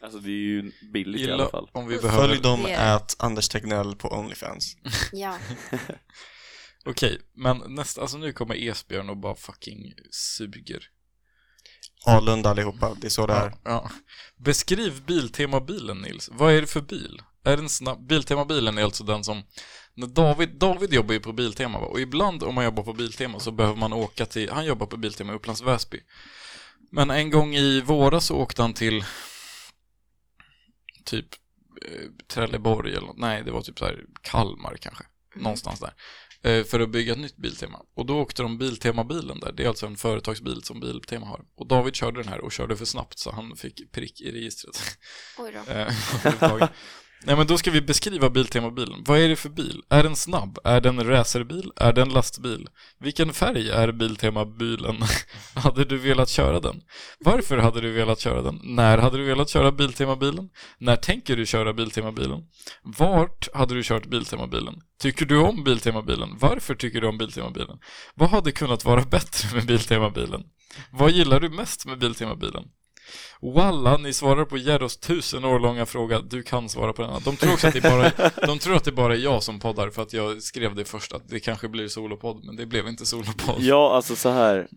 Speaker 9: Alltså det är ju billigt i alla
Speaker 1: Gilla
Speaker 9: fall.
Speaker 1: om vi
Speaker 2: Följ
Speaker 1: behöver.
Speaker 2: dem,
Speaker 3: Yeah.
Speaker 2: ät Anders Tegnell på Onlyfans.
Speaker 3: Ja.
Speaker 1: Okej, men nästa, alltså nu kommer Esbjörn och bara fucking suger.
Speaker 2: Alunda allihopa, det är så det är.
Speaker 1: Ja. Beskriv Biltema-bilen Nils. Vad är det för bil? Är den snabb? Biltema-bilen är alltså den som när David, David jobbar ju på Biltema va? och ibland om man jobbar på Biltema så behöver man åka till, han jobbar på Biltema i Upplands Väsby. Men en gång i våras så åkte han till typ eh, Trelleborg eller något. nej det var typ så här Kalmar kanske, någonstans där. Eh, För att bygga ett nytt Biltema. Och då åkte de Biltema-bilen där, det är alltså en företagsbil som Biltema har. Och David körde den här och körde för snabbt så han fick prick i registret.
Speaker 3: Oj då.
Speaker 1: Eh, överhuvudtaget. Nej men då ska vi beskriva Biltema-bilen. Vad är det för bil? Är den snabb? Är den racerbil? Är den lastbil? Vilken färg är Biltema-bilen? hade du velat köra den? Varför hade du velat köra den? När hade du velat köra Biltema-bilen? När tänker du köra Biltema-bilen? Vart hade du kört Biltema-bilen? Tycker du om Biltema-bilen? Varför tycker du om Biltema-bilen? Vad hade kunnat vara bättre med Biltema-bilen? Vad gillar du mest med Biltema-bilen? Walla, ni svarar på Gerros tusen år långa fråga, du kan svara på denna. De tror också att det är bara, de tror att det bara är jag som poddar för att jag skrev det först att det kanske blir solopodd, men det blev inte solopodd.
Speaker 9: Ja, alltså så här.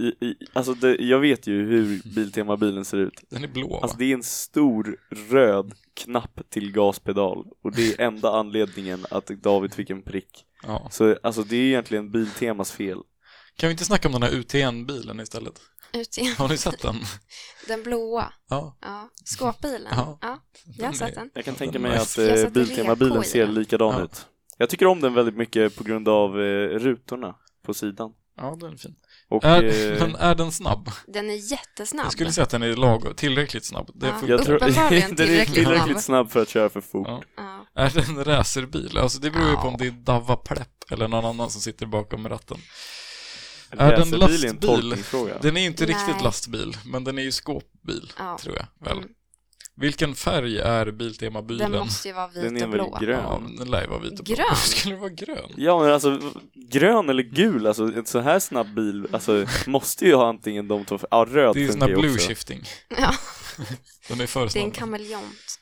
Speaker 9: I, i, alltså det, jag vet ju hur Biltema-bilen ser ut.
Speaker 1: Den är blå va?
Speaker 9: Alltså det är en stor röd knapp till gaspedal och det är enda anledningen att David fick en prick.
Speaker 1: ja.
Speaker 9: Så alltså det är egentligen Biltemas fel.
Speaker 1: Kan vi inte snacka om den här UTN-bilen istället?
Speaker 3: Ut igen.
Speaker 1: Har ni sett den?
Speaker 3: Den blåa.
Speaker 1: Ja.
Speaker 3: Ja. Skåpbilen.
Speaker 1: Ja.
Speaker 3: Ja. Jag har sett den.
Speaker 9: Jag kan
Speaker 1: Ja,
Speaker 9: tänka
Speaker 1: den
Speaker 9: mig
Speaker 1: är-
Speaker 9: att
Speaker 3: Jag
Speaker 9: eh,
Speaker 3: satte
Speaker 9: Biltema-bilen
Speaker 3: reko i
Speaker 9: ser
Speaker 3: den.
Speaker 9: likadan
Speaker 1: Ja.
Speaker 9: ut. Jag tycker om den väldigt mycket på grund av eh, rutorna på sidan.
Speaker 1: Ja, den är fin.
Speaker 9: Och,
Speaker 1: Är,
Speaker 9: eh,
Speaker 1: men är den snabb?
Speaker 3: Den är jättesnabb.
Speaker 1: Jag skulle säga att den är lagom, tillräckligt snabb. Det
Speaker 3: Ja.
Speaker 1: funkar.
Speaker 9: jag tror den
Speaker 3: uppenbarligen
Speaker 9: är
Speaker 3: tillräckligt
Speaker 9: tillräckligt
Speaker 3: snabb.
Speaker 9: snabb för att köra för fort.
Speaker 1: Ja.
Speaker 3: Ja.
Speaker 1: Är det en racerbil? Alltså det beror ju på om
Speaker 3: Ja.
Speaker 1: det är Dava Plepp eller någon annan som sitter bakom ratten. Är den
Speaker 9: Racerbil är en
Speaker 1: lastbil?
Speaker 9: tolkningsfråga.
Speaker 1: Den är inte
Speaker 3: Nej.
Speaker 1: riktigt lastbil, men den är ju skåpbil,
Speaker 3: Ja.
Speaker 1: tror jag väl.
Speaker 3: Mm.
Speaker 1: Vilken färg är Biltema-bilen?
Speaker 3: Den måste ju vara vit
Speaker 9: Den är
Speaker 3: och
Speaker 9: väl
Speaker 3: blå.
Speaker 9: grön?
Speaker 1: Ja, men den lär ju vara vit och blå.
Speaker 3: Grön?
Speaker 1: Varför skulle det vara grön?
Speaker 9: Ja men alltså grön eller gul, alltså en så här snabb bil alltså, måste ju ha antingen de två, ja röd
Speaker 1: Det är ju sån
Speaker 9: funkar
Speaker 1: här
Speaker 9: ju
Speaker 1: blue
Speaker 9: också.
Speaker 1: shifting.
Speaker 3: Ja,
Speaker 1: Den är för
Speaker 3: det är en
Speaker 1: snabb.
Speaker 3: kameleont.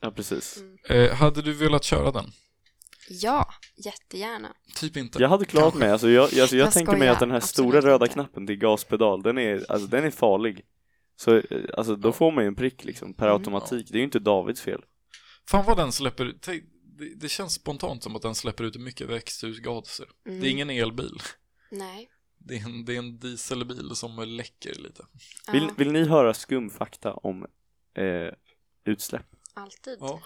Speaker 9: Ja precis.
Speaker 1: Eh, hade du velat köra den?
Speaker 3: Ja, jättegärna.
Speaker 1: Typ inte.
Speaker 9: Jag hade klarat mig, alltså jag, alltså, jag
Speaker 3: Jag
Speaker 9: tänker mig
Speaker 3: skojar,
Speaker 9: att den här stora
Speaker 3: absolut
Speaker 9: röda
Speaker 3: inte.
Speaker 9: knappen till gaspedal, den är, alltså, den är farlig. Så eh, alltså, då får man ju en prick liksom, per
Speaker 3: Mm.
Speaker 9: automatik. Det är ju inte Davids fel.
Speaker 1: Fan vad den släpper ut. Tänk- Det, det känns spontant som att den släpper ut mycket växthusgaser.
Speaker 3: Mm.
Speaker 1: Det är ingen elbil.
Speaker 3: Nej.
Speaker 1: Det är, en, det är en dieselbil som läcker lite.
Speaker 3: Ja,
Speaker 9: Vill, vill ni höra skum fakta om eh, utsläpp?
Speaker 3: Alltid.
Speaker 1: Ja.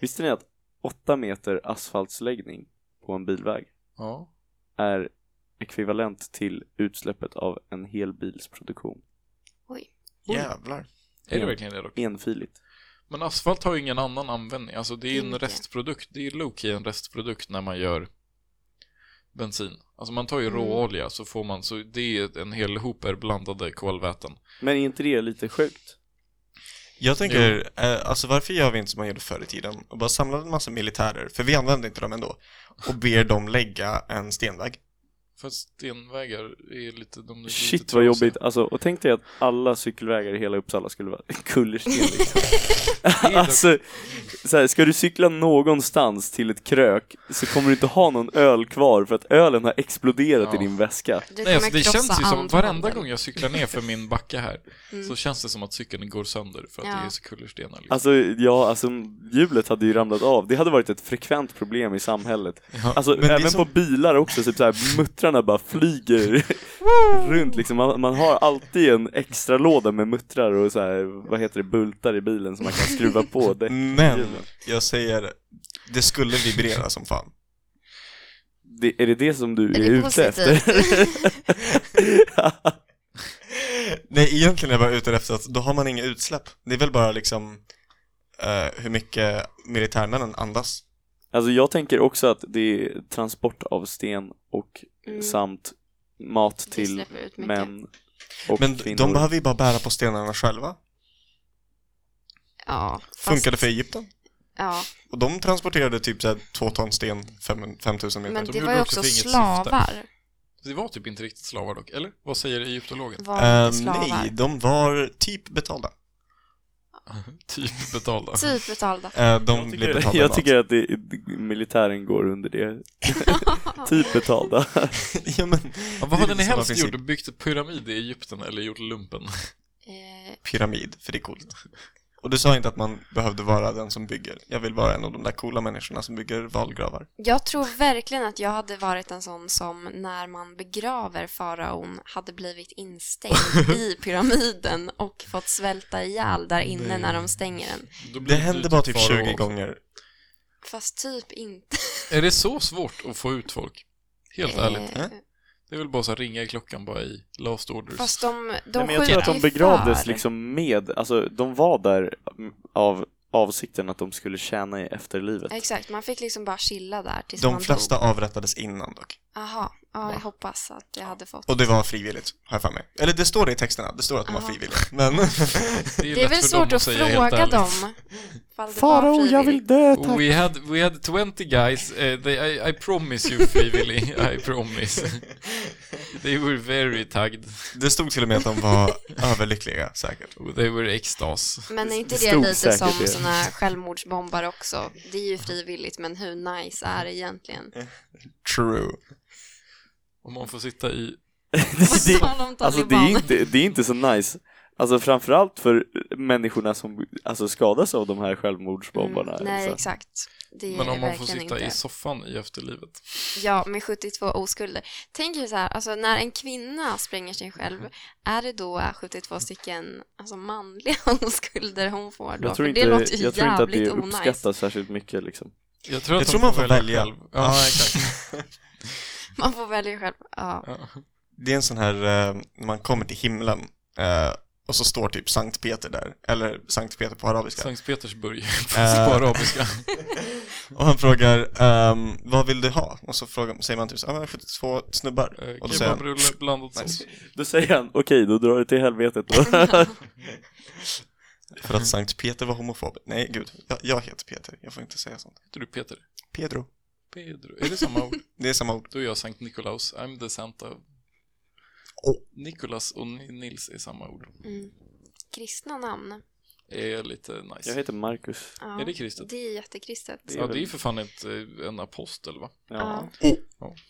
Speaker 9: Visste ni att 8 meter asfaltsläggning på en bilväg
Speaker 1: Ja.
Speaker 9: är ekvivalent till utsläppet av en hel bils produktion?
Speaker 3: Oj.
Speaker 2: Jävlar.
Speaker 1: Är det verkligen det dock?
Speaker 9: Enfiligt.
Speaker 1: Men asfalt har ju ingen annan användning. Alltså det är ju en
Speaker 3: Inte.
Speaker 1: restprodukt. Det är ju low-key en restprodukt när man gör bensin. Alltså man tar ju
Speaker 3: Mm.
Speaker 1: råolja så får man, så det är en hel hoper blandade kolväten.
Speaker 9: Men är inte det lite sjukt?
Speaker 2: Jag tänker, eh, alltså varför gör vi inte som man gjorde förr i tiden och bara samlar en massa militärer, för vi använder inte dem ändå, och ber dem lägga en stenväg?
Speaker 1: Fast stenvägar är lite... De är lite
Speaker 9: Shit
Speaker 1: trasiga.
Speaker 9: vad jobbigt. Alltså, och tänk dig att alla cykelvägar i hela Uppsala skulle vara kullersten liksom. alltså, så här, ska du cykla någonstans till ett krök så kommer du inte ha någon öl kvar för att ölen har exploderat
Speaker 1: Ja.
Speaker 9: i din väska.
Speaker 3: Du
Speaker 1: Nej,
Speaker 3: kommer
Speaker 1: alltså det känns ju
Speaker 3: krossa
Speaker 1: som,
Speaker 3: andra
Speaker 1: varenda
Speaker 3: handen.
Speaker 1: gång jag cyklar ner för min backe här
Speaker 3: Mm.
Speaker 1: så känns det som att cykeln går sönder för att
Speaker 3: Ja.
Speaker 1: det är så kullerstenar. Liksom.
Speaker 9: Alltså, ja, alltså hjulet hade ju ramlat av. Det hade varit ett frekvent problem i samhället. Alltså,
Speaker 2: men det är
Speaker 9: även
Speaker 2: som-
Speaker 9: på bilar också, typ så här, muttrarna bara flyger runt liksom. Man, man har alltid en extra låda med muttrar och så här, vad heter det, bultar i bilen som man kan skruva på. Det,
Speaker 2: Men, jag säger, det skulle vibrera som fan.
Speaker 9: det, är det det som du är,
Speaker 3: Är det
Speaker 9: ute
Speaker 3: positivt?
Speaker 9: efter?
Speaker 2: Nej, egentligen är jag bara ute efter att då har man inga utsläpp. Det är väl bara liksom eh, hur mycket militärmännen andas.
Speaker 9: Alltså jag tänker också att det är transport av sten och
Speaker 3: Mm.
Speaker 9: samt mat
Speaker 3: Det
Speaker 9: till
Speaker 3: släpper ut mycket.
Speaker 9: män och
Speaker 2: Men
Speaker 9: kvinnor.
Speaker 2: de behöver ju bara bära på stenarna själva.
Speaker 3: Ja, fast-
Speaker 2: Funkade för Egypten.
Speaker 3: Ja,
Speaker 2: Och de transporterade typ såhär två ton sten, fem- 5000 meter.
Speaker 3: men
Speaker 1: de
Speaker 3: det
Speaker 1: gjorde
Speaker 3: var ju
Speaker 1: också
Speaker 3: också
Speaker 1: för inget syfte.
Speaker 3: slavar.
Speaker 1: Det var typ inte riktigt slavar dock, eller? Vad säger egyptologen?
Speaker 3: Var
Speaker 2: Eh,
Speaker 1: Äh,
Speaker 3: inte slavar.
Speaker 2: nej, de var typ betalda.
Speaker 1: Typ betalda.
Speaker 3: Typ betalda.
Speaker 2: Eh, de
Speaker 9: Jag
Speaker 2: blev
Speaker 9: tycker,
Speaker 2: betalda
Speaker 9: jag
Speaker 2: mat.
Speaker 9: tycker att det, militären går under det. typ betalda.
Speaker 2: ja, men,
Speaker 1: Ja,
Speaker 2: det är
Speaker 1: vad hade
Speaker 2: lite
Speaker 1: ni
Speaker 2: samma
Speaker 1: helst
Speaker 2: princip.
Speaker 1: gjort? Byggt en pyramid i Egypten eller gjort lumpen?
Speaker 3: Eh,
Speaker 2: Pyramid, för det är coolt. Och du sa inte att man behövde vara den som bygger. Jag vill vara en av de där coola människorna som bygger valgravar.
Speaker 3: Jag tror verkligen att jag hade varit en sån som när man begraver faraon hade blivit instängd i pyramiden och fått svälta ihjäl där inne
Speaker 1: Nej.
Speaker 3: när de stänger den.
Speaker 1: Då blir
Speaker 2: Det
Speaker 1: du
Speaker 2: hände bara typ
Speaker 1: farao.
Speaker 2: 20 gånger.
Speaker 3: Fast typ inte.
Speaker 1: Är det så svårt att få ut folk? Helt ärligt.
Speaker 2: eh?
Speaker 1: Det är väl bara så här ringa i klockan bara i last orders.
Speaker 3: Fast de, de
Speaker 9: Nej, men jag tror att
Speaker 3: skjuter
Speaker 9: de
Speaker 3: ju
Speaker 9: begravdes
Speaker 3: för.
Speaker 9: liksom med, alltså de var där av avsikten att de skulle tjäna i efterlivet.
Speaker 3: Exakt, man fick liksom bara chilla där tills
Speaker 2: De
Speaker 3: man
Speaker 2: flesta
Speaker 3: dog.
Speaker 2: avrättades innan dock.
Speaker 3: Jaha, ja, jag hoppas att jag hade fått.
Speaker 2: Och det var frivilligt, har jag för mig. Eller det står det i texterna, det står att de var
Speaker 3: Ah.
Speaker 2: frivilliga. Men
Speaker 1: ju
Speaker 3: Det är
Speaker 1: lätt
Speaker 3: väl
Speaker 1: för
Speaker 3: svårt
Speaker 1: dem
Speaker 3: att
Speaker 1: säga helt
Speaker 3: fråga
Speaker 1: ärligt.
Speaker 3: dem. ifall det var
Speaker 9: Farao, jag vill
Speaker 3: frivilligt.
Speaker 9: dö tack!
Speaker 1: We had, we had 20 guys, eh, they, I, I promise you frivilly, I promise. they were very tagged,
Speaker 2: det stod till och med att de var överlyckliga säkert.
Speaker 1: they were extas.
Speaker 3: Men är inte
Speaker 9: Det
Speaker 3: det
Speaker 9: stod
Speaker 3: lite
Speaker 9: säkert
Speaker 3: som
Speaker 9: det.
Speaker 3: såna självmordsbombare också? Det är ju frivilligt, men hur nice är det egentligen?
Speaker 2: True.
Speaker 1: Om man får sitta i...
Speaker 9: Det-
Speaker 3: På tal om
Speaker 9: Alltså det är,
Speaker 3: talibaner.
Speaker 9: inte, det är inte så nice. Alltså framförallt för människorna som alltså, skadas av de här självmordsbombarna. liksom.
Speaker 3: Mm, nej,
Speaker 9: Så.
Speaker 3: exakt. Det
Speaker 1: Men
Speaker 3: är
Speaker 1: om man får
Speaker 3: verkligen
Speaker 1: sitta
Speaker 3: inte.
Speaker 1: i soffan i efterlivet.
Speaker 3: Ja, med 72 oskulder. Tänk er så här, alltså när en kvinna spränger sig själv,
Speaker 1: Mm.
Speaker 3: är det då 72 stycken alltså manliga oskulder hon får då?
Speaker 9: Jag tror,
Speaker 3: För
Speaker 9: inte,
Speaker 3: det låter ju
Speaker 9: jag tror inte att det
Speaker 3: jävligt onajs.
Speaker 9: uppskattas särskilt mycket liksom.
Speaker 1: Jag tror, att
Speaker 2: Jag
Speaker 1: de
Speaker 2: tror man får välja.
Speaker 1: själv.
Speaker 2: Ja, exakt.
Speaker 3: Man får välja själv. Ja.
Speaker 1: Ja.
Speaker 2: Det är en sån här, eh, när man kommer till himlen eh, och så står typ Sankt Peter där, eller Sankt Peter på arabiska.
Speaker 1: Sankt Petersburg,
Speaker 2: Eh.
Speaker 1: på arabiska.
Speaker 2: Och han frågar, ehm, vad vill du ha? Och så frågar, säger man typ så, här, "Ah, men 72 snubbar.
Speaker 1: Eh,
Speaker 2: och då säger han,
Speaker 1: Kebabrulle blandat sås.
Speaker 2: nice.
Speaker 9: Då säger han, okej då drar du till helvetet då.
Speaker 2: För att Sankt Peter var homofob. Nej, gud, jag, jag heter Peter, jag får inte säga sånt.
Speaker 1: Heter du Peter?
Speaker 2: Pedro.
Speaker 1: Pedro. Är det samma ord?
Speaker 2: Det är samma ord.
Speaker 1: Då är jag Sankt Nikolaus. I'm the Santa.
Speaker 2: Åh.
Speaker 1: Nikolas och Ni- Nils är samma ord.
Speaker 3: Mm. Kristna namn.
Speaker 1: Är lite nice.
Speaker 9: Jag heter Marcus.
Speaker 3: Ja.
Speaker 1: Är det kristet?
Speaker 3: Det är jättekristet.
Speaker 9: Det är
Speaker 1: Ja,
Speaker 9: väl-
Speaker 1: det är ju för fan ett, eh, en apostel, va?
Speaker 9: Ja.
Speaker 1: Ja, ser ni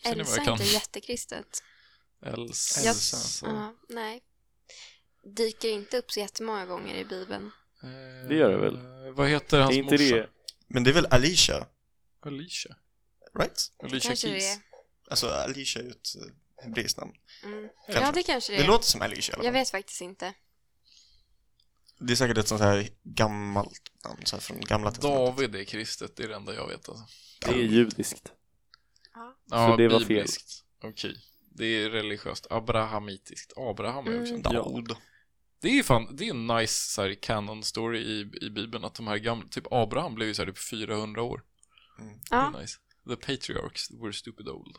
Speaker 1: vad
Speaker 3: Elsa
Speaker 1: jag
Speaker 3: är
Speaker 1: kan?
Speaker 3: inte jättekristet.
Speaker 1: Elsa.
Speaker 2: Jag-
Speaker 3: Ja, nej. Dyker inte upp så jättemånga gånger i Bibeln.
Speaker 1: Eh,
Speaker 9: Det gör det väl?
Speaker 1: Vad heter hans
Speaker 9: är inte
Speaker 1: morsa?
Speaker 9: det,
Speaker 2: Men det är väl Alicia,
Speaker 1: Alicia.
Speaker 2: right?
Speaker 1: Alicia
Speaker 3: kanske det
Speaker 1: Keys.
Speaker 2: Alltså Alicia är ju ett eh, hebreiskt namn.
Speaker 3: Mm.
Speaker 2: Kanske.
Speaker 3: Ja, det kanske det
Speaker 2: Det
Speaker 3: är.
Speaker 2: låter som Alicia i alla
Speaker 3: Jag
Speaker 2: fall.
Speaker 3: vet faktiskt inte.
Speaker 2: Det är säkert ett sånt här gammalt namn, så här från gamla testamentet.
Speaker 1: David är kristet, det är det enda jag vet alltså.
Speaker 9: det är judiskt.
Speaker 1: Ja,
Speaker 9: det var fel.
Speaker 1: bibliskt. Okej. Det är religiöst. Abrahamitiskt. Abraham är också
Speaker 3: Mm.
Speaker 1: en
Speaker 2: David.
Speaker 1: Det är ju fan, det är en nice så här, canon story i, i Bibeln att de här gamla, typ Abraham blev ju så här, typ 400 år.
Speaker 3: Ja.
Speaker 1: Det är nice. The patriarchs were stupid old.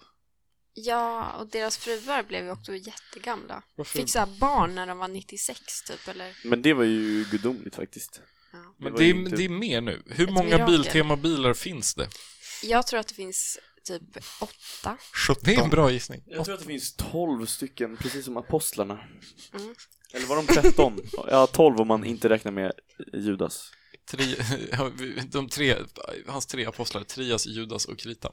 Speaker 3: ja, och deras fruar blev ju också jättegamla.
Speaker 1: Varför?
Speaker 3: Fick så här barn när de var 96 typ, eller?
Speaker 9: Men det var ju gudomligt faktiskt.
Speaker 3: Ja.
Speaker 1: Men det
Speaker 9: var
Speaker 1: typ- är,
Speaker 9: ju inte-
Speaker 1: det är mer nu. Hur
Speaker 3: Ett
Speaker 1: många
Speaker 3: mirakel.
Speaker 1: Biltema-bilar finns det?
Speaker 3: Jag tror att det finns typ åtta.
Speaker 2: 17.
Speaker 1: Det är en bra gissning.
Speaker 9: Jag tror att det finns 12 stycken, precis som apostlarna.
Speaker 3: Mm.
Speaker 9: Eller var de 13? ja, 12 om man inte räknar med Judas.
Speaker 1: Tri, de tre, hans tre apostlar, Trias, Judas och Krita.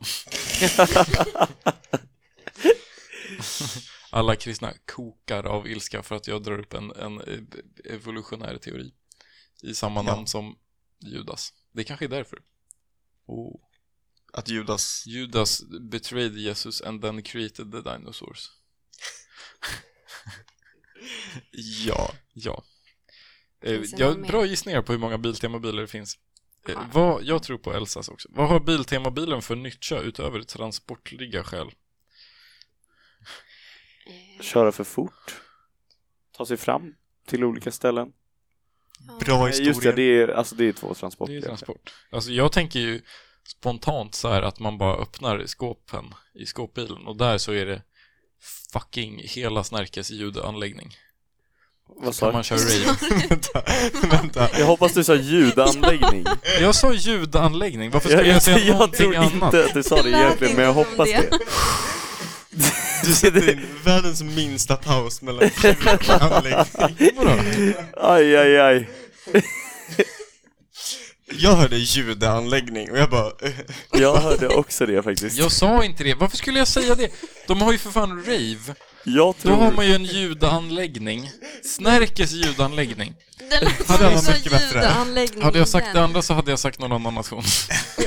Speaker 1: Alla kristna kokar av ilska för att jag drar upp en, en evolutionär teori i samma
Speaker 2: Ja.
Speaker 1: namn som Judas. Det kanske är därför. Oh.
Speaker 2: Att Judas...
Speaker 1: Judas betrayed Jesus and then created the dinosaurs.
Speaker 2: Ja.
Speaker 1: Ja. Eh,
Speaker 3: Finns det
Speaker 1: jag,
Speaker 3: någon mer?
Speaker 1: bra gissningar på hur många Biltema-bilar det finns. Eh,
Speaker 3: Ja.
Speaker 1: vad, jag tror på Elsas också. Vad har Biltema-bilen för nytta utöver transportliga skäl?
Speaker 3: Eh,
Speaker 9: Köra för fort. Ta sig fram till olika ställen.
Speaker 2: Bra
Speaker 9: Nej,
Speaker 2: historia.
Speaker 9: just det, det är, alltså det är två transporter.
Speaker 1: Det är transport. Alltså jag tänker ju spontant så här att man bara öppnar skåpen i skåpbilen och där så är det fucking hela Snärkes ljudanläggning.
Speaker 9: Vad sa
Speaker 1: Kan
Speaker 9: jag?
Speaker 1: man köra rave.
Speaker 2: vänta, vänta.
Speaker 9: Jag hoppas du sa ljudanläggning.
Speaker 1: Jag sa ljudanläggning, varför skulle
Speaker 9: jag,
Speaker 1: jag,
Speaker 9: jag,
Speaker 1: säga
Speaker 9: jag
Speaker 1: någonting
Speaker 9: tror
Speaker 1: annat?
Speaker 9: inte att du sa det
Speaker 3: Det lät
Speaker 9: egentligen, men jag
Speaker 3: inte som
Speaker 9: hoppas
Speaker 3: det.
Speaker 9: det.
Speaker 2: Du sätter in världens minsta paus mellan anläggning.
Speaker 9: Aj, aj, aj.
Speaker 2: Jag hörde judeanläggning och jag bara... eh,
Speaker 9: Jag hörde också det faktiskt.
Speaker 1: Jag sa inte det, varför skulle jag säga det? De har ju för fan rave.
Speaker 9: Jag
Speaker 1: Då har
Speaker 9: tror...
Speaker 1: man ju en ljudanläggning. Snärkes ljudanläggning.
Speaker 3: Den
Speaker 2: Hade jag
Speaker 3: också
Speaker 2: mycket bättre.
Speaker 3: ljudanläggningen.
Speaker 1: Hade jag sagt det
Speaker 3: den?
Speaker 1: andra så hade jag sagt någon annan nation.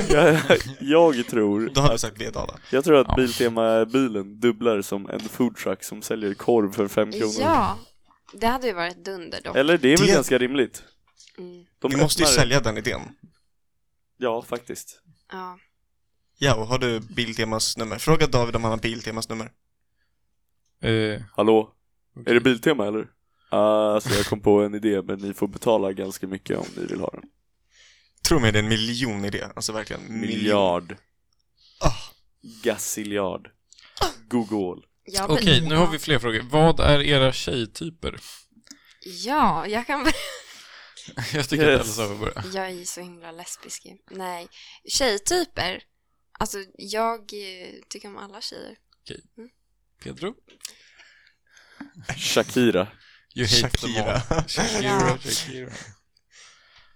Speaker 9: Jag, jag tror...
Speaker 2: Då hade du sagt Vedala.
Speaker 9: Jag tror att
Speaker 1: Ja.
Speaker 9: Biltema-bilen dubblar som en foodtruck som säljer korv för fem kronor.
Speaker 3: Ja, det hade ju varit dunder dock.
Speaker 9: Eller det är väl
Speaker 2: Det-
Speaker 9: ganska rimligt?
Speaker 3: Mm.
Speaker 9: De
Speaker 2: Vi måste ju
Speaker 9: öppnar-
Speaker 2: sälja den idén.
Speaker 9: Ja, faktiskt.
Speaker 3: Ja.
Speaker 2: Ja, och har du Biltemas nummer? Fråga David om han har Biltemas nummer.
Speaker 1: Eh,
Speaker 9: Hallå?
Speaker 1: okej.
Speaker 9: Är det Biltema eller? Ah, Alltså jag kom på en idé men ni får betala ganska mycket om ni vill ha den.
Speaker 2: Tro mig, det är en miljon idé. Alltså verkligen.
Speaker 9: Miljard.
Speaker 2: Ah.
Speaker 9: Gassiljard. Gogol.
Speaker 3: Jag
Speaker 1: Okej,
Speaker 3: vill-
Speaker 1: nu har vi fler frågor. Vad är era tjejtyper?
Speaker 3: Ja, jag kan
Speaker 1: Jag tycker
Speaker 9: Yes.
Speaker 1: att Elsa får börja.
Speaker 3: Jag är ju så himla lesbisk. ju. Nej, tjejtyper. Alltså, jag eh, tycker om alla tjejer.
Speaker 1: Pedro?
Speaker 9: Shakira.
Speaker 1: You hate them all.
Speaker 2: Shakira.
Speaker 1: Shakira, Shakira.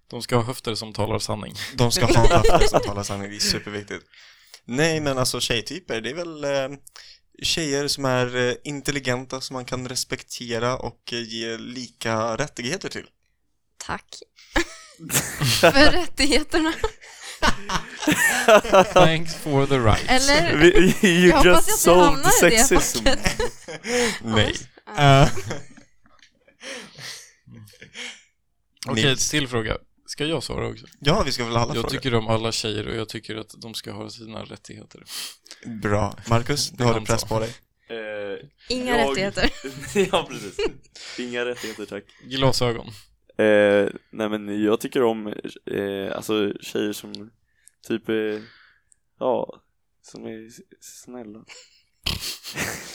Speaker 1: De ska ha höfter som talar sanning.
Speaker 2: De ska ha höfter som talar sanning, det är superviktigt. Nej, men alltså tjejtyper, det är väl eh, tjejer som är eh, intelligenta som man kan respektera och eh, ge lika rättigheter till.
Speaker 3: Tack. För rättigheterna.
Speaker 1: Thanks for the right.
Speaker 3: Eller?
Speaker 9: Vi- You
Speaker 3: Jag hoppas
Speaker 9: just
Speaker 3: att jag hamnar
Speaker 9: sold
Speaker 3: i det
Speaker 9: sexism.
Speaker 2: Nej. Eh,
Speaker 1: Okej,
Speaker 2: Nils.
Speaker 1: till fråga. Ska jag svara också?
Speaker 2: ja, vi ska väl alla
Speaker 1: Jag
Speaker 2: fråga.
Speaker 1: tycker om alla tjejer och jag tycker att de ska ha sina rättigheter.
Speaker 2: Bra. Marcus, nu har du
Speaker 1: han
Speaker 2: press
Speaker 1: sa.
Speaker 2: på dig.
Speaker 9: Eh,
Speaker 3: Inga
Speaker 9: Jag-
Speaker 3: rättigheter.
Speaker 9: ja, precis. Inga rättigheter tack.
Speaker 1: Glasögon.
Speaker 9: Eh, nej men jag tycker om eh, alltså tjejer som typ, eh, ja, som är s- snälla.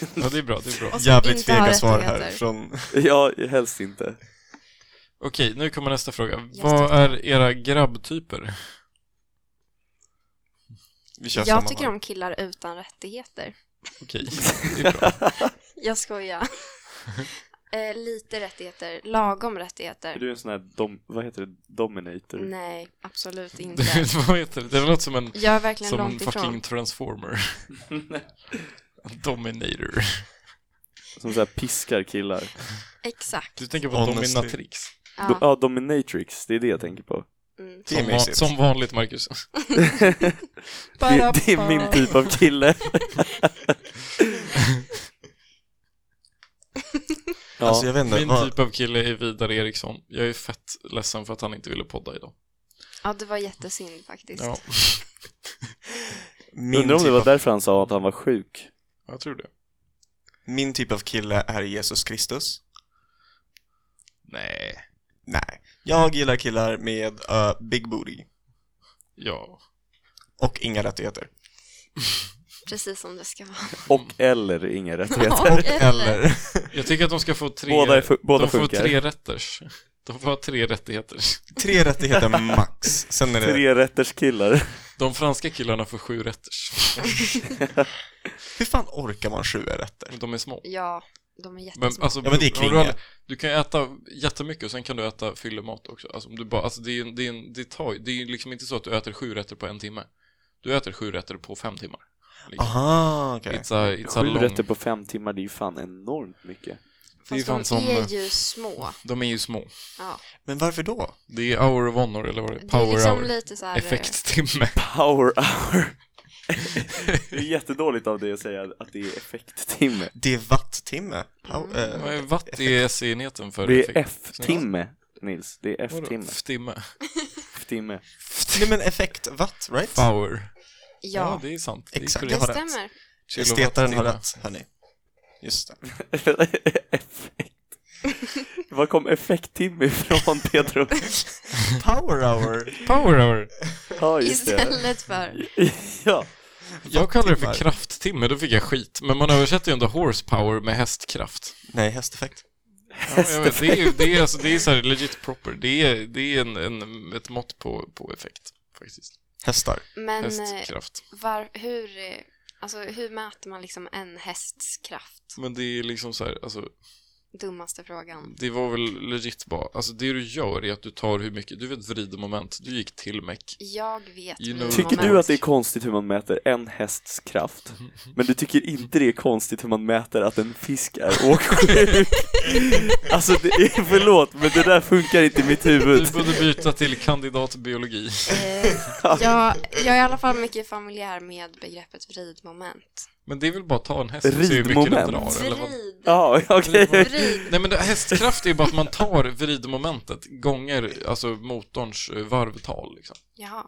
Speaker 1: Ja, det är bra, det är bra.
Speaker 3: Och som
Speaker 2: Jävligt
Speaker 3: inte har
Speaker 2: fega svar här
Speaker 3: rättigheter.
Speaker 2: från...
Speaker 9: ja, helst inte.
Speaker 1: Okej, nu kommer nästa fråga.
Speaker 3: Just
Speaker 1: Vad är era grabbtyper?
Speaker 2: Vi kör samma
Speaker 3: Jag tycker
Speaker 2: här.
Speaker 3: om killar utan rättigheter.
Speaker 1: Okej, det är bra.
Speaker 3: Jag skojar. eh, lite rättigheter. Lagom
Speaker 9: Är
Speaker 3: rättigheter.
Speaker 9: du en sån här, dom, vad heter det, dominator?
Speaker 3: Nej, absolut inte.
Speaker 1: Det, vad heter det? Det låter som en,
Speaker 3: Jag är verkligen
Speaker 1: som en
Speaker 3: långt
Speaker 1: fucking
Speaker 3: ifrån.
Speaker 1: transformer. Dominator.
Speaker 9: Som så här piskar killar.
Speaker 3: Exakt.
Speaker 1: Du tänker på
Speaker 2: Honestly.
Speaker 1: dominatrix.
Speaker 9: Do,
Speaker 3: Ja.
Speaker 9: ja, dominatrix, det är det jag tänker på.
Speaker 3: Mm.
Speaker 2: Det är
Speaker 1: Som, va-
Speaker 2: mysigt.
Speaker 1: som vanligt, Marcus.
Speaker 9: Det, det är min typ av kille. ja,
Speaker 2: Alltså jag vet inte,
Speaker 1: Min
Speaker 2: vad...
Speaker 1: typ av kille är Vidar Eriksson. Jag är fett ledsen för att han inte ville podda idag.
Speaker 3: Ja, det var jättesynd faktiskt.
Speaker 1: Ja,
Speaker 2: min,
Speaker 9: undrar om
Speaker 2: typ
Speaker 9: det var
Speaker 2: av...
Speaker 9: därför han sa att han var sjuk.
Speaker 1: jag tror det.
Speaker 2: min typ av kille är Jesus Kristus.
Speaker 1: Nej.
Speaker 2: Nej. Jag gillar killar med eh, big booty.
Speaker 1: Ja.
Speaker 2: Och inga rättigheter.
Speaker 3: Precis som det ska vara.
Speaker 9: Och eller inga rättigheter.
Speaker 3: Och
Speaker 2: Eller...
Speaker 1: Jag tycker att de ska få tre...
Speaker 9: Båda, är fu- båda
Speaker 1: de får
Speaker 9: funkar.
Speaker 1: tre rätters. De får ha tre rättigheter.
Speaker 2: Tre rättigheter max. Sen är det...
Speaker 9: tre rätters killar.
Speaker 1: De franska killarna får sju rätters.
Speaker 2: Hur fan orkar man sju rätter?
Speaker 1: Men de är små.
Speaker 3: Ja, de är
Speaker 1: Men,
Speaker 3: jättesmå.
Speaker 1: alltså,
Speaker 2: Ja, men det är
Speaker 1: har du
Speaker 2: klinga.
Speaker 1: aldrig- Du kan ju äta jättemycket och sen kan du äta fyllemat också. Alltså, om du bara, alltså, det, är, en- det, är, en- det, tar, ju- det är ju liksom inte så att du äter sju rätter på en timme. Du äter sju rätter på fem timmar. Liksom.
Speaker 2: Aha, okej.
Speaker 1: It's a, it's a
Speaker 9: Sju
Speaker 1: long...
Speaker 9: rätter på fem timmar, det är ju fan enormt mycket.
Speaker 1: Det är ju
Speaker 3: Fast de
Speaker 1: fan som... eh,
Speaker 3: är eh, ju små.
Speaker 1: De är ju små.
Speaker 3: Ja.
Speaker 2: Men varför då?
Speaker 1: Det är hour of honor, eller vad det är?
Speaker 3: Det är
Speaker 1: Power
Speaker 3: liksom
Speaker 1: hour.
Speaker 3: lite så här... eh,
Speaker 1: Effekttimme.
Speaker 9: Power hour. det är jättedåligt av dig att säga att det är effekttimme.
Speaker 2: Det är watt-timme. Pow- eh,
Speaker 1: Vad är watt i SE-enheten för
Speaker 9: Det är
Speaker 1: effekt?
Speaker 9: F-timme, Nils. Det är
Speaker 1: Vadå?
Speaker 9: F-timme.
Speaker 1: F-timme.
Speaker 9: F-timme.
Speaker 2: Nej men effekt-watt, right?
Speaker 1: Power. Ja.
Speaker 3: Ja,
Speaker 1: det är sant.
Speaker 2: Exakt.
Speaker 1: Det är
Speaker 3: det
Speaker 1: korrekt.
Speaker 2: har rätt.
Speaker 3: stämmer.
Speaker 2: Estetaren har
Speaker 1: Kilowattimme.
Speaker 2: rätt, hörni. Just det.
Speaker 9: Effekt. Var kom effekttimme ifrån, Pedro?
Speaker 2: Power hour!
Speaker 1: Power hour.
Speaker 9: Ja, just det.
Speaker 3: Istället för...
Speaker 9: Ja.
Speaker 1: Jag kallar det för
Speaker 2: Timmar.
Speaker 1: krafttimme, då fick jag skit. Men man översätter ju ändå horsepower med hästkraft.
Speaker 2: Nej, hästeffekt.
Speaker 1: Ja, jag vet, det är ju det är, alltså, det är så här legit proper. Det är, det är en, en, ett mått på, på effekt, faktiskt.
Speaker 2: Hästar.
Speaker 3: Men eh,
Speaker 1: Hästkraft.
Speaker 3: var, hur, eh, alltså, hur mäter man liksom en hästs kraft?
Speaker 1: Men det är liksom så här, alltså,
Speaker 3: Dummaste frågan.
Speaker 1: det var väl legit bara, alltså det du gör är att du tar hur mycket, du vet vridemoment, du gick till meck.
Speaker 3: Jag vet
Speaker 1: You
Speaker 3: hur
Speaker 1: know-
Speaker 9: Tycker
Speaker 3: man
Speaker 9: du att det är
Speaker 3: mäter.
Speaker 9: konstigt hur man mäter en hästs kraft? Men du tycker inte det är konstigt hur man mäter att en fisk är åksjuk? Alltså, det är, förlåt, men det där funkar inte i mitt huvud.
Speaker 1: Du borde byta till kandidatbiologi.
Speaker 3: Eh, jag, jag är i alla fall mycket familjär med begreppet vridmoment.
Speaker 1: Men det är väl bara att ta en häst och se hur mycket den
Speaker 9: Ridmoment.
Speaker 1: drar, eller vad?
Speaker 3: Vrid,
Speaker 9: Ja, okej.
Speaker 3: vrid.
Speaker 1: Nej men det- hästkraft är ju bara att man tar vridmomentet gånger alltså motorns eh, varvtal liksom.
Speaker 3: Jaha.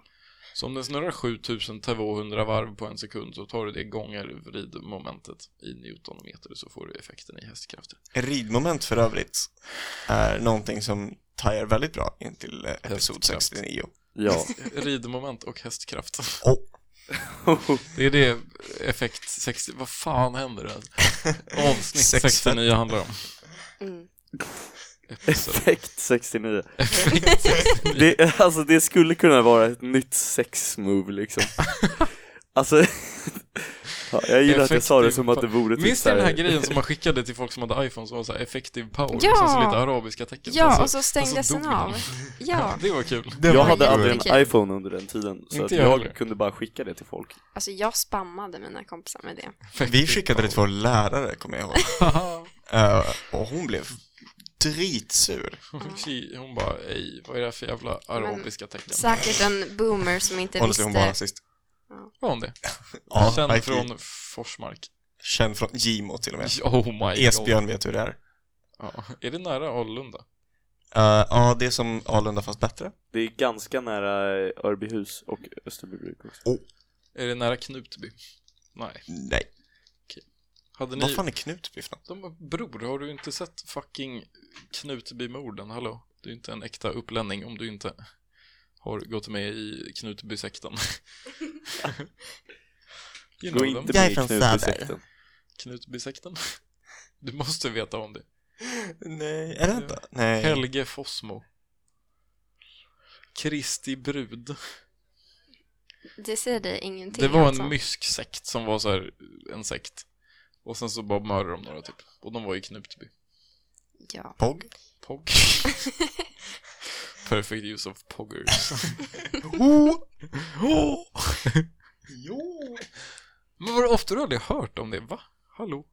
Speaker 1: Så om den snurrar 7200 varv på en sekund så tar du det gånger vridmomentet i newtonmeter så får du effekten i hästkrafter.
Speaker 2: Ridmoment för övrigt är någonting som tajar väldigt bra in till eh, episod
Speaker 1: Hästkraft.
Speaker 2: 69.
Speaker 9: Ja.
Speaker 1: Eh, Ridmoment och hästkraft.
Speaker 2: Oh.
Speaker 1: Det är det effekt 60, vad fan händer det? Avsnitt
Speaker 2: Sex-
Speaker 1: 69 handlar om.
Speaker 3: Mm.
Speaker 1: Episod.
Speaker 9: Effekt 69.
Speaker 1: Effekt 69.
Speaker 9: Det, alltså det skulle kunna vara ett nytt sexmove liksom. Alltså, ja, jag gillar att jag sa det som att det vore typ
Speaker 1: Minns
Speaker 9: så
Speaker 1: ni den här grejen som man skickade till folk som hade iPhone som var så här effective power?
Speaker 3: Ja!
Speaker 1: Som så lite arabiska tecken.
Speaker 3: Ja,
Speaker 1: Sen
Speaker 3: och så stängdes
Speaker 1: sen så
Speaker 3: den
Speaker 1: Alltså, dog
Speaker 3: av. Ja,
Speaker 1: Det var kul.
Speaker 9: Jag hade aldrig
Speaker 3: jättekul.
Speaker 9: en iPhone under den tiden, så
Speaker 1: Inte
Speaker 9: att
Speaker 1: jag
Speaker 9: jag
Speaker 1: heller.
Speaker 9: kunde bara skicka det till folk.
Speaker 3: alltså jag spammade mina kompisar med det.
Speaker 2: Vi skickade det till vår lärare, kommer jag ihåg.
Speaker 1: Haha.
Speaker 2: Eh, och hon blev dritsur.
Speaker 1: Fy, Hon bara, ej, vad är det här för jävla arabiska tecken?
Speaker 3: Säkert en boomer som inte
Speaker 2: Honestly, hon var
Speaker 3: visste.
Speaker 2: rasist.
Speaker 1: Var hon det?
Speaker 2: Ja,
Speaker 1: Känd
Speaker 2: verkligen.
Speaker 1: från Forsmark.
Speaker 2: Känd från Gimo till och med.
Speaker 1: Oh my god.
Speaker 2: Esbjörn vet hur det är.
Speaker 1: Ja. Är det nära Alunda?
Speaker 2: Eh, Ja, det är som Arlunda fast bättre.
Speaker 9: Det är ganska nära eh, Örbyhus och Österbybruk också.
Speaker 1: Är det nära Knutby? Nej.
Speaker 2: Nej.
Speaker 1: Hade ni...
Speaker 2: Vad fan är Knutby för något?
Speaker 1: De bara, bror, har du inte sett fucking Knutbymorden? Hallå? Du är inte en äkta upplänning om du inte har gått med i Knutbysekten. you
Speaker 9: Gå
Speaker 1: know
Speaker 9: inte
Speaker 1: them.
Speaker 9: med
Speaker 2: Jag är
Speaker 9: i
Speaker 2: från
Speaker 9: Knutbysekten.
Speaker 1: Knutbysekten. Du måste vänta om det.
Speaker 2: Nej, är det inte? Nej.
Speaker 1: Helge Fossmo. Kristi brud.
Speaker 3: Det säger dig ingenting
Speaker 1: Det var
Speaker 3: alltså.
Speaker 1: en mysk sekt som var så här en sekt. Och sen så bara mördade de några typ. Och de var i Knutby.
Speaker 3: Ja.
Speaker 2: Pog?
Speaker 1: Pog. Perfect use of poggers.
Speaker 2: Oh!
Speaker 1: Jo!
Speaker 2: Jo!
Speaker 1: Men var det ofta du aldrig hört om det? Va? Hallå?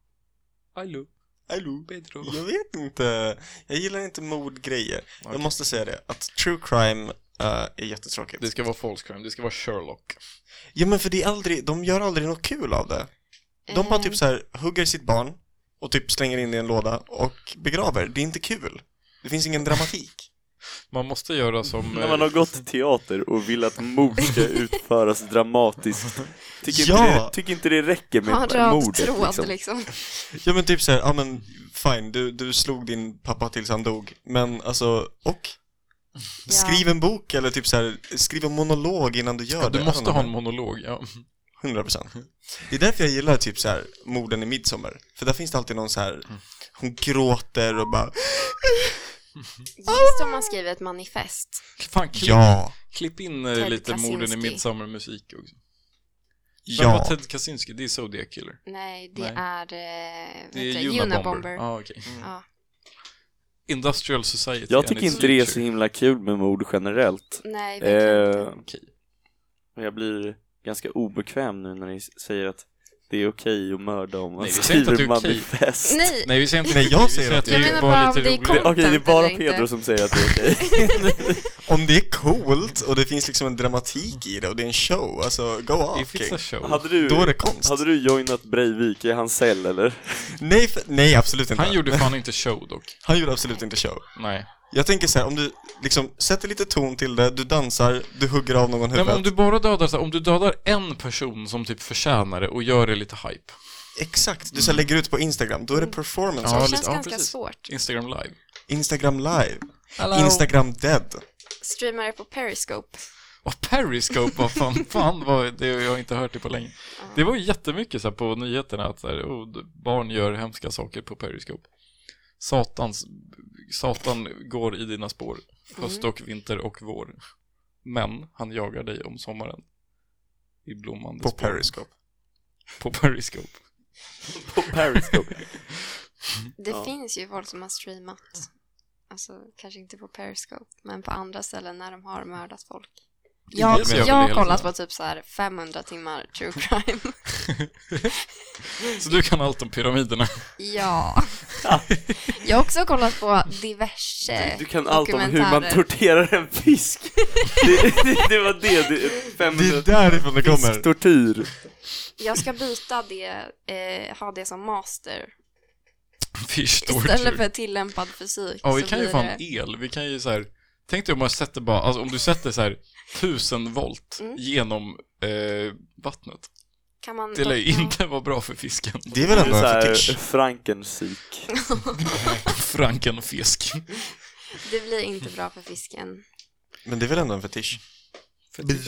Speaker 1: Hallå?
Speaker 2: Hallå?
Speaker 1: Pedro?
Speaker 2: Jag vet inte. Jag gillar inte mordgrejer.
Speaker 1: Okej.
Speaker 2: Jag måste säga det, att true crime eh, är jättetråkigt.
Speaker 1: Det ska vara false crime, det ska vara Sherlock.
Speaker 2: Ja men för det är aldrig, de gör aldrig något kul av det. De bara
Speaker 3: Eh,
Speaker 2: typ så här hugger sitt barn och typ slänger in det i en låda och begraver. Det är inte kul. Det finns ingen dramatik.
Speaker 1: Man måste göra som...
Speaker 9: När man har
Speaker 1: eh,
Speaker 9: gått till teater och vill att mord ska utföras dramatiskt. Tycker, inte,
Speaker 2: Ja.
Speaker 9: det, tycker inte det räcker med
Speaker 3: Ha en röd
Speaker 9: mordet
Speaker 3: tråd
Speaker 9: liksom.
Speaker 3: liksom.
Speaker 2: Ja men typ såhär, ja men fine, du, du slog din pappa tills han dog, men alltså, och? Skriv en bok eller typ såhär, skriv en monolog innan du gör
Speaker 1: ja,
Speaker 2: det. Alltså,
Speaker 1: du
Speaker 2: I
Speaker 1: måste
Speaker 2: don't
Speaker 1: ha en
Speaker 2: know.
Speaker 1: monolog, ja.
Speaker 2: 100% Det är därför jag gillar typ så här morden i midsommar För där finns det alltid någon så här Hon gråter och bara
Speaker 3: Just
Speaker 1: Ah!
Speaker 3: om man skriver ett manifest.
Speaker 1: Fan, klipp,
Speaker 2: Ja,
Speaker 1: klipp in eh,
Speaker 3: Ted
Speaker 1: lite morden i
Speaker 3: Kaczynski.
Speaker 1: midsommarmusik också. Ja. var
Speaker 2: ja
Speaker 1: Ted Kaczynski? Det är Zodiac Killer.
Speaker 3: Nej, det
Speaker 1: Nej.
Speaker 3: är... Eh,
Speaker 1: Det är
Speaker 3: Unabomber. Mm.
Speaker 1: Unabomber. Ja, okej. Mm.
Speaker 3: Ja.
Speaker 1: Industrial Society.
Speaker 9: Jag
Speaker 1: and
Speaker 9: tycker
Speaker 1: its
Speaker 9: inte det är så
Speaker 1: future.
Speaker 9: himla kul med mord generellt.
Speaker 3: Nej, verkligen inte.
Speaker 9: Eh,
Speaker 1: Okej.
Speaker 9: jag blir ganska obekväm nu när ni s- säger att det är okej att mörda om man
Speaker 1: Nej, vi säger inte att det
Speaker 9: skriver
Speaker 1: är okej.
Speaker 9: manifest.
Speaker 3: Nej,
Speaker 1: Nej, vi säger inte
Speaker 2: Nej, jag
Speaker 1: vi
Speaker 2: säger att
Speaker 1: att det
Speaker 3: jag
Speaker 1: är
Speaker 3: menar
Speaker 1: bara
Speaker 3: bara om
Speaker 1: lite
Speaker 3: det är
Speaker 1: roligt.
Speaker 9: Det- Okej, det är bara
Speaker 3: Content eller
Speaker 9: Pedro
Speaker 3: inte.
Speaker 9: som säger att det är okej.
Speaker 2: Om det är coolt och det finns liksom en dramatik i det och det är en show, alltså go
Speaker 1: If
Speaker 2: off
Speaker 1: it's
Speaker 2: king.
Speaker 1: a show.
Speaker 9: Hade du,
Speaker 2: Då är det konst
Speaker 9: hade du joinat Breivik i hans cell eller?
Speaker 2: nej, för, nej, absolut inte
Speaker 1: Han gjorde fan inte show dock.
Speaker 2: Han gjorde absolut inte show
Speaker 1: Nej.
Speaker 2: Jag tänker så här, om du liksom sätter lite ton till det, du dansar, du hugger av någon
Speaker 1: Nej,
Speaker 2: huvudet
Speaker 1: men om du bara dödar, så här, om du dödar en person som typ förtjänar det och gör det lite hype.
Speaker 2: Exakt, du så här, lägger ut på Instagram, då är det performance
Speaker 1: Mm. Ja,
Speaker 3: det
Speaker 1: lite-
Speaker 3: känns
Speaker 1: ja,
Speaker 3: ganska
Speaker 1: precis.
Speaker 3: svårt.
Speaker 1: Instagram live.
Speaker 2: Instagram live, Instagram dead
Speaker 3: Streamar det på Periscope.
Speaker 1: Och Periscope, vad fan, fan vad det jag har inte hört det på länge. Det var ju jättemycket så här på nyheterna att så här, oh, d- barn gör hemska saker på Periscope. Satans, satan går i dina spår, höst och vinter och vår. Men han jagar dig om sommaren. I blommande
Speaker 2: på
Speaker 1: spår.
Speaker 2: Periscope
Speaker 1: På Periscope.
Speaker 9: På Periscope?
Speaker 1: Mm.
Speaker 3: Det
Speaker 9: Ja.
Speaker 3: finns ju folk som har streamat. Alltså, kanske inte på Periscope, men på andra ställen när de har mördat folk. Jag,
Speaker 1: Yes, jag vill
Speaker 3: jag har
Speaker 1: hela
Speaker 3: kollat
Speaker 1: tiden.
Speaker 3: på typ så här 500 timmar true crime.
Speaker 1: Så du kan allt om pyramiderna.
Speaker 3: ja. jag har också kollat på diverse
Speaker 9: Du kan allt om hur man
Speaker 3: dokumentärer.
Speaker 9: torterar en fisk. Det, det, det var det, det 500
Speaker 2: därifrån det
Speaker 9: fisktortyr.
Speaker 3: Jag ska byta det, eh, ha det som master.
Speaker 1: Fish
Speaker 3: Istället
Speaker 1: torture.
Speaker 3: för tillämpad fysik.
Speaker 1: Ja, vi
Speaker 3: så
Speaker 1: kan ju
Speaker 3: blir
Speaker 1: fan
Speaker 3: det-
Speaker 1: el. Vi kan ju så här. Tänk dig om man sätter bara, alltså om du sätter så här 1000 volt
Speaker 3: Mm.
Speaker 1: genom eh, vattnet.
Speaker 3: Kan man
Speaker 1: Det lär ju
Speaker 3: Ja.
Speaker 1: inte vara bra för fisken.
Speaker 2: Det är väl ändå en fetisch?
Speaker 9: Frankensyk.
Speaker 1: Frankenfisk.
Speaker 3: Det blir inte bra för fisken.
Speaker 2: Men det är väl ändå en fetisch?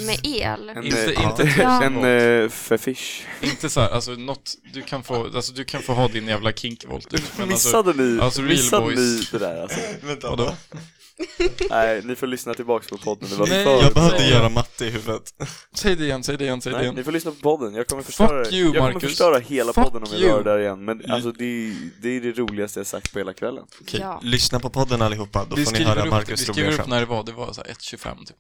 Speaker 3: Med el.
Speaker 1: Inte,
Speaker 2: Ja.
Speaker 1: inte
Speaker 3: Ja.
Speaker 1: tusen
Speaker 9: En
Speaker 1: volt.
Speaker 9: eh, fefish.
Speaker 1: Inte så här, alltså något, du kan få, alltså du kan få ha din jävla kinkvolt. ut, Men alltså,
Speaker 9: Missade ni,
Speaker 1: alltså, real
Speaker 9: missade ni
Speaker 1: boys.
Speaker 9: det där alltså?
Speaker 2: Vänta,
Speaker 1: Vadå?
Speaker 9: Nej, ni får lyssna tillbaks på podden. Det var
Speaker 1: Nej,
Speaker 9: för
Speaker 2: Jag behövde
Speaker 9: bra.
Speaker 2: göra matte i huvudet.
Speaker 1: säg det igen, säg det igen, säg det
Speaker 9: Nej, ni
Speaker 1: igen.
Speaker 9: får lyssna på podden. Jag kommer förstöra,
Speaker 1: Fuck you,
Speaker 9: jag kommer
Speaker 1: Marcus.
Speaker 9: förstöra hela
Speaker 1: Fuck
Speaker 9: podden om jag
Speaker 1: you. Mm.
Speaker 9: rör det där igen. Men alltså, det, är- det är det roligaste jag sagt på hela kvällen.
Speaker 3: Ja.
Speaker 2: Lyssna på podden allihopa, då
Speaker 1: Vi
Speaker 2: får ni höra
Speaker 1: skriver, upp, vi
Speaker 2: Marcus roliga
Speaker 1: skriver upp
Speaker 2: skämt.
Speaker 1: när det var, det var så här 1.25 typ.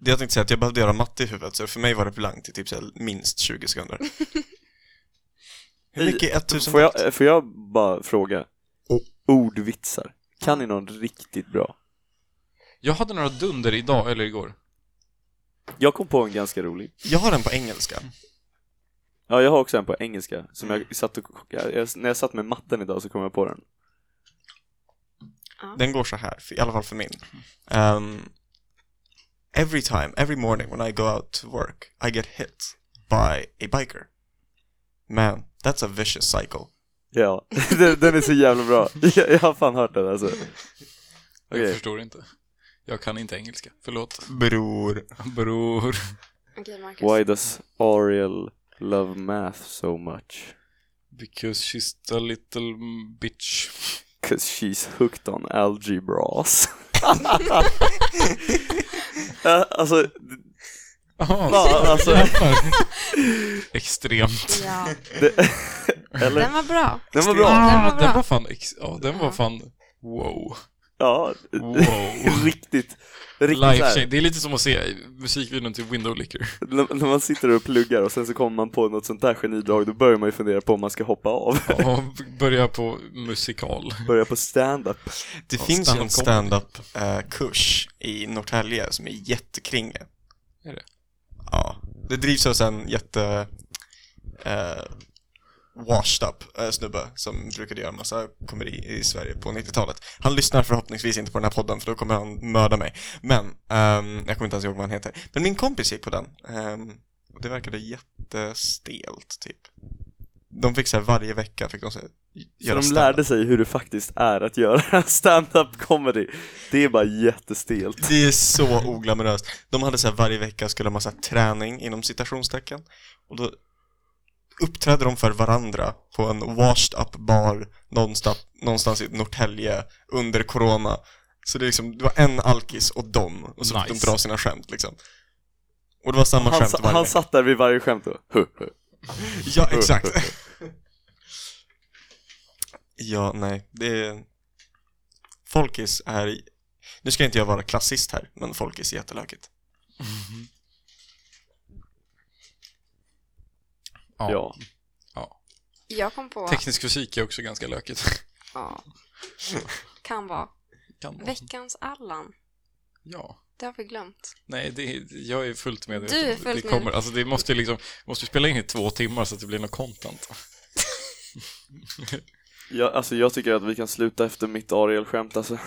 Speaker 2: Det jag tänkte säga att jag behövde göra matte i huvudet, så för mig var det blankt i typ så här minst 20 sekunder. Hur mycket är 1000
Speaker 9: Får
Speaker 2: volt?
Speaker 9: jag, eh, får jag bara fråga?
Speaker 1: Oh.
Speaker 9: Ordvitsar. Kan ni någon riktigt bra?
Speaker 1: Jag hade några dunder idag, eller igår.
Speaker 9: Jag kom på en ganska rolig.
Speaker 2: Jag har den på engelska.
Speaker 9: Ja, jag har också en på engelska. Som jag satt och, jag, jag- när jag satt med matten idag så kom jag på den.
Speaker 2: Den går så här, för, i alla fall för min. Um, every time, every morning when I go out to work, I get hit by a biker. Man, that's a vicious cycle.
Speaker 9: Ja, den, den är så jävla bra. Jag, jag har fan hört den alltså.
Speaker 1: Jag
Speaker 9: Okej.
Speaker 1: förstår inte. Jag kan inte engelska, förlåt.
Speaker 2: Bror.
Speaker 1: Bror.
Speaker 3: Okej, Marcus.
Speaker 9: Why does Ariel love math so much?
Speaker 1: Because she's a little bitch.
Speaker 9: Cause she's hooked on algebras. Eh, alltså, ja, alltså
Speaker 1: Extremt.
Speaker 3: Ja.
Speaker 9: eller,
Speaker 3: Den var bra.
Speaker 9: den var bra.
Speaker 3: Den var
Speaker 1: Den
Speaker 3: bra.
Speaker 1: var fan, ex- ja den var fan, wow.
Speaker 9: Ja,
Speaker 1: Wow.
Speaker 9: riktigt, riktigt
Speaker 1: Life
Speaker 9: såhär,
Speaker 1: change. Det är lite som att se musikvideon till Window Licker.
Speaker 9: när, när man sitter och pluggar och sen så kommer man på något sånt där genidrag, då börjar man ju fundera på om man ska hoppa av,
Speaker 1: Ja, börja på musikal.
Speaker 9: börja på stand-up.
Speaker 2: Det
Speaker 1: Ja,
Speaker 2: finns ju en
Speaker 1: stand-up
Speaker 2: stand-up-kurs eh, i Norrtälje som är jättekringlig.
Speaker 1: Är det?
Speaker 2: Ja. Det drivs av en jätte... eh, washed up eh, snubbe som brukade göra massa komedi i Sverige på 90-talet. Han lyssnar förhoppningsvis inte på den här podden för då kommer han mörda mig. Men, ehm, jag kommer inte ens ihåg vad han heter. Men min kompis gick på den. ehm, och det verkade jättestelt, typ. De fick så här varje vecka fick de så här,
Speaker 9: Så
Speaker 2: göra
Speaker 9: de
Speaker 2: stand-up.
Speaker 9: lärde sig hur det faktiskt är att göra stand-up comedy. Det är bara jättestelt.
Speaker 2: Det är så oglamoröst. De hade så här varje vecka skulle de ha så här träning inom citationstecken. Och då uppträdde de för varandra på en washed up bar någonstans, någonstans i Norrtälje under corona. Så det, är liksom, det var en alkis och dem, och så fick de
Speaker 1: Nice.
Speaker 2: dra sina skämt liksom. Och det var samma
Speaker 9: Han,
Speaker 2: skämt
Speaker 9: sa-
Speaker 2: varje
Speaker 9: han
Speaker 2: vecka.
Speaker 9: satt där vid varje skämt och
Speaker 2: Ja, exakt. ja, nej. Det är... Folkis är... Nu ska inte jag vara klassist här, men folkis är jättelökigt.
Speaker 9: Ja.
Speaker 3: Jag kom på...
Speaker 1: Teknisk fysik är också ganska lökigt.
Speaker 3: Ja. Kan vara.
Speaker 1: Kan vara.
Speaker 3: Veckans Allan.
Speaker 1: Ja.
Speaker 3: Det har vi glömt.
Speaker 1: Nej, det, jag är fullt medveten.
Speaker 3: Du är
Speaker 1: om det.
Speaker 3: fullt
Speaker 1: det kommer,
Speaker 3: medveten.
Speaker 1: alltså det måste ju liksom, måste ju spela in i två timmar så att det blir något content.
Speaker 9: Jag, alltså jag tycker att vi kan sluta efter mitt Ariel-skämt alltså.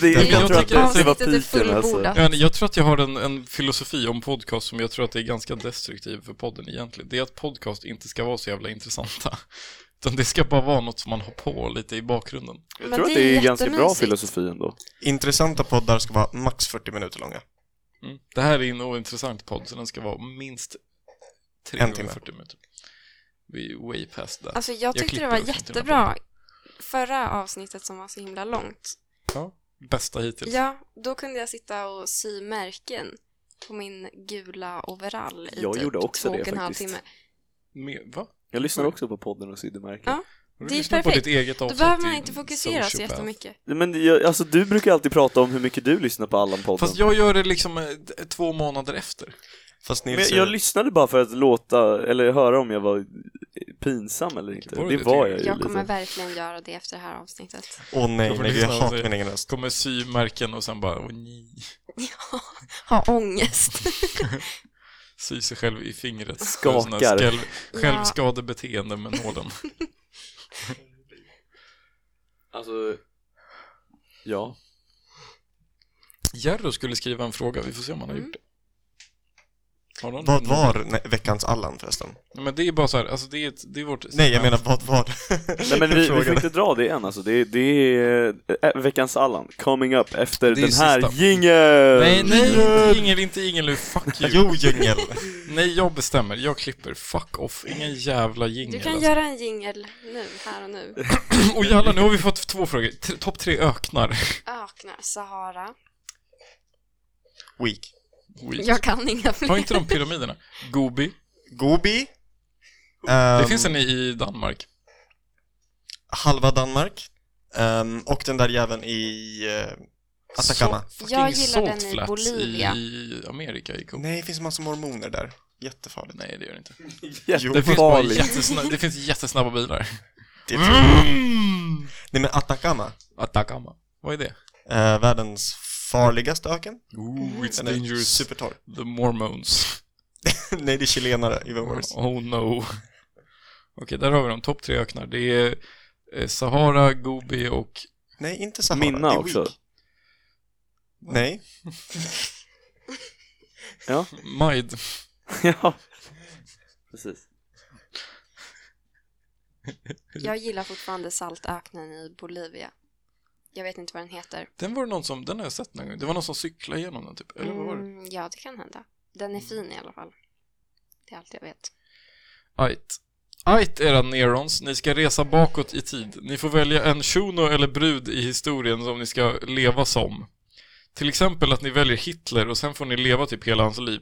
Speaker 9: det,
Speaker 1: Jag
Speaker 9: jag tror att
Speaker 1: tycker-
Speaker 9: det var
Speaker 3: avsnittet är
Speaker 9: piken alltså.
Speaker 3: fullbordat.
Speaker 1: Ja, Jag tror att jag har en, en filosofi om podcast som jag tror att det är ganska destruktiv för podden egentligen. Det är att podcast inte ska vara så jävla intressanta. Utan det ska bara vara något som man har på lite i bakgrunden.
Speaker 9: Jag
Speaker 3: Men
Speaker 9: tror att
Speaker 3: det är
Speaker 9: det är ganska bra
Speaker 3: jättemysigt.
Speaker 9: filosofi ändå.
Speaker 2: Intressanta poddar ska vara max 40 minuter långa.
Speaker 1: Mm. Det här är en ointressant podd så den ska vara minst
Speaker 2: En timme.
Speaker 1: 340 minuter. Vi är way past där.
Speaker 3: Alltså jag tyckte det
Speaker 1: klipper
Speaker 3: var
Speaker 1: också inte den här
Speaker 3: jättebra förra avsnittet som var så himla långt.
Speaker 1: Ja, bästa hittills.
Speaker 3: Ja, då kunde jag sitta och sy märken på min gula overall i
Speaker 9: Jag
Speaker 3: typ
Speaker 9: gjorde också
Speaker 3: två
Speaker 9: det
Speaker 3: och en halv
Speaker 9: faktiskt.
Speaker 3: timme.
Speaker 1: Med, va?
Speaker 9: Jag lyssnar också på podden och sydde märken.
Speaker 3: Ja.
Speaker 1: Har
Speaker 3: Det
Speaker 1: du
Speaker 3: är
Speaker 1: lyssnat På
Speaker 3: perfekt.
Speaker 1: ditt eget
Speaker 3: Då
Speaker 1: avsnitt
Speaker 3: behöver man
Speaker 1: i
Speaker 3: inte fokusera så
Speaker 1: Sociopath?
Speaker 3: jättemycket.
Speaker 9: Men jag, alltså du brukar alltid prata om hur mycket du lyssnar på Allan-podden.
Speaker 1: Fast jag gör det liksom eh, d- två månader efter.
Speaker 2: Fast
Speaker 9: Men
Speaker 2: Nils,
Speaker 9: jag lyssnade bara för att låta, eller höra om jag var pinsam eller inte.
Speaker 1: Var
Speaker 9: Det,
Speaker 1: du det,
Speaker 9: var
Speaker 1: tycker
Speaker 9: jag ju
Speaker 3: Jag kommer
Speaker 9: lite.
Speaker 3: verkligen göra det efter det här avsnittet.
Speaker 2: åh nej,
Speaker 1: får
Speaker 2: nej, jag
Speaker 1: lyssna alltså."
Speaker 2: hatar
Speaker 1: och se.
Speaker 2: min egen röst.
Speaker 1: Kommer symärken och sen bara, åh nej.
Speaker 3: Ha ångest.
Speaker 1: Sy sig själv i fingret.
Speaker 9: Skakar.
Speaker 1: Sån här Själv,
Speaker 3: Ja.
Speaker 1: självskadebeteende med nålen.
Speaker 9: Alltså, ja.
Speaker 1: Jerro skulle skriva en fråga, vi får se om han har
Speaker 3: Mm.
Speaker 1: gjort det. Har någon
Speaker 2: Vad var nej, veckans Allan förresten?
Speaker 1: Nej, men det är bara så här, alltså det är, ett, det är vårt...
Speaker 2: Nej, jag menar vad var
Speaker 9: Nej men vi, vi får
Speaker 2: Frågan.
Speaker 9: inte dra det än alltså. Det, det är äh, veckans Allan, coming up efter
Speaker 1: Det är
Speaker 9: den här
Speaker 1: sista.
Speaker 9: jingeln!
Speaker 1: Nej, nej, ingen, inte ingen nu, fuck you.
Speaker 2: Jo, djungel!
Speaker 1: Nej, jag bestämmer, jag klipper, fuck off, ingen jävla
Speaker 3: Du
Speaker 1: jingel.
Speaker 3: kan
Speaker 1: alltså.
Speaker 3: göra en jingel nu, här och nu.
Speaker 1: Och jävlar, nu har vi fått två frågor. T- Topp tre öknar.
Speaker 3: Öknar, Sahara.
Speaker 2: Week.
Speaker 1: Weak.
Speaker 3: Jag kan inga fler.
Speaker 1: Var inte de pyramiderna? Gobi.
Speaker 2: Gobi.
Speaker 1: Det
Speaker 2: Ehm,
Speaker 1: finns en i Danmark.
Speaker 2: halva Danmark Ehm, och den där jäveln i eh, Atacama.
Speaker 1: Så- fucking
Speaker 3: Jag gillar den i
Speaker 1: salt flats
Speaker 3: Bolivia.
Speaker 1: i Amerika. I Kuba.
Speaker 2: Nej, det finns en massa mormoner där. Jättefarligt.
Speaker 1: Nej, det gör det inte. Det finns, bara
Speaker 9: Jättefarligt!
Speaker 1: jättesna- det finns jättesnabba bilar.
Speaker 2: Det är
Speaker 1: Mm.
Speaker 2: Nej, men Atacama,
Speaker 1: Atacama. Vad är det?
Speaker 2: eh, världens farligaste öken.
Speaker 1: Ooh, it's
Speaker 2: Den är
Speaker 1: dangerous.
Speaker 2: supertorr.
Speaker 1: The Mormons.
Speaker 2: Nej, det är chilenare, even worse.
Speaker 1: Oh no. Okej, där har vi dem. Topp tre öknar. Det är eh, Sahara, Gobi och...
Speaker 2: Nej, inte Sahara.
Speaker 9: Minna
Speaker 2: det är
Speaker 9: också.
Speaker 2: Week. Nej,
Speaker 1: Maid.
Speaker 9: ja, precis.
Speaker 3: Jag gillar fortfarande saltöknen i Bolivia. Jag vet inte vad den heter.
Speaker 1: Den var det någon som... Den har jag sett någon gång. Det var någon som cyklade igenom den typ. Eller vad var det? Mm.
Speaker 3: Mm, ja, det kan hända. Den är fin i alla fall. Det är allt jag vet.
Speaker 1: Ajt. Ajt era nerons, ni ska resa bakåt i tid. Ni får välja en shuno eller brud i historien som ni ska leva som. Till exempel att ni väljer Hitler och sen får ni leva typ hela hans liv.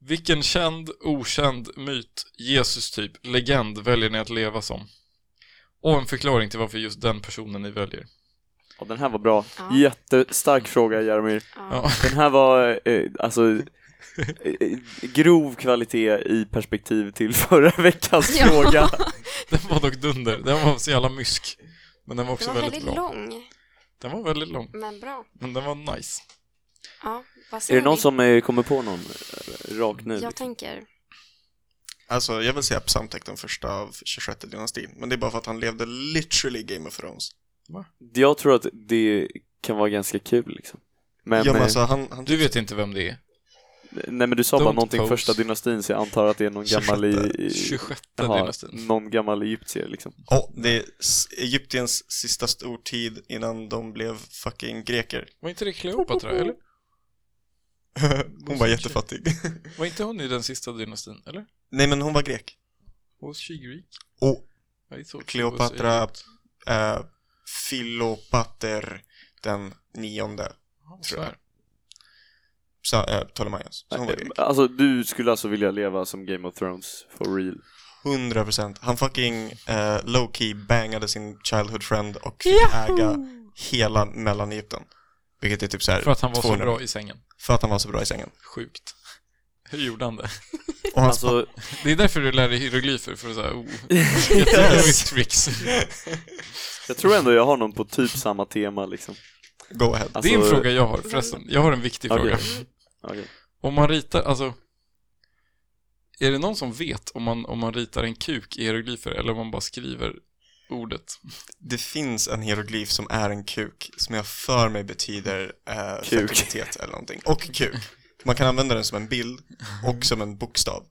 Speaker 1: Vilken känd, okänd myt, Jesus typ, legend väljer ni att leva som? Och en förklaring till varför just den personen ni väljer.
Speaker 9: Ja, den här var bra.
Speaker 3: Ja.
Speaker 9: Jättestark fråga Jaromir.
Speaker 1: Ja.
Speaker 9: Den här var eh, alltså eh, grov kvalitet i perspektiv till förra veckans
Speaker 3: Ja.
Speaker 9: fråga.
Speaker 1: Den var dock dunder, den var så jävla mysk. Men den var också
Speaker 3: Den var
Speaker 1: väldigt
Speaker 3: väldigt
Speaker 1: bra.
Speaker 3: lång,
Speaker 1: Den var väldigt lång,
Speaker 3: men bra.
Speaker 1: men den var nice.
Speaker 3: Ja, vad
Speaker 9: Är
Speaker 3: säger
Speaker 9: det någon
Speaker 3: vi?
Speaker 9: som eh, kommer på någon eh, rakt nu?
Speaker 3: Jag tänker
Speaker 2: Alltså, jag vill säga Psamtek den första av 26 dynastin, men det är bara för att han levde literally Game of Thrones.
Speaker 9: Jag tror att det kan vara ganska kul liksom. Men,
Speaker 2: ja, men
Speaker 9: eh,
Speaker 2: alltså, han, han
Speaker 1: Du vet inte vem det är?
Speaker 9: nej men du sa bara
Speaker 1: don't
Speaker 9: någonting
Speaker 1: pose.
Speaker 9: första dynastin så jag antar att det är någon gammal i... i
Speaker 1: 26
Speaker 9: jaha,
Speaker 1: dynastin.
Speaker 9: någon gammal egyptier liksom.
Speaker 2: Ja, det är s- Egyptens sista stortid innan de blev fucking greker.
Speaker 1: Var inte det Kleopatra, eller?
Speaker 2: hon var jättefattig.
Speaker 1: Var inte hon i den sista dynastin, eller?
Speaker 2: Nej, men hon var grek.
Speaker 1: Was she Greek?
Speaker 2: Och
Speaker 1: I thought she was
Speaker 2: Kleopatra
Speaker 1: Egypt.
Speaker 2: eh, Filopater den nionde,
Speaker 1: Ja,
Speaker 2: tror jag.
Speaker 1: sådär.
Speaker 2: Så, eh, Ptolemaios. Så hon var grek.
Speaker 9: Alltså du skulle alltså vilja leva som Game of Thrones for real?
Speaker 2: 100 procent. Han fucking eh, low-key bangade sin childhood friend och fick äga hela Mellanegypten. Vilket är typ såhär
Speaker 1: För att han var så
Speaker 2: 200.
Speaker 1: bra i sängen.
Speaker 2: För att han var så bra i sängen.
Speaker 1: Sjukt. Hur gjorde han det?
Speaker 2: Och hans
Speaker 9: Alltså,
Speaker 1: Det är därför du lär dig hieroglyfer, för att säga oh, jag tycker det är tricks.
Speaker 2: Alltså-
Speaker 9: jag tror ändå jag har någon på typ samma tema liksom.
Speaker 2: pappa- go ahead.
Speaker 9: Alltså,
Speaker 1: Det är en fråga jag har förresten. Jag har en viktig
Speaker 9: Okej.
Speaker 1: fråga.
Speaker 9: Okej.
Speaker 1: Om man ritar, alltså Är det någon som vet om man, om man ritar en kuk i hieroglyfer eller om man bara skriver ordet?
Speaker 2: Det finns en hieroglyf som är en kuk, som jag för mig betyder eh,
Speaker 9: Kuk.
Speaker 2: fertilitet eller någonting. Och kuk. Man kan använda den som en bild och som en bokstav.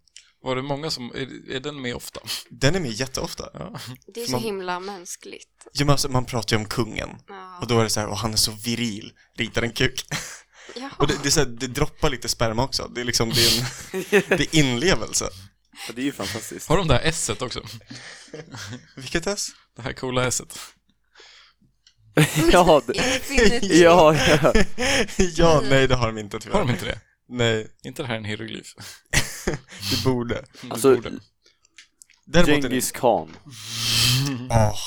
Speaker 1: Var det många som, är, är den med ofta?
Speaker 2: Den är med jätteofta.
Speaker 1: Ja.
Speaker 3: Det är så
Speaker 2: Man-
Speaker 3: himla mänskligt.
Speaker 2: Ja, men alltså, man pratar ju om kungen.
Speaker 3: Ja.
Speaker 2: Och då är det så här, och han är så viril, ritar en kuk.
Speaker 3: Ja.
Speaker 2: Och det, det, är så här, det droppar lite sperma också. Det är liksom, det är, en, det är inlevelse.
Speaker 9: Ja, Det är ju fantastiskt.
Speaker 1: Har de det här esset också?
Speaker 2: Vilket S?
Speaker 1: Det här coola esset?
Speaker 9: ja, det,
Speaker 3: Infinity.
Speaker 9: ja, ja.
Speaker 2: ja, nej det har de inte tyvärr.
Speaker 1: Har de inte det?
Speaker 2: Nej,
Speaker 1: inte det här en hieroglyf?
Speaker 2: det borde.
Speaker 1: Det
Speaker 9: Alltså,
Speaker 1: borde.
Speaker 2: Däremot är det...
Speaker 9: Genghis khan.
Speaker 2: Åh,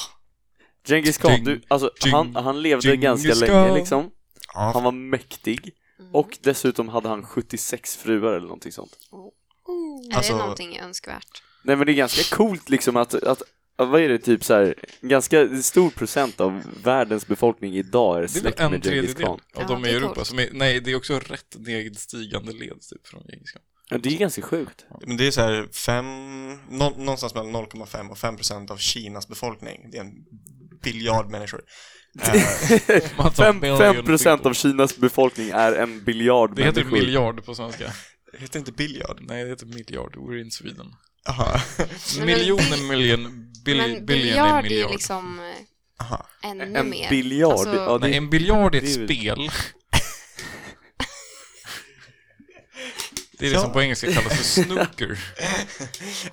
Speaker 9: Genghis khan,
Speaker 1: Geng-
Speaker 9: du, alltså
Speaker 1: Geng-
Speaker 9: han, han levde
Speaker 1: Genghis
Speaker 9: ganska länge
Speaker 1: khan.
Speaker 9: liksom.
Speaker 2: ja.
Speaker 9: Han var mäktig.
Speaker 3: Mm.
Speaker 9: Och dessutom hade han 76 fruar eller någonting sånt.
Speaker 3: Mm. Är
Speaker 2: Alltså-
Speaker 3: det någonting önskvärt?
Speaker 9: Nej men det är ganska coolt liksom att, att vad är det typ så här, ganska stor procent av världens befolkning idag är
Speaker 1: Det är väl
Speaker 9: släkt
Speaker 1: en
Speaker 9: med Genghis
Speaker 1: tredjedel
Speaker 9: khan.
Speaker 1: av
Speaker 3: Ja,
Speaker 1: de
Speaker 3: det
Speaker 1: i
Speaker 3: är
Speaker 1: Europa
Speaker 3: coolt.
Speaker 1: som är, nej det är också rätt nedstigande led typ från Genghis khan.
Speaker 9: Ja, det är ganska sjukt.
Speaker 2: Men det är så här fem, nå- någonstans mellan 0,5 och 5 procent av Kinas befolkning. Det är en biljard människor. Eh,
Speaker 1: Man tar
Speaker 9: Fem-
Speaker 1: Alltså, billion
Speaker 9: 5 procent
Speaker 1: people.
Speaker 9: av Kinas befolkning är en biljard
Speaker 1: Det heter
Speaker 9: människor.
Speaker 1: miljard på svenska.
Speaker 2: heter inte biljard?
Speaker 1: Nej, det heter miljard. We're in Sweden.
Speaker 2: Aha.
Speaker 3: Men-
Speaker 1: Miljoner, million, bil,
Speaker 3: Men
Speaker 1: billion är
Speaker 3: biljard är ju
Speaker 1: miljard.
Speaker 3: liksom eh,
Speaker 2: Aha.
Speaker 3: ännu
Speaker 9: En
Speaker 3: mer.
Speaker 9: biljard?
Speaker 3: Alltså,
Speaker 9: ja, det,
Speaker 1: Nej, en biljard är ett
Speaker 9: det är ju-
Speaker 1: spel. Det är det
Speaker 2: Ja.
Speaker 1: som på engelska kallas för snooker.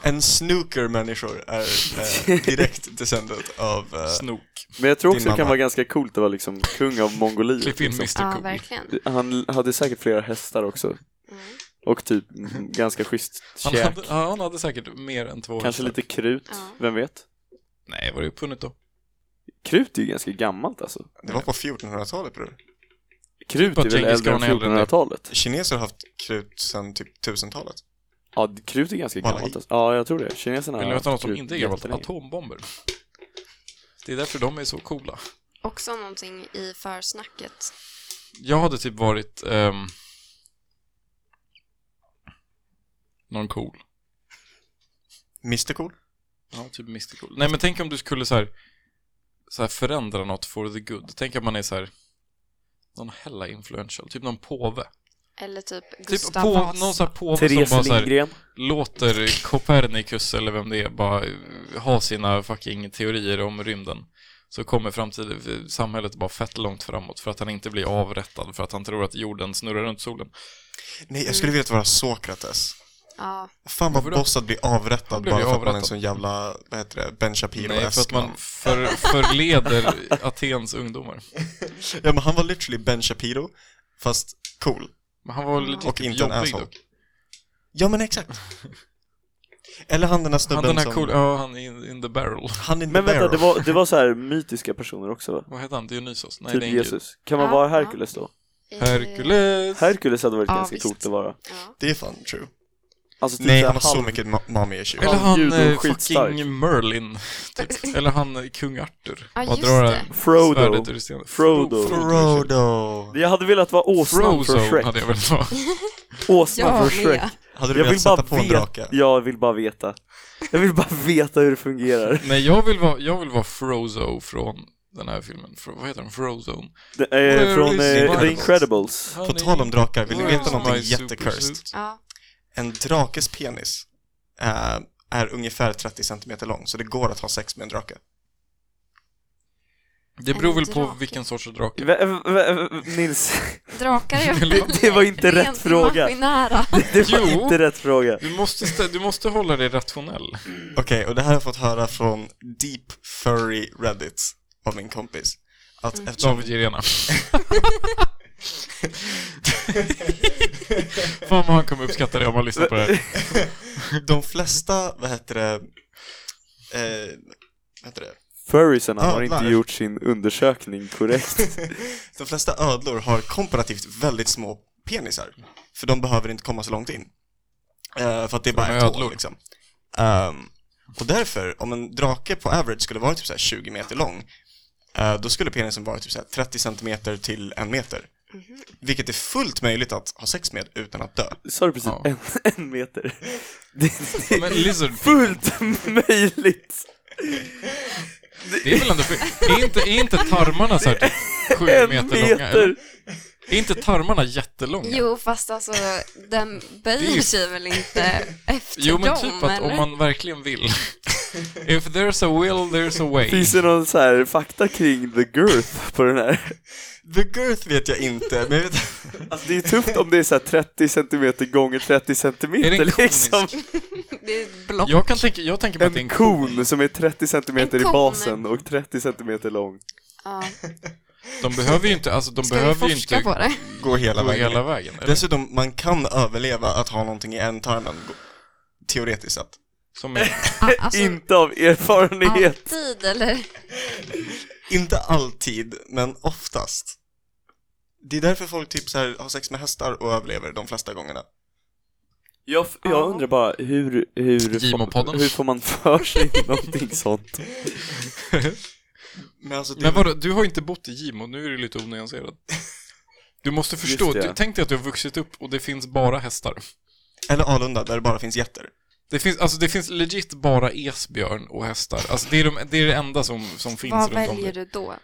Speaker 2: En snooker-människor är eh, direkt descendent av... Eh,
Speaker 1: Snook.
Speaker 9: Men jag tror
Speaker 2: Din
Speaker 9: också det kan
Speaker 2: mamma.
Speaker 9: vara ganska coolt att vara liksom kung av Mongoliet.
Speaker 1: Klipp in
Speaker 9: Liksom.
Speaker 1: Mr
Speaker 3: Ja,
Speaker 1: Cool.
Speaker 3: verkligen.
Speaker 9: Han hade säkert flera hästar också. Och typ mm, ganska schysst
Speaker 1: Han
Speaker 9: käk.
Speaker 1: hade, ja, han hade säkert mer än två hästar.
Speaker 9: Kanske lite krut,
Speaker 3: Ja.
Speaker 9: vem vet?
Speaker 1: Nej, var det uppfunnet då?
Speaker 9: Krut är ju ganska gammalt alltså.
Speaker 2: det var på 1400-talet, bror.
Speaker 9: Krut
Speaker 1: Bara
Speaker 9: är väl
Speaker 1: Typ Genghis
Speaker 9: äldre än
Speaker 1: Khan är äldre än det.
Speaker 9: 1400-talet?
Speaker 2: Kineser har haft krut sedan typ 1000-talet.
Speaker 9: Ja, krut är ganska
Speaker 2: Bara
Speaker 9: gammalt
Speaker 2: hit.
Speaker 9: alltså. Ja, jag tror det. Kineserna
Speaker 1: Vill du
Speaker 9: har
Speaker 1: veta något som
Speaker 9: krut
Speaker 1: inte är gammalt?
Speaker 9: jättelänge.
Speaker 1: Atombomber. Det är därför de är så coola.
Speaker 3: Också någonting i försnacket.
Speaker 1: Jag hade typ varit ehm, någon cool.
Speaker 2: Mr Cool?
Speaker 1: Ja, typ Mr Cool. Nej, men tänk om du skulle så här, så här förändra något for the good. Tänk att man är så här någon hella influential, typ någon påve.
Speaker 3: Eller typ
Speaker 1: Typ
Speaker 3: Gustav
Speaker 1: på,
Speaker 3: Vasa.
Speaker 1: någon så här påve som
Speaker 9: Therese
Speaker 1: bara så här,
Speaker 9: Lindgren.
Speaker 1: låter Copernicus eller vem det är bara eh, ha sina fucking teorier om rymden så kommer framtiden, samhället bara fett långt framåt för att han inte blir avrättad för att han tror att jorden snurrar runt solen.
Speaker 2: Nej, jag skulle vilja vara Sokrates.
Speaker 3: Ja,
Speaker 2: Fan vad
Speaker 1: Mm. Varför då?
Speaker 2: bossad blir avrättad
Speaker 1: blev
Speaker 2: bara
Speaker 1: ju
Speaker 2: för att man är en
Speaker 1: avrättad.
Speaker 2: sån jävla, vad heter det, Ben shapiro
Speaker 1: Nej, för att man för, förleder Atens ungdomar.
Speaker 2: Ja men han var literally Ben Shapiro, fast cool.
Speaker 1: Men han var lite
Speaker 2: Och inte en
Speaker 1: jobbig
Speaker 2: asshole.
Speaker 1: dock.
Speaker 2: Ja men exakt. Eller han den här snubben
Speaker 1: Han den här
Speaker 2: som...
Speaker 1: cool, ja han är in, in the barrel.
Speaker 2: Han in
Speaker 9: Men
Speaker 2: the
Speaker 9: vänta,
Speaker 2: barrel.
Speaker 9: det var, det var så här mytiska personer också va?
Speaker 1: Vad heter han? Dionysos? Nej,
Speaker 9: Typ
Speaker 1: det är Jesus.
Speaker 9: Jesus. Kan man
Speaker 3: Ja,
Speaker 9: vara
Speaker 3: ja.
Speaker 9: Herkules då?
Speaker 3: i-
Speaker 1: Herkules!
Speaker 9: Herkules hade varit
Speaker 3: Ah, Ja,
Speaker 9: ganska
Speaker 3: visst.
Speaker 9: coolt att vara.
Speaker 3: Ja.
Speaker 2: Det är fan true.
Speaker 9: Alltså, typ
Speaker 2: Nej,
Speaker 9: så här
Speaker 2: han var så
Speaker 9: halv-
Speaker 2: mycket ma- mommy issue.
Speaker 1: Eller han
Speaker 9: Gud, och
Speaker 1: eh,
Speaker 9: skitstark.
Speaker 1: fucking Merlin, typ. Eller han eh, kung Arthur.
Speaker 3: Ja,
Speaker 1: Bara
Speaker 3: just
Speaker 1: drar
Speaker 3: det.
Speaker 9: Frodo.
Speaker 1: svärdet typ. ur stenen.
Speaker 9: Frodo.
Speaker 2: Frodo!
Speaker 9: Jag hade velat vara åsnan
Speaker 1: Frozen
Speaker 9: från Shrek.
Speaker 1: hade jag velat vara.
Speaker 9: Åsnan
Speaker 3: Jag
Speaker 9: från Shrek.
Speaker 3: med.
Speaker 2: Hade du
Speaker 9: Jag vill
Speaker 2: velat
Speaker 9: bara
Speaker 2: sätta på en
Speaker 9: veta.
Speaker 2: drake?
Speaker 9: Jag vill bara veta. Jag vill bara veta hur det fungerar.
Speaker 1: Nej, jag vill vara, jag vill vara Frozo från den här filmen. Fro, vad heter den? Frozone.
Speaker 9: Det är
Speaker 1: Where
Speaker 9: från
Speaker 1: is
Speaker 9: eh, The
Speaker 1: Marvel?
Speaker 9: Incredibles.
Speaker 2: På tal om drakar, vill ni
Speaker 1: Where
Speaker 2: veta
Speaker 1: is
Speaker 2: någonting
Speaker 1: my
Speaker 2: jättecursed?
Speaker 1: supersuit?
Speaker 3: Ja.
Speaker 2: En drakes penis eh, är ungefär 30 centimeter lång, så det går att ha sex med en drake.
Speaker 1: Det beror väl på
Speaker 3: drake.
Speaker 1: vilken sorts drake.
Speaker 9: Vä- vä- vä- Nils,
Speaker 3: Drakar är
Speaker 1: Det-
Speaker 9: det var inte rätt
Speaker 3: rent
Speaker 9: fråga.
Speaker 3: Maskinära.
Speaker 9: det var
Speaker 1: Jo.
Speaker 9: inte rätt fråga.
Speaker 1: Du måste, stä- du måste hålla dig rationell.
Speaker 2: Okej, och det här har jag fått höra från Deep Furry Reddit av min kompis. Att eftersom...
Speaker 1: David Girena. Fan vad han kommer uppskatta det om han lyssnar på det här.
Speaker 2: De flesta, vad heter det, eh, vad heter det?
Speaker 9: Furriesarna
Speaker 1: Ah,
Speaker 2: Ja,
Speaker 9: har inte
Speaker 2: där.
Speaker 9: gjort sin undersökning korrekt.
Speaker 2: De flesta ödlor har komparativt väldigt små penisar, för de behöver inte komma så långt in. Eh, för att det är bara
Speaker 1: de
Speaker 2: ett
Speaker 1: är
Speaker 2: hål
Speaker 1: ödlor.
Speaker 2: liksom. Ehm, och därför, om en drake på average skulle vara typ så här 20 meter lång, eh, då skulle penisen vara typ så här 30 centimeter till en meter.
Speaker 1: Mhm.
Speaker 2: Vilket är fullt möjligt att ha sex med utan att dö.
Speaker 9: Sa du precis
Speaker 1: Ja.
Speaker 9: en, en meter? Det, det är
Speaker 1: Men lizard,
Speaker 9: fullt möjligt!
Speaker 1: det är väl ändå... Är inte, är inte tarmarna så här typ sju
Speaker 9: En
Speaker 1: meter, långa?
Speaker 9: meter!
Speaker 1: eller? Är inte tarmarna jättelånga?
Speaker 3: Jo, fast alltså den
Speaker 1: Det är
Speaker 3: böjer
Speaker 1: ju-
Speaker 3: sig väl inte efter
Speaker 1: Jo, men
Speaker 3: dem?
Speaker 1: typ att om
Speaker 3: eller?
Speaker 1: man verkligen vill. If there's a will, there's a way.
Speaker 9: Finns det någon så här fakta kring the girth på den här?
Speaker 2: The girth vet jag inte, men jag vet
Speaker 9: Alltså det är ju tufft om det är så här 30 centimeter gånger 30
Speaker 1: Är det
Speaker 9: centimeter
Speaker 1: en konisk?
Speaker 9: liksom.
Speaker 3: Det är ett block.
Speaker 1: Jag, kan tänka, jag tänker mig att det är
Speaker 9: En
Speaker 1: en ko.
Speaker 9: kon som är 30 centimeter
Speaker 3: En
Speaker 9: i
Speaker 3: kon.
Speaker 9: basen och 30 centimeter lång.
Speaker 3: Ja.
Speaker 1: De behöver ju inte, alltså de
Speaker 3: Ska
Speaker 1: behöver
Speaker 3: vi
Speaker 1: ju
Speaker 3: forska
Speaker 1: inte
Speaker 3: på det?
Speaker 2: gå hela
Speaker 1: gå
Speaker 2: vägen.
Speaker 1: hela vägen. eller?
Speaker 2: Dessutom, man kan överleva att ha någonting i ändtarmen, go- teoretiskt sett.
Speaker 1: Som är,
Speaker 3: Ah, Alltså,
Speaker 9: Inte av erfarenhet.
Speaker 3: alltid eller?
Speaker 2: Inte alltid, men oftast. Det är därför folk typ så här, har sex med hästar och överlever de flesta gångerna.
Speaker 9: Jag, f- jag
Speaker 3: Ja.
Speaker 9: undrar bara hur, hur,
Speaker 1: Gimo-podden.
Speaker 9: får, hur får man för sig någonting sånt?
Speaker 2: Men alltså, det,
Speaker 1: men vadå, du har inte bott i Gimo, nu är det lite onyanserat. Du måste förstå,
Speaker 9: Just det.
Speaker 1: du, tänk dig att du har vuxit upp och det finns bara hästar.
Speaker 2: Eller Alunda, där det bara finns getter.
Speaker 1: Det finns, alltså det finns legit bara esbjörn och hästar. Alltså det är, de, det, är det enda som, som finns
Speaker 3: Vad
Speaker 1: runt om
Speaker 3: väljer
Speaker 1: dig.
Speaker 3: du då?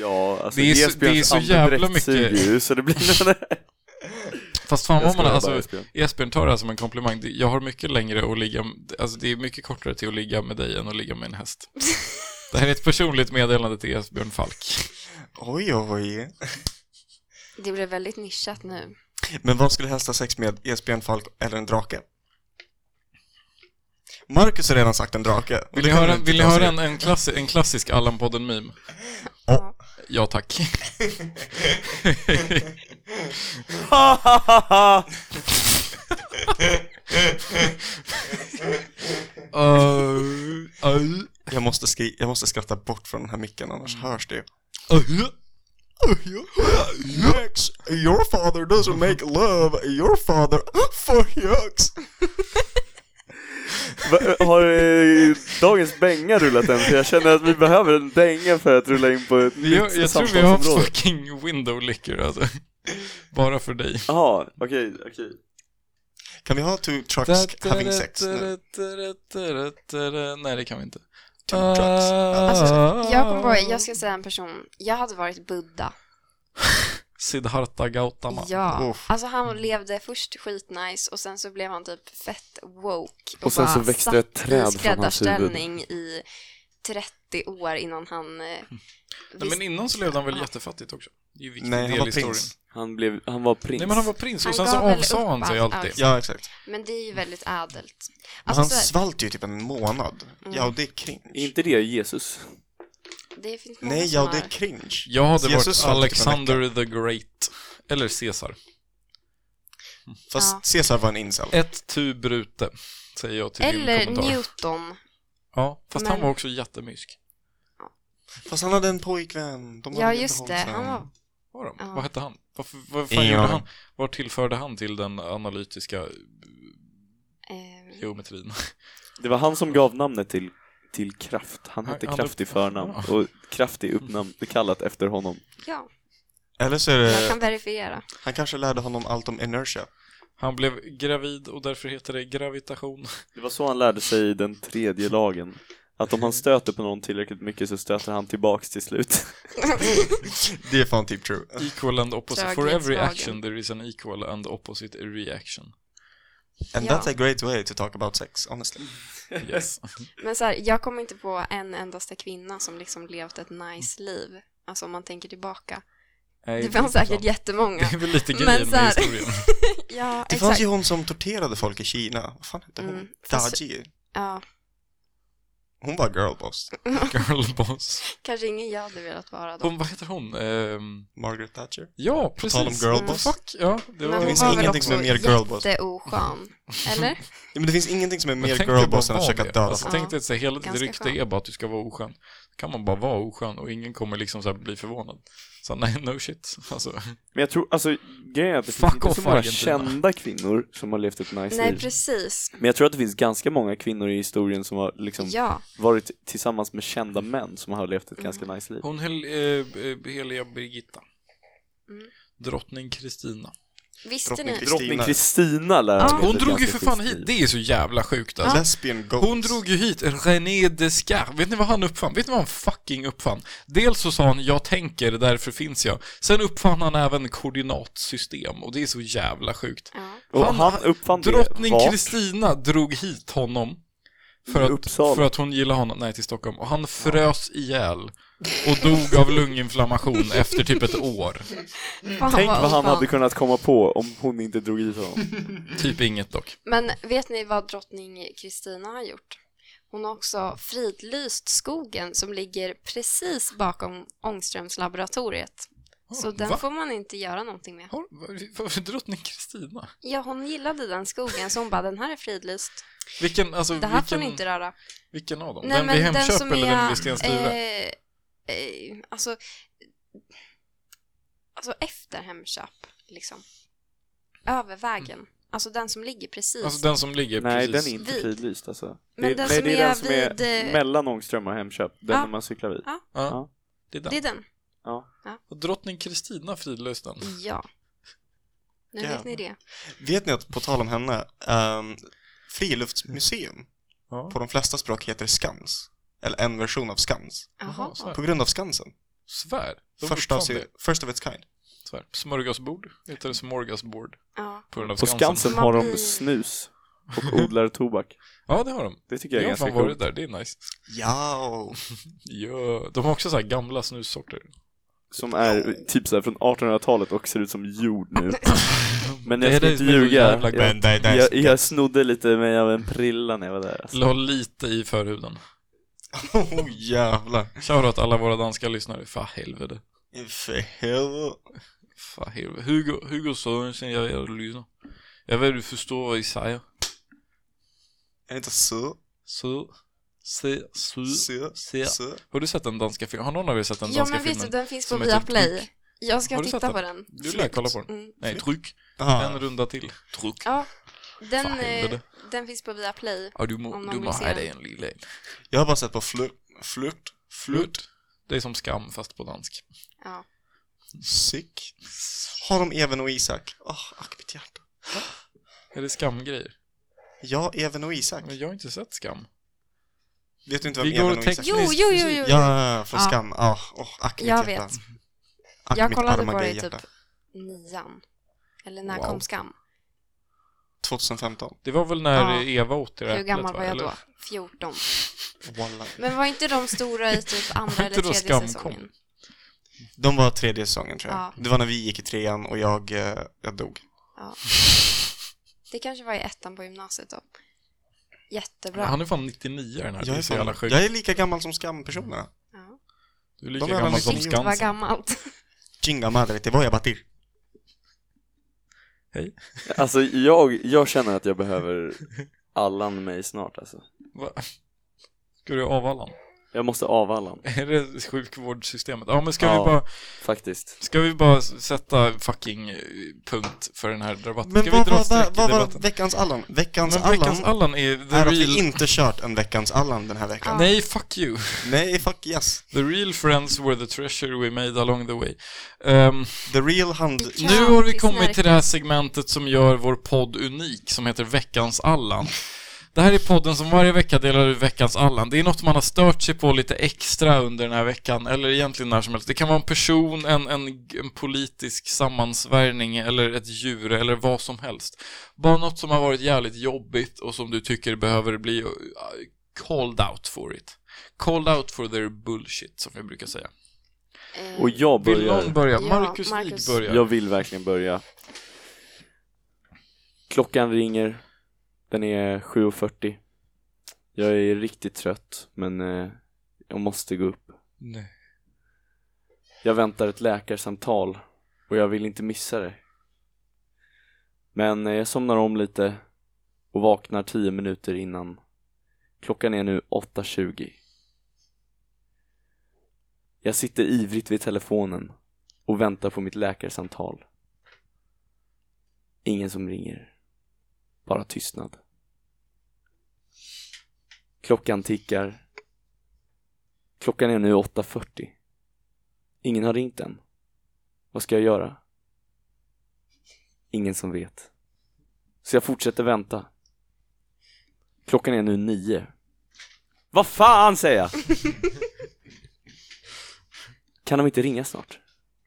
Speaker 9: Ja, alltså
Speaker 1: Det är så-
Speaker 9: Esbjörns
Speaker 1: det är så jävla
Speaker 9: andedräkt
Speaker 1: mycket-
Speaker 9: suger ju, så det blir
Speaker 1: Fast fan
Speaker 9: Jag
Speaker 1: vad man,
Speaker 9: skojar bara,
Speaker 1: alltså,
Speaker 9: Esbjörn.
Speaker 1: esbjörn tar det här som en komplimang. Det- Jag har mycket längre att ligga, alltså det är mycket kortare till att ligga med dig än att ligga med en häst. Det här är ett personligt meddelande till Esbjörn Falk.
Speaker 2: Oj, oj.
Speaker 3: Det blev väldigt nischat nu.
Speaker 2: Men vad skulle hästar sex med? Esbjörn Falk eller en drake? Marcus har redan sagt en drake. och
Speaker 1: Vill
Speaker 2: det
Speaker 1: ni
Speaker 2: kan
Speaker 1: höra,
Speaker 2: du inte
Speaker 1: vill ni
Speaker 2: ta sig
Speaker 1: höra
Speaker 2: ur.
Speaker 1: en, en, klass, en klassisk Allan-podden-meme?
Speaker 3: Ja.
Speaker 1: Ja tack.
Speaker 9: sådär...
Speaker 1: Eh, Uh, uh,
Speaker 2: Jag måste, skri- jag måste skratta bort från den här micken, annars hörs det ju.
Speaker 1: uh.
Speaker 2: Yucks, your father doesn't make love, your father for yucks.
Speaker 9: Va- Har eh, dagens dänga rullat än? För jag känner att vi behöver en dänga för att rulla in på ett nytt
Speaker 1: Jag, jag tror vi har haft
Speaker 9: samtalsområde.
Speaker 1: fucking window liquor alltså. Bara för dig.
Speaker 9: Jaha, okej, okej.
Speaker 2: Kan vi ha two trucks having sex nu?
Speaker 1: Nej, det kan vi inte.
Speaker 2: Two trucks.
Speaker 3: Alltså, jag kommer på, jag ska säga en person. Jag hade varit Buddha.
Speaker 1: Siddhartha Gautama.
Speaker 3: Ja.
Speaker 2: Uff.
Speaker 3: Alltså han levde först skitnice och sen så blev han typ fett woke.
Speaker 9: Och sen
Speaker 3: bara
Speaker 9: så växte det ett
Speaker 3: satt
Speaker 9: träd
Speaker 3: i
Speaker 9: från hans huvud.
Speaker 3: skräddarställning i 30 år innan han... eh,
Speaker 1: Nej, men
Speaker 3: visste-
Speaker 1: innan så levde han väl
Speaker 3: Ja.
Speaker 1: jättefattigt också? Det är ju en viktig
Speaker 2: Nej,
Speaker 1: del
Speaker 2: han
Speaker 1: i
Speaker 2: var
Speaker 1: historien.
Speaker 2: prins.
Speaker 9: Han, blev, han var prins.
Speaker 1: Nej, men han var prins och sen
Speaker 3: Han
Speaker 1: så
Speaker 3: gav väl
Speaker 1: avsade
Speaker 3: upp
Speaker 1: han sig
Speaker 3: allt.
Speaker 1: allt det.
Speaker 3: Ja.
Speaker 2: Ja, exakt.
Speaker 3: Men det är ju väldigt ädelt.
Speaker 2: Men
Speaker 3: Alltså,
Speaker 2: han
Speaker 3: så här, Mm.
Speaker 2: svalt ju typ en månad. Ja, och det är cringe.
Speaker 9: Är inte det Jesus?
Speaker 3: det finns många
Speaker 2: Nej,
Speaker 3: som
Speaker 2: ja,
Speaker 3: har-
Speaker 2: det är cringe.
Speaker 1: Jag hade
Speaker 2: Jesus
Speaker 1: varit
Speaker 2: svalt typ en
Speaker 1: Alexander the Great. Eller Caesar.
Speaker 2: Fast
Speaker 3: Ja.
Speaker 2: Caesar var en incel.
Speaker 1: Ett tu brute, säger jag till din
Speaker 3: Eller
Speaker 1: kommentar.
Speaker 3: Newton.
Speaker 1: Ja, fast han
Speaker 3: Men-
Speaker 1: var också jättemysk.
Speaker 2: Fast han hade en pojkvän. De hade
Speaker 3: Ja,
Speaker 2: inte
Speaker 3: just det.
Speaker 2: hållit
Speaker 3: Han
Speaker 2: sig.
Speaker 3: var...
Speaker 1: Var de?
Speaker 3: Ja.
Speaker 1: Vad hette han? Varför, vad fan
Speaker 2: Ingen
Speaker 1: gjorde
Speaker 2: aning.
Speaker 1: han? Vad tillförde han till den analytiska
Speaker 3: Eh,
Speaker 1: geometrin?
Speaker 9: Det var han som gav namnet till, till Kraft. Han hette
Speaker 1: Han-
Speaker 9: Kraft i förnamn
Speaker 1: Ja.
Speaker 9: och Kraft i uppnamn, kallat efter honom.
Speaker 3: ja,
Speaker 2: Eller så är
Speaker 3: jag
Speaker 2: det...
Speaker 3: kan verifiera.
Speaker 2: Han kanske lärde honom allt om inertia.
Speaker 1: Han blev gravid och därför heter det gravitation.
Speaker 9: Det var så han lärde sig den tredje lagen. Att om han stöter på någon tillräckligt mycket så stöter han tillbaks till slut.
Speaker 2: Det är fan typ true.
Speaker 1: Equal and opposite. For every
Speaker 3: Tröghetslagen.
Speaker 1: action there is an equal and opposite reaction.
Speaker 2: And
Speaker 3: Ja.
Speaker 2: that's a great way to talk about sex, honestly.
Speaker 1: Yes.
Speaker 3: Men så här, jag kommer inte på en endaste kvinna som liksom levt ett nice liv. Alltså om man tänker tillbaka. Det fanns säkert jättemånga.
Speaker 1: Det är väl lite
Speaker 3: Men
Speaker 1: grejen
Speaker 3: så här-
Speaker 1: med historien.
Speaker 3: Ja,
Speaker 2: Det
Speaker 3: exakt.
Speaker 2: fanns ju hon som torterade folk i Kina. Vad fan hette hon?
Speaker 3: Mm, fast-
Speaker 2: Daji.
Speaker 3: Ja,
Speaker 2: Hon var girlboss.
Speaker 1: Girlboss.
Speaker 3: kanske ingen jag hade velat vara då.
Speaker 1: Hon, vad heter hon? Ehm,
Speaker 2: Margaret Thatcher.
Speaker 1: ja,
Speaker 2: På tal om
Speaker 1: precis.
Speaker 2: girlboss.
Speaker 1: Fuck, ja. Det
Speaker 3: Men
Speaker 1: var...
Speaker 3: hon
Speaker 2: Det finns
Speaker 3: var väl
Speaker 2: ingenting som är
Speaker 3: också
Speaker 2: mer girlboss.
Speaker 3: Jätteoskön, eller?
Speaker 2: Ja, men det finns ingenting som är
Speaker 1: Men
Speaker 2: mer
Speaker 1: tänk dig
Speaker 2: girlboss
Speaker 1: bara
Speaker 2: än att
Speaker 1: vara
Speaker 2: försöka
Speaker 1: det.
Speaker 2: döda
Speaker 1: Alltså,
Speaker 2: folk.
Speaker 1: tänk dig att så hela ditt
Speaker 3: Ganska
Speaker 1: rykte
Speaker 3: skön.
Speaker 1: är bara att du ska vara oskön. Då kan man bara vara oskön och ingen kommer liksom så här bli förvånad. Så nej, no shit. Alltså,
Speaker 9: Men jag tror, alltså grejen är att det
Speaker 1: Fuck
Speaker 9: finns inte så
Speaker 1: off,
Speaker 9: många
Speaker 1: Argentina.
Speaker 9: kända kvinnor som har levt ett nice
Speaker 3: Nej,
Speaker 9: liv.
Speaker 3: precis.
Speaker 9: Men jag tror att det finns ganska många kvinnor i historien som har liksom
Speaker 3: Ja,
Speaker 9: varit tillsammans med kända män som har levt ett ganska nice liv.
Speaker 1: hon hel, eh, eh, heliga Birgitta.
Speaker 3: Mm.
Speaker 1: Drottning Kristina.
Speaker 3: visste
Speaker 2: Drottning
Speaker 3: ni?
Speaker 9: Drottning
Speaker 2: Kristina.
Speaker 9: Kristina lär ha
Speaker 3: Ja.
Speaker 9: levt
Speaker 1: Hon
Speaker 9: ett
Speaker 1: drog ju
Speaker 9: ganska
Speaker 1: för fan
Speaker 9: schysst
Speaker 1: hit,
Speaker 9: liv.
Speaker 1: det är så jävla sjukt alltså.
Speaker 2: Lesbian goals.
Speaker 1: Hon drog ju hit René Descartes. Vet ni vad han uppfann? Vet ni vad han fucking uppfann? Dels så sa han “Jag tänker, därför finns jag”. Sen uppfann han även koordinatsystem och det är så jävla sjukt.
Speaker 3: Ja.
Speaker 9: Och
Speaker 1: Han-
Speaker 9: han, uppfann
Speaker 1: Drottning
Speaker 9: det vart?
Speaker 1: Kristina drog hit honom för
Speaker 9: I
Speaker 1: att,
Speaker 9: Uppsala.
Speaker 1: för att hon gillade honom, nej till Stockholm, och han frös ihjäl och dog av lunginflammation efter typ ett år.
Speaker 3: Fan,
Speaker 9: Tänk vad
Speaker 3: oskön.
Speaker 9: han hade kunnat komma på om hon inte drog hit honom.
Speaker 1: Typ inget dock.
Speaker 3: Men vet ni vad drottning Kristina har gjort? Hon har också fridlyst skogen som ligger precis bakom Ångströmslaboratoriet. Så den
Speaker 1: Va?
Speaker 3: får man inte göra någonting med.
Speaker 1: Har- vad- vad- Drottning Kristina?
Speaker 3: Ja, hon gillade den skogen så hon bara den här är fridlyst.
Speaker 1: Vilken, alltså,
Speaker 3: Det här får
Speaker 1: vilken,
Speaker 3: ni inte röra.
Speaker 1: vilken av dem? den vid Hemköp eller den vid Stenstuva?
Speaker 3: eh, eh, alltså, alltså efter Hemköp, liksom. Över vägen. Alltså den som ligger precis.
Speaker 1: Mm. Alltså den som ligger
Speaker 9: Nej,
Speaker 1: precis...
Speaker 9: den är inte
Speaker 3: Vid.
Speaker 9: fridlyst alltså.
Speaker 3: Men den
Speaker 9: nej,
Speaker 3: som
Speaker 9: det är
Speaker 3: är
Speaker 9: den som är
Speaker 3: vid, eh,
Speaker 9: mellan Ångström och Hemköp, den
Speaker 3: Ja.
Speaker 9: när man cyklar vid.
Speaker 1: Ja,
Speaker 9: Ja.
Speaker 1: det är den.
Speaker 3: Det är den.
Speaker 1: Och drottning Kristina fridlöste den.
Speaker 3: Ja. Nu vet ni det.
Speaker 2: Vet ni att, på tal om henne, ehm, friluftsmuseum
Speaker 1: Ja.
Speaker 2: på de flesta språk heter Skans. Eller en version av Skans.
Speaker 1: Jaha,
Speaker 3: Jaha.
Speaker 1: så här.
Speaker 2: På grund av Skansen.
Speaker 1: Svär. De
Speaker 2: Första av,
Speaker 1: uppfann
Speaker 2: se- first of its kind.
Speaker 1: det. Svär. Smörgåsbord heter det smorgasbord
Speaker 3: Ja.
Speaker 1: på grund av
Speaker 9: På Skansen
Speaker 3: Man
Speaker 9: har de
Speaker 3: blir-
Speaker 9: snus och odlar tobak.
Speaker 1: Ja, det har de.
Speaker 9: Det tycker
Speaker 1: Jag
Speaker 9: jag
Speaker 1: har
Speaker 9: är ganska
Speaker 1: fan varit
Speaker 9: coolt.
Speaker 1: där, det är nice.
Speaker 2: Ja, och
Speaker 1: Ja, de har också så här gamla snussorter.
Speaker 9: Som är typ så här från 1800-talet och ser ut som jord nu. Men
Speaker 1: Det är
Speaker 9: jag ska
Speaker 1: det
Speaker 9: inte
Speaker 1: som är så
Speaker 9: ljuga.
Speaker 1: jävla
Speaker 9: Jag,
Speaker 1: gott.
Speaker 2: det, det,
Speaker 9: jag, jag snodde lite med av en prilla när jag var där. Alltså.
Speaker 1: La lite i förhuden.
Speaker 2: Oh jävlar.
Speaker 1: Shoutout alla våra danska lyssnare. Fa helvete.
Speaker 2: För helvete.
Speaker 1: Fa helvete. Hugo, Hugo Sörensen, jag är lyssnar. Jag vet du förstår vad jag säger.
Speaker 2: Är det inte så?
Speaker 1: Så, se, su,
Speaker 2: Så?
Speaker 1: se.
Speaker 2: Så?
Speaker 1: Har du sett den danska filmen? Har någon av er sett den
Speaker 3: ja,
Speaker 1: danska
Speaker 3: men
Speaker 1: filmen?
Speaker 3: vet du, den finns på
Speaker 1: som heter
Speaker 3: Viaplay.
Speaker 1: Tryck.
Speaker 3: Jag ska
Speaker 1: Har du
Speaker 3: titta
Speaker 1: sett
Speaker 3: på den.
Speaker 1: Du lär kolla på den.
Speaker 3: Mm.
Speaker 1: Nej, tryck. En
Speaker 2: Aha.
Speaker 1: runda till. Tryck.
Speaker 3: Ja, den,
Speaker 1: Fan,
Speaker 3: eh,
Speaker 1: helvete.
Speaker 3: den finns på Viaplay.
Speaker 1: Ja, du må,
Speaker 3: Om
Speaker 1: du
Speaker 3: någon
Speaker 1: må
Speaker 3: vill se
Speaker 1: ha
Speaker 3: den.
Speaker 1: dig en lille.
Speaker 2: Jag har bara sett på flört. Flört. Flört.
Speaker 1: Flut. Det är som skam fast på dansk.
Speaker 3: Ja.
Speaker 2: Sick. Har de Even och Isak? Åh, ack mitt hjärta.
Speaker 1: Är det skamgrejer?
Speaker 2: Ja, Even och Isak.
Speaker 1: Men jag har inte sett skam.
Speaker 2: Vet du inte
Speaker 1: Mm. Vi
Speaker 2: vem
Speaker 1: går
Speaker 2: Even
Speaker 1: och
Speaker 2: och
Speaker 1: tänker-
Speaker 2: Isak
Speaker 3: Jo,
Speaker 2: är?
Speaker 3: jo, jo, jo. jo.
Speaker 2: Ja, från
Speaker 3: Ja.
Speaker 2: Skam. Ja, åh, ack mitt
Speaker 3: Jag
Speaker 2: hjärta.
Speaker 3: vet.
Speaker 2: Ack,
Speaker 3: Jag
Speaker 2: mitt
Speaker 3: kollade
Speaker 2: arma
Speaker 3: på det i
Speaker 2: gay
Speaker 3: typ
Speaker 2: hjärta.
Speaker 3: nian. Eller när
Speaker 1: Wow.
Speaker 3: kom Skam?
Speaker 2: 2015.
Speaker 1: Det var väl när
Speaker 3: Ja.
Speaker 1: Eva åt det där
Speaker 3: Hur gammal
Speaker 1: va?
Speaker 3: var jag
Speaker 1: Eller?
Speaker 3: då? 14.
Speaker 2: Walla.
Speaker 3: Men var inte de stora i typ andra
Speaker 1: inte
Speaker 3: eller
Speaker 1: då
Speaker 3: tredje
Speaker 1: Skam
Speaker 3: säsongen?
Speaker 1: kom?
Speaker 2: De var tredje säsongen tror jag.
Speaker 3: Ja.
Speaker 2: Det var när vi gick i trean och jag, eh, jag dog.
Speaker 3: Ja. Det kanske var i ettan på gymnasiet då. Jättebra.
Speaker 1: Han är fan 99 den här.
Speaker 2: Jag
Speaker 1: det
Speaker 2: är,
Speaker 1: är så jävla
Speaker 2: fan,
Speaker 1: sjukt.
Speaker 2: jag är lika gammal som Skam-personerna.
Speaker 3: Ja.
Speaker 1: Du är lika
Speaker 2: de är alla
Speaker 1: gammal som
Speaker 2: liksom-
Speaker 3: Shit vad
Speaker 1: Skansen.
Speaker 3: gammalt.
Speaker 2: Chinga madre, det var jag batir.
Speaker 9: Alltså jag, jag känner att jag behöver Allan mig snart alltså.
Speaker 1: Va? Ska du avvalla?
Speaker 9: Jag måste av Allan,
Speaker 1: Är det sjukvårdssystemet? Ja, men ska,
Speaker 9: Ja.
Speaker 1: vi bara,
Speaker 9: faktiskt.
Speaker 1: ska vi bara sätta fucking eh, punkt för den här debatten?
Speaker 2: Men
Speaker 1: ska
Speaker 2: vad
Speaker 1: vi dra
Speaker 2: var,
Speaker 1: ett streck
Speaker 2: vad,
Speaker 1: i
Speaker 2: vad var
Speaker 1: debatten?
Speaker 2: veckans Allan? Veckans
Speaker 1: Men veckans
Speaker 2: Allan
Speaker 1: Allan är the
Speaker 2: är att
Speaker 1: real...
Speaker 2: vi inte kört en veckans Allan den här veckan.
Speaker 1: Nej, fuck you.
Speaker 2: Nej, fuck yes.
Speaker 1: The real friends were the treasure we made along the way. Ehm,
Speaker 2: The real hand...
Speaker 3: Ja,
Speaker 1: nu har vi
Speaker 3: det är
Speaker 1: kommit
Speaker 3: snarkigt.
Speaker 1: till det här segmentet som gör vår podd unik, som heter Veckans Allan. Det här är podden som varje vecka delar ut Veckans Allan. Det är något man har stört sig på lite extra under den här veckan, eller egentligen när som helst. Det kan vara en person, en, en, en politisk sammansvärjning, eller ett djur, eller vad som helst. Bara något som har varit jävligt jobbigt och som du tycker behöver bli uh, called out for it. Called out for their bullshit, som vi brukar säga.
Speaker 3: Eh,
Speaker 9: Och jag
Speaker 1: Vill
Speaker 9: börjar.
Speaker 1: någon börja?
Speaker 3: Ja,
Speaker 1: Marcus Wig
Speaker 3: Marcus.
Speaker 1: börjar.
Speaker 9: Jag vill verkligen börja. Klockan ringer. Den är 7.40. Jag är riktigt trött, men eh, jag måste gå upp.
Speaker 1: Nej.
Speaker 9: Jag väntar ett läkarsamtal och jag vill inte missa det. Men eh, jag somnar om lite och vaknar 10 minuter innan. Klockan är nu 8.20. Jag sitter ivrigt vid telefonen och väntar på mitt läkarsamtal. Ingen som ringer. Bara tystnad. Klockan tickar. Klockan är nu 8.40. Ingen har ringt än. Vad ska jag göra? Ingen som vet. Så jag fortsätter vänta. Klockan är nu nio. Vad fan säger jag? kan de inte ringa snart?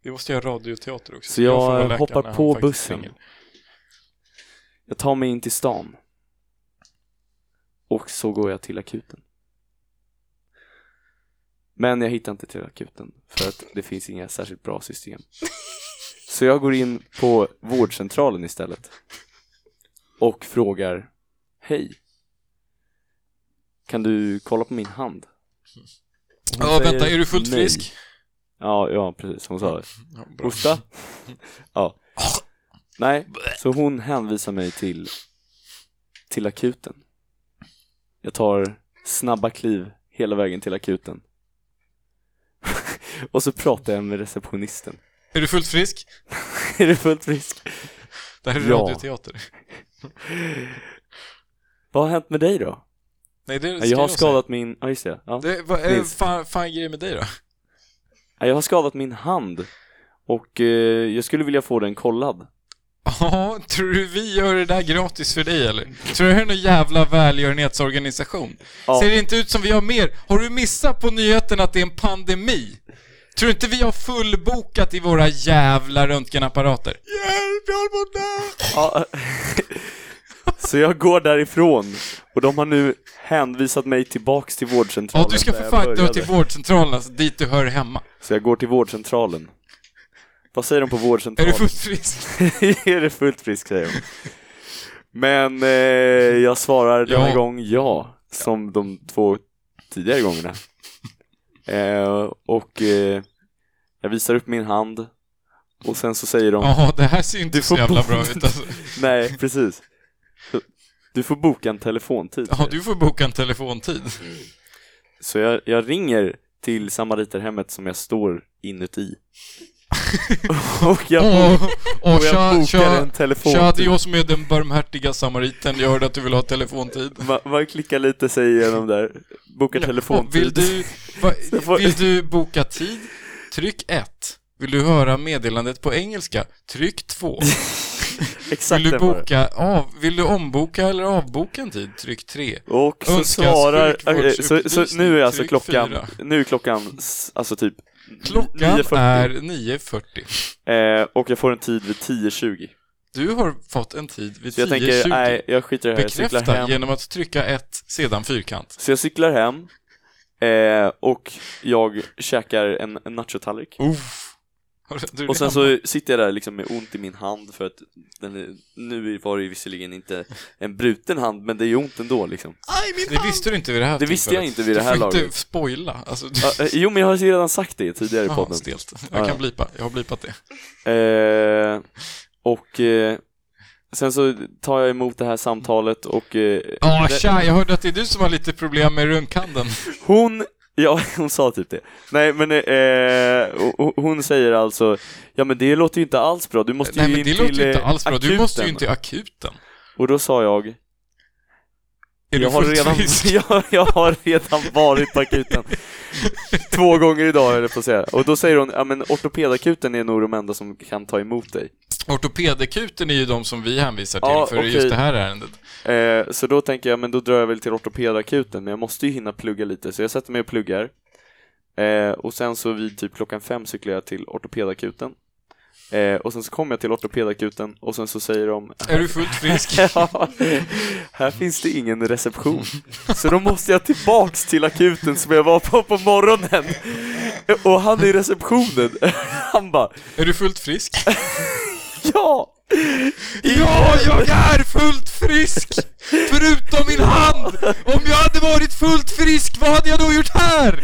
Speaker 1: Vi måste göra radioteater också.
Speaker 9: Så jag,
Speaker 1: får vara
Speaker 9: eh,
Speaker 1: läkaren
Speaker 9: hoppar
Speaker 1: när
Speaker 9: på
Speaker 1: han faktiskt
Speaker 9: bussen.
Speaker 1: ringer.
Speaker 9: Jag tar mig in till stan. Och så går jag till akuten. Men jag hittar inte till akuten för att det finns inga särskilt bra system. Så jag går in på vårdcentralen istället. Och frågar Hej. Kan du kolla på min hand? Hon
Speaker 1: Ja,
Speaker 9: säger
Speaker 1: vänta, är du fullt
Speaker 9: nej.
Speaker 1: frisk?
Speaker 9: Ja, ja precis. Hon sa det.
Speaker 1: Ja, bra.
Speaker 9: Hosta? Ja. Nej, så hon hänvisar mig till, till akuten. Jag tar snabba kliv hela vägen till akuten. Och så pratar jag med receptionisten.
Speaker 1: Är du fullt frisk?
Speaker 9: Är du fullt frisk?
Speaker 1: Det här är
Speaker 9: Ja.
Speaker 1: radioteater.
Speaker 9: Vad har hänt med dig då?
Speaker 1: Nej, det ska
Speaker 9: jag har
Speaker 1: säga.
Speaker 9: skadat min, ja just det. Ja.
Speaker 1: Det, vad är det
Speaker 9: Nils.
Speaker 1: fan, fan grejer med dig då?
Speaker 9: Jag har skadat min hand. Och eh, jag skulle vilja få den kollad.
Speaker 1: Ja, tror du vi gör det där gratis för dig eller? Tror du det här är någon jävla välgörenhetsorganisation?
Speaker 9: Ja.
Speaker 1: Ser det inte ut som vi har mer? Har du missat på nyheten att det är en pandemi? Tror du inte vi har fullbokat i våra jävla röntgenapparater?
Speaker 2: Hjälp, jag håller på att dö!
Speaker 9: Ja. Så jag går därifrån och de har nu hänvisat mig tillbaks till vårdcentralen.
Speaker 1: Ja, du ska
Speaker 9: där
Speaker 1: för
Speaker 9: jag
Speaker 1: fan dra
Speaker 9: började.
Speaker 1: till vårdcentralen, alltså, dit du hör hemma.
Speaker 9: Så jag går till vårdcentralen. Vad säger de på
Speaker 1: Är
Speaker 9: vårdcentralen?
Speaker 1: du fullt frisk?
Speaker 9: är det fullt frisk säger de. Men eh, jag svarar denna
Speaker 1: Ja.
Speaker 9: gång ja, som de två tidigare gångerna. Eh, och eh, jag visar upp min hand och sen så säger de
Speaker 1: Ja, det här ser ju inte
Speaker 9: Du
Speaker 1: så
Speaker 9: får
Speaker 1: jävla
Speaker 9: bo-
Speaker 1: bra ut alltså.
Speaker 9: Nej, precis. Du får boka en telefontid.
Speaker 1: Ja, du får boka en telefontid.
Speaker 9: Så jag, jag ringer till samariterhemmet som jag står inuti. och jag,
Speaker 1: Och,
Speaker 9: bo-
Speaker 1: och
Speaker 9: och jag
Speaker 1: tja,
Speaker 9: bokar
Speaker 1: tja,
Speaker 9: en telefontid.
Speaker 1: tja, det är oss med den barmhärtiga samariten, jag hörde att du vill ha telefontid.
Speaker 9: Man, man klickar lite sig igenom där. Boka
Speaker 1: Och
Speaker 9: telefontid.
Speaker 1: Vill du, va,
Speaker 9: Så får-
Speaker 1: vill du boka tid? Tryck 1. Vill du höra meddelandet på engelska? Tryck 2.
Speaker 9: Exakt
Speaker 1: Vill du
Speaker 9: den var det.
Speaker 1: boka av, vill du omboka eller avboka en tid? Tryck 3.
Speaker 9: Och så
Speaker 1: Önskas
Speaker 9: svarar... eh,
Speaker 1: sjukvårdsupplysning.
Speaker 9: Så, så nu är alltså
Speaker 1: Tryck
Speaker 9: klockan...
Speaker 1: fyra.
Speaker 9: Nu är klockan s- alltså typ
Speaker 1: Klockan
Speaker 9: 9.40.
Speaker 1: är 9.40.
Speaker 9: Eh, och jag får en tid vid 10.20.
Speaker 1: Du har fått en tid vid
Speaker 9: Så jag tänker,
Speaker 1: 10.20.
Speaker 9: nej, jag skiter i det här. Jag cyklar
Speaker 1: Bekräfta
Speaker 9: hem.
Speaker 1: genom att trycka ett, sedan fyrkant.
Speaker 9: Så jag cyklar hem eh, och jag käkar en, en nachotallrik.
Speaker 1: Uff. Har du- du
Speaker 9: Och sen
Speaker 1: redan-
Speaker 9: så sitter jag där liksom med ont i min hand för att den, är- nu var det ju visserligen inte en bruten hand men det är ju ont ändå liksom.
Speaker 2: Aj, min
Speaker 1: Det visste du inte vid det här
Speaker 9: Det visste jag
Speaker 1: tillfället.
Speaker 9: inte vid det här
Speaker 1: Du får
Speaker 9: laget.
Speaker 1: inte spoila. Alltså, du...
Speaker 9: Ja, eh, jo men jag har ju redan sagt det tidigare i
Speaker 1: Jaha,
Speaker 9: podden.
Speaker 1: stelt.
Speaker 9: Ja,
Speaker 1: Jag
Speaker 9: ja.
Speaker 1: kan blipa. Jag har blipat det.
Speaker 9: Eh, och eh, sen så tar jag emot det här samtalet och eh,
Speaker 1: Ja,
Speaker 9: det-
Speaker 1: tja, jag hörde att det är du som har lite problem med runkhanden.
Speaker 9: hon Ja, hon sa typ det. Nej, men eh, och- och hon säger alltså, ja men det låter ju inte alls bra, du måste
Speaker 1: Nej
Speaker 9: ju
Speaker 1: men
Speaker 9: in
Speaker 1: det
Speaker 9: till
Speaker 1: låter ju inte
Speaker 9: eh,
Speaker 1: alls bra. Du måste ju
Speaker 9: akuten."
Speaker 1: in till akuten.
Speaker 9: Och då sa jag,
Speaker 1: Är
Speaker 9: jag
Speaker 1: du
Speaker 9: har,
Speaker 1: fullt
Speaker 9: redan,
Speaker 1: frisk?
Speaker 9: jag, jag har redan varit på akuten. Två gånger idag höll jag på att säga. Och då säger hon, ja men ortopedakuten är nog de enda som kan ta emot dig.
Speaker 1: Ortopedakuten är ju de som vi hänvisar till
Speaker 9: Ja,
Speaker 1: för
Speaker 9: okej.
Speaker 1: just det här ärendet.
Speaker 9: Eh, så då tänker jag, men då drar jag väl till ortopedakuten, men jag måste ju hinna plugga lite, så jag sätter mig och pluggar. Eh, och sen så vid typ klockan fem cyklar jag till ortopedakuten. Eh, och sen så kommer jag till ortopedakuten och sen så säger de
Speaker 1: Är du fullt frisk?
Speaker 9: Ja, här finns det ingen reception. Så då måste jag tillbaks till akuten som jag var på på morgonen. Och han i receptionen, han bara
Speaker 1: Är du fullt frisk?
Speaker 9: ja!
Speaker 1: Ja, jag är fullt frisk! Förutom min hand! Om jag hade varit fullt frisk, vad hade jag då gjort här?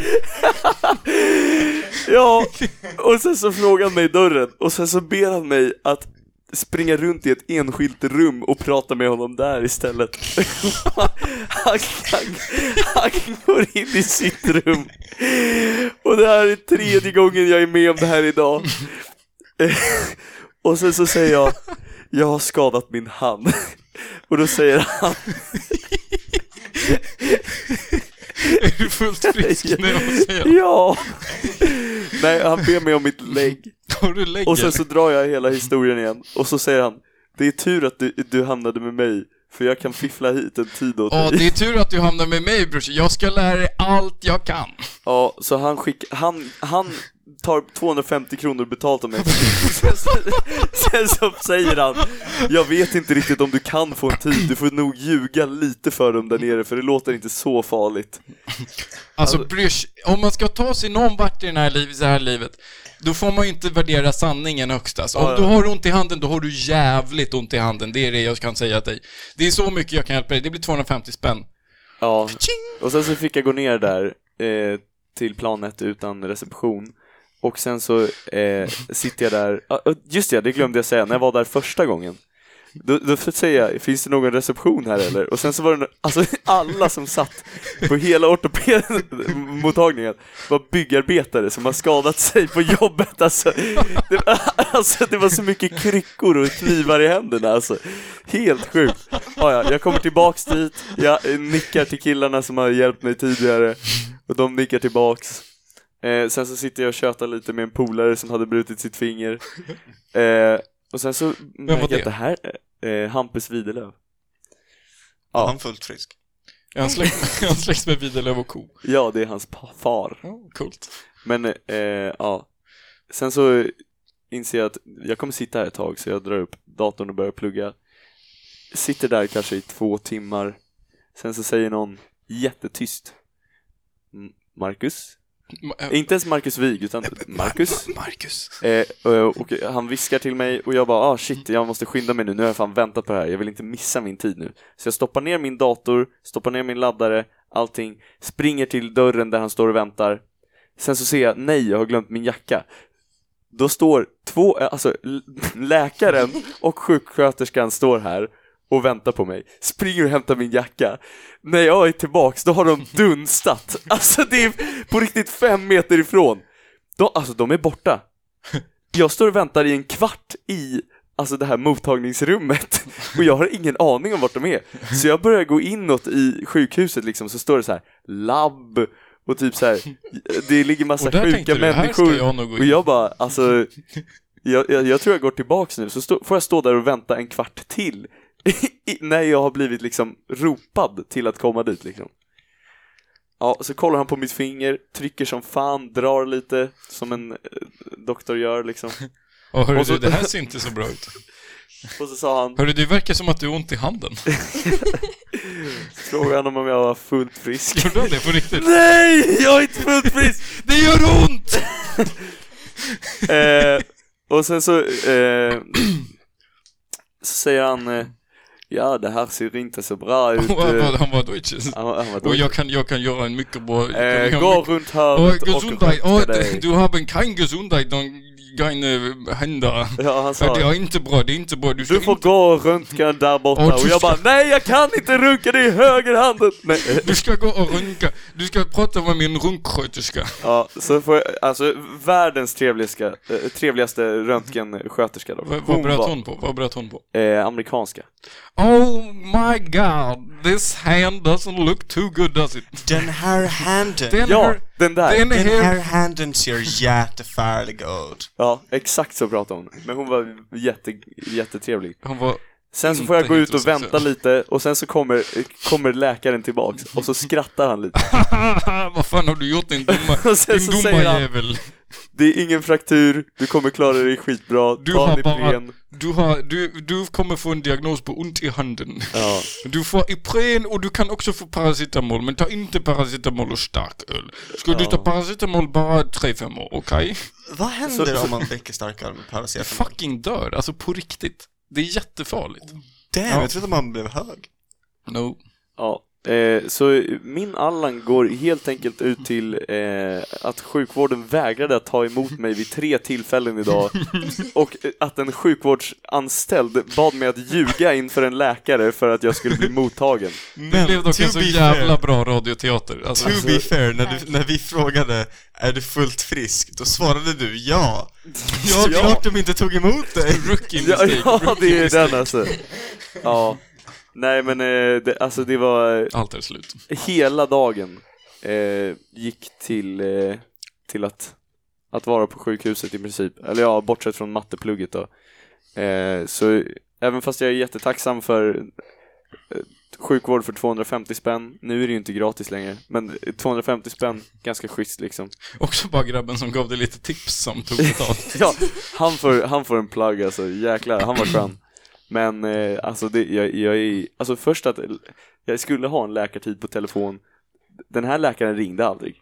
Speaker 9: Ja! Och sen så frågar han mig i dörren och sen så ber han mig att springa runt i ett enskilt rum och prata med honom där istället. Han, han, han går in i sitt rum. Och det här är tredje gången jag är med om det här idag. Eh, Och sen så säger jag, jag har skadat min hand. Och då säger han,
Speaker 1: Är du fullt frisk nu? Vad säger jag?
Speaker 9: ja! Nej, han ber mig om mitt lägg.
Speaker 1: Har du lägger?
Speaker 9: Och sen så drar jag hela historien igen och så säger han Det är tur att du, du hamnade med mig för jag kan fiffla hit en tid åt
Speaker 1: Ja,
Speaker 9: dig.
Speaker 1: det är tur att du hamnar med mig brorsan. Jag ska lära dig allt jag kan.
Speaker 9: Ja, så han skick, han, han tar 250 kronor betalt av mig. sen, så, sen så säger han Jag vet inte riktigt om du kan få en tid, du får nog ljuga lite för dem där nere för det låter inte så farligt.
Speaker 1: Alltså, bryrs, om man ska ta sig någon vart i, den här liv, i det här livet, då får man ju inte värdera sanningen högst alltså. Om
Speaker 9: Ja, ja.
Speaker 1: du har ont i handen, då har du jävligt ont i handen. Det är det jag kan säga till dig. Det är så mycket jag kan hjälpa dig. Det blir 250 spänn.
Speaker 9: Ja, och sen så fick jag gå ner där eh, till planet utan reception och sen så eh, sitter jag där, ah, ah, just det, det glömde jag säga, när jag var där första gången då, då säger jag, finns det någon reception här eller? Och sen så var det, no- alltså alla som satt på hela ortopedmottagningen var byggarbetare som har skadat sig på jobbet alltså det, var- alltså det var så mycket kryckor och knivar i händerna alltså Helt sjukt! Ah, ja, jag kommer tillbaks dit, jag eh, nickar till killarna som har hjälpt mig tidigare och de nickar tillbaks eh, Sen så sitter jag och tjötar lite med en polare som hade brutit sitt finger eh, Och sen så märker jag
Speaker 1: det?
Speaker 9: att det här, eh, Hampus Widerlöf
Speaker 2: Ja.
Speaker 9: Ja.
Speaker 2: Han fullt frisk.
Speaker 1: Är han släkt- är han släkt med Widerlöf och ko?
Speaker 9: Ja, det är hans pa- far
Speaker 1: Ja, coolt.
Speaker 9: Men, eh, ja. Sen så inser jag att jag kommer sitta här ett tag så jag drar upp datorn och börjar plugga. Sitter där kanske i två timmar. Sen så säger någon jättetyst. "M- Marcus?
Speaker 1: Ma- eh,
Speaker 9: Inte ens Marcus Wig utan Marcus.
Speaker 1: Marcus.
Speaker 9: Eh, och, och han viskar till mig och jag bara ah shit, jag måste skynda mig nu, nu har jag fan väntat på det här, jag vill inte missa min tid nu. Så jag stoppar ner min dator, stoppar ner min laddare, allting, springer till dörren där han står och väntar. Sen så ser jag, nej, jag har glömt min jacka. Då står två, eh, alltså l- läkaren och sjuksköterskan står här och väntar på mig, springer och hämtar min jacka. När jag är tillbaks, då har de dunstat. Alltså det är på riktigt fem meter ifrån. De, alltså de är borta. Jag står och väntar i en kvart i Alltså det här mottagningsrummet och jag har ingen aning om vart de är. Så jag börjar gå inåt i sjukhuset liksom så står det så här labb och typ så här det ligger massa
Speaker 1: Och där
Speaker 9: sjuka
Speaker 1: tänkte du, här ska
Speaker 9: människor.
Speaker 1: jag nog gå
Speaker 9: och
Speaker 1: in.
Speaker 9: jag bara alltså jag, jag, jag tror jag går tillbaks nu så stå, får jag stå där och vänta en kvart till i- när jag har blivit liksom ropad till att komma dit liksom. Ja, så kollar han på mitt finger, trycker som fan, drar lite som en eh, doktor gör liksom.
Speaker 1: Och hörru
Speaker 9: Och så-
Speaker 1: du, det här ser inte så bra ut.
Speaker 9: Och så sa han,
Speaker 1: Hörru du, verkar som att du har ont i handen.
Speaker 9: frågade han om jag var fullt frisk.
Speaker 1: Gjorde han det på riktigt?
Speaker 9: Nej, jag är inte fullt frisk!
Speaker 1: Det gör ont!
Speaker 9: eh, och sen så, eh, så säger han, eh, ja det här ser inte så bra ut.
Speaker 1: Och han
Speaker 9: Eh,
Speaker 1: var- Han var deutsches.
Speaker 9: Han, var- han var
Speaker 1: Och
Speaker 9: dålig.
Speaker 1: jag kan, jag kan göra en mycket bra... jag kan
Speaker 9: Eh,
Speaker 1: göra
Speaker 9: gå
Speaker 1: mycket-
Speaker 9: runt
Speaker 1: Och
Speaker 9: hörnet och
Speaker 1: Gesundheit,
Speaker 9: röka
Speaker 1: och
Speaker 9: dig.
Speaker 1: du har en kein Gesundheit, dann kan hända.
Speaker 9: Ja, han
Speaker 1: Det
Speaker 9: sa
Speaker 1: är inte bra, det är inte bra. Du ska
Speaker 9: du får
Speaker 1: inte,
Speaker 9: gå och röntga där borta.
Speaker 1: Och du
Speaker 9: Och
Speaker 1: ska-
Speaker 9: jag bara, nej jag kan inte runka, det är högerhanden! Nej. eh,
Speaker 1: du ska gå och runka. Du ska prata med min runksköterska.
Speaker 9: Ja, så får jag, alltså världens trevligaste, eh, trevligaste röntgensköterska då.
Speaker 1: Vad, vad bröt hon på? Vad bröt hon på?
Speaker 9: Eh, amerikanska.
Speaker 1: Oh my god, this hand doesn't look too good does it?
Speaker 2: Den här handen.
Speaker 1: Den
Speaker 9: Ja,
Speaker 1: här,
Speaker 9: den där!
Speaker 1: den
Speaker 2: Den här
Speaker 1: här...
Speaker 2: handen ser jättefärdig ut.
Speaker 9: Ja, exakt så pratade hon. Men hon var jätte, jättetrevlig.
Speaker 1: Hon var...
Speaker 9: Sen så
Speaker 1: Inte
Speaker 9: får jag gå ut och
Speaker 1: heterosexuell.
Speaker 9: vänta lite och sen så kommer, kommer läkaren tillbaks och så skrattar han lite.
Speaker 1: vad fan har du gjort din dumma,
Speaker 9: Och sen
Speaker 1: din
Speaker 9: så
Speaker 1: dumma
Speaker 9: säger han-
Speaker 1: jävel?
Speaker 9: Det är ingen fraktur, du kommer klara dig skitbra,
Speaker 1: Du
Speaker 9: ta
Speaker 1: har
Speaker 9: Ipren.
Speaker 1: bara... Du, har, du, du kommer få en diagnos på ont i handen.
Speaker 9: Ja.
Speaker 1: Du får Ipren och du kan också få paracetamol, men ta inte paracetamol och starköl. Ska du ta paracetamol bara 3-5 år, okej?
Speaker 2: Vad händer
Speaker 9: Så- så-
Speaker 2: om man dricker starkare med paracetamol?
Speaker 1: Fucking dör, alltså på riktigt. Det är jättefarligt.
Speaker 2: Damn,
Speaker 1: Ja.
Speaker 2: jag trodde man blev hög.
Speaker 1: No.
Speaker 9: Ja, eh, så min Allan går helt enkelt ut till eh, att sjukvården vägrade att ta emot mig vid tre tillfällen idag och eh, att en sjukvårdsanställd bad mig att ljuga inför en läkare för att jag skulle bli mottagen.
Speaker 1: det blev dock
Speaker 2: to
Speaker 1: en så
Speaker 2: be
Speaker 1: jävla
Speaker 2: fair-
Speaker 1: bra radioteater. Alltså,
Speaker 2: To be fair, när, du, när vi frågade är du fullt frisk, då svarade du ja. Ja,
Speaker 9: Ja.
Speaker 2: klart de inte tog emot dig.
Speaker 1: rookie
Speaker 9: Ja,
Speaker 1: mistake.
Speaker 9: ja det är den alltså. Ja. Nej men eh, det, alltså det var
Speaker 1: Allt är slut.
Speaker 9: hela dagen eh, gick till, eh, till att, att vara på sjukhuset i princip. Eller ja, bortsett från matteplugget då. Eh, så även fast jag är jättetacksam för eh, sjukvård för 250 spänn, nu är det ju inte gratis längre, men 250 spänn, ganska schysst liksom.
Speaker 1: Också bara grabben som gav dig lite tips som tog betalt.
Speaker 9: Ja, han får, han får en plugg alltså, jäklar, han var skön. Men eh, alltså, det, jag, jag är, alltså först att jag skulle ha en läkartid på telefon, den här läkaren ringde aldrig.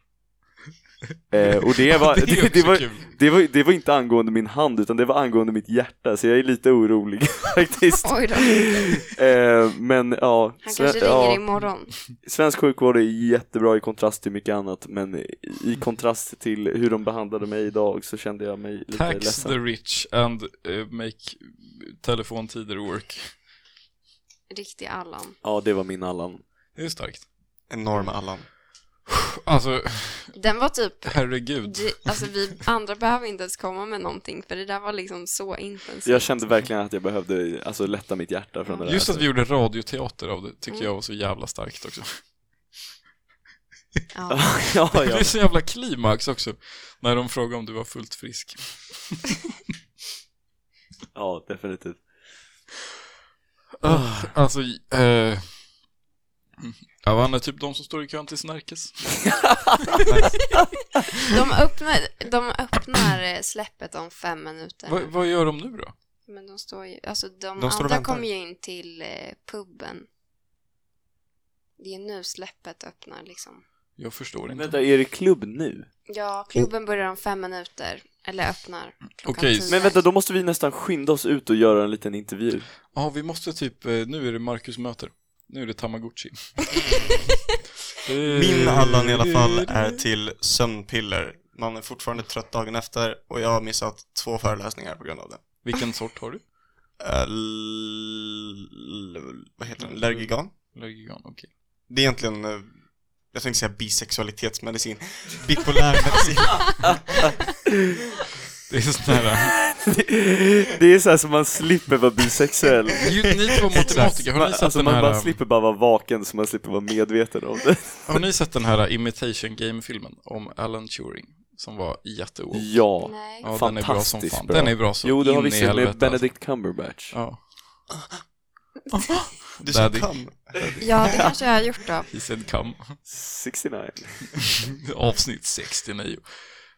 Speaker 9: Eh, och det var,
Speaker 1: Det är
Speaker 9: det, det,
Speaker 1: också
Speaker 9: var,
Speaker 1: kul.
Speaker 9: det, var, det var inte angående min hand utan det var angående mitt hjärta så jag är lite orolig faktiskt.
Speaker 3: Oj då.
Speaker 9: Eh, men ja,
Speaker 3: Han
Speaker 9: sve-
Speaker 3: kanske ringer
Speaker 9: ja,
Speaker 3: imorgon.
Speaker 9: svensk sjukvård är jättebra i kontrast till mycket annat men i- i kontrast till hur de behandlade mig idag så kände jag mig lite
Speaker 1: Tax
Speaker 9: ledsen.
Speaker 1: the rich and eh, make telefontider work.
Speaker 3: Riktig Allan.
Speaker 9: Ja, det var min Allan.
Speaker 1: Det är starkt.
Speaker 2: Enorm Allan.
Speaker 1: Alltså,
Speaker 3: Den var typ...
Speaker 1: herregud.
Speaker 3: det- Alltså vi andra behöver inte ens komma med någonting för det där var liksom så intensivt.
Speaker 9: Jag kände verkligen att jag behövde alltså, lätta mitt hjärta från det där.
Speaker 1: Just att
Speaker 9: alltså.
Speaker 1: vi gjorde radioteater av det tycker jag var så jävla starkt också.
Speaker 3: Ja.
Speaker 9: Alltså, ja,
Speaker 1: Det
Speaker 9: ja.
Speaker 1: är så jävla klimax också, när de frågar om du var fullt frisk.
Speaker 9: ja, definitivt.
Speaker 1: Ah, alltså, eh... Ja, vad är typ de som står i kön till Snärkes?
Speaker 3: De öppnar, de öppnar eh, släppet om fem minuter.
Speaker 1: Vad- vad gör de nu då?
Speaker 3: Men de står ju, alltså de,
Speaker 2: De står och
Speaker 3: andra
Speaker 2: väntar.
Speaker 3: kommer ju in till eh, puben. Det är nu släppet öppnar liksom.
Speaker 1: Jag förstår inte.
Speaker 9: Vänta, är det klubb nu?
Speaker 3: Ja, klubben börjar om fem minuter. Eller öppnar. klockan
Speaker 1: Okej,
Speaker 3: tio.
Speaker 9: Men vänta, då måste vi nästan skynda oss ut och göra en liten intervju.
Speaker 1: Ja, vi måste typ, eh, nu är det Marcus möter. Nu är det Tamagotchi. Eh,
Speaker 2: Min Allan i alla fall är till sömnpiller. Man är fortfarande trött dagen efter och jag har missat två föreläsningar på grund av det.
Speaker 1: Vilken sort har du?
Speaker 2: Eh, l- l- vad heter den? Lergigan?
Speaker 1: Allergigan, okej.
Speaker 2: Det är egentligen, eh, jag tänkte säga bisexualitetsmedicin. Bipolär medicin.
Speaker 1: Det är sån här...
Speaker 9: det är så här som man slipper vara bisexuell.
Speaker 1: Ju- Ni två matematiker, har
Speaker 9: Man,
Speaker 1: ni sett
Speaker 9: alltså
Speaker 1: den
Speaker 9: man bara
Speaker 1: här...
Speaker 9: slipper bara vara vaken så man slipper vara medveten om det.
Speaker 1: Har ni sett den här Imitation Game-filmen om Alan Turing? Som var jätteold.
Speaker 9: Ja.
Speaker 3: Nej.
Speaker 1: Ja, den är bra som
Speaker 9: Fantastiskt
Speaker 1: fan.
Speaker 9: bra.
Speaker 1: Den är bra som
Speaker 9: Jo, det har
Speaker 1: in
Speaker 9: vi
Speaker 1: i
Speaker 9: sett med
Speaker 1: helvete, alltså.
Speaker 9: Benedict Cumberbatch.
Speaker 1: Ja.
Speaker 2: Du sa
Speaker 1: Daddy.
Speaker 2: kam.
Speaker 3: Ja, det kanske jag har gjort då.
Speaker 1: He said come.
Speaker 9: 69.
Speaker 1: Avsnitt 69.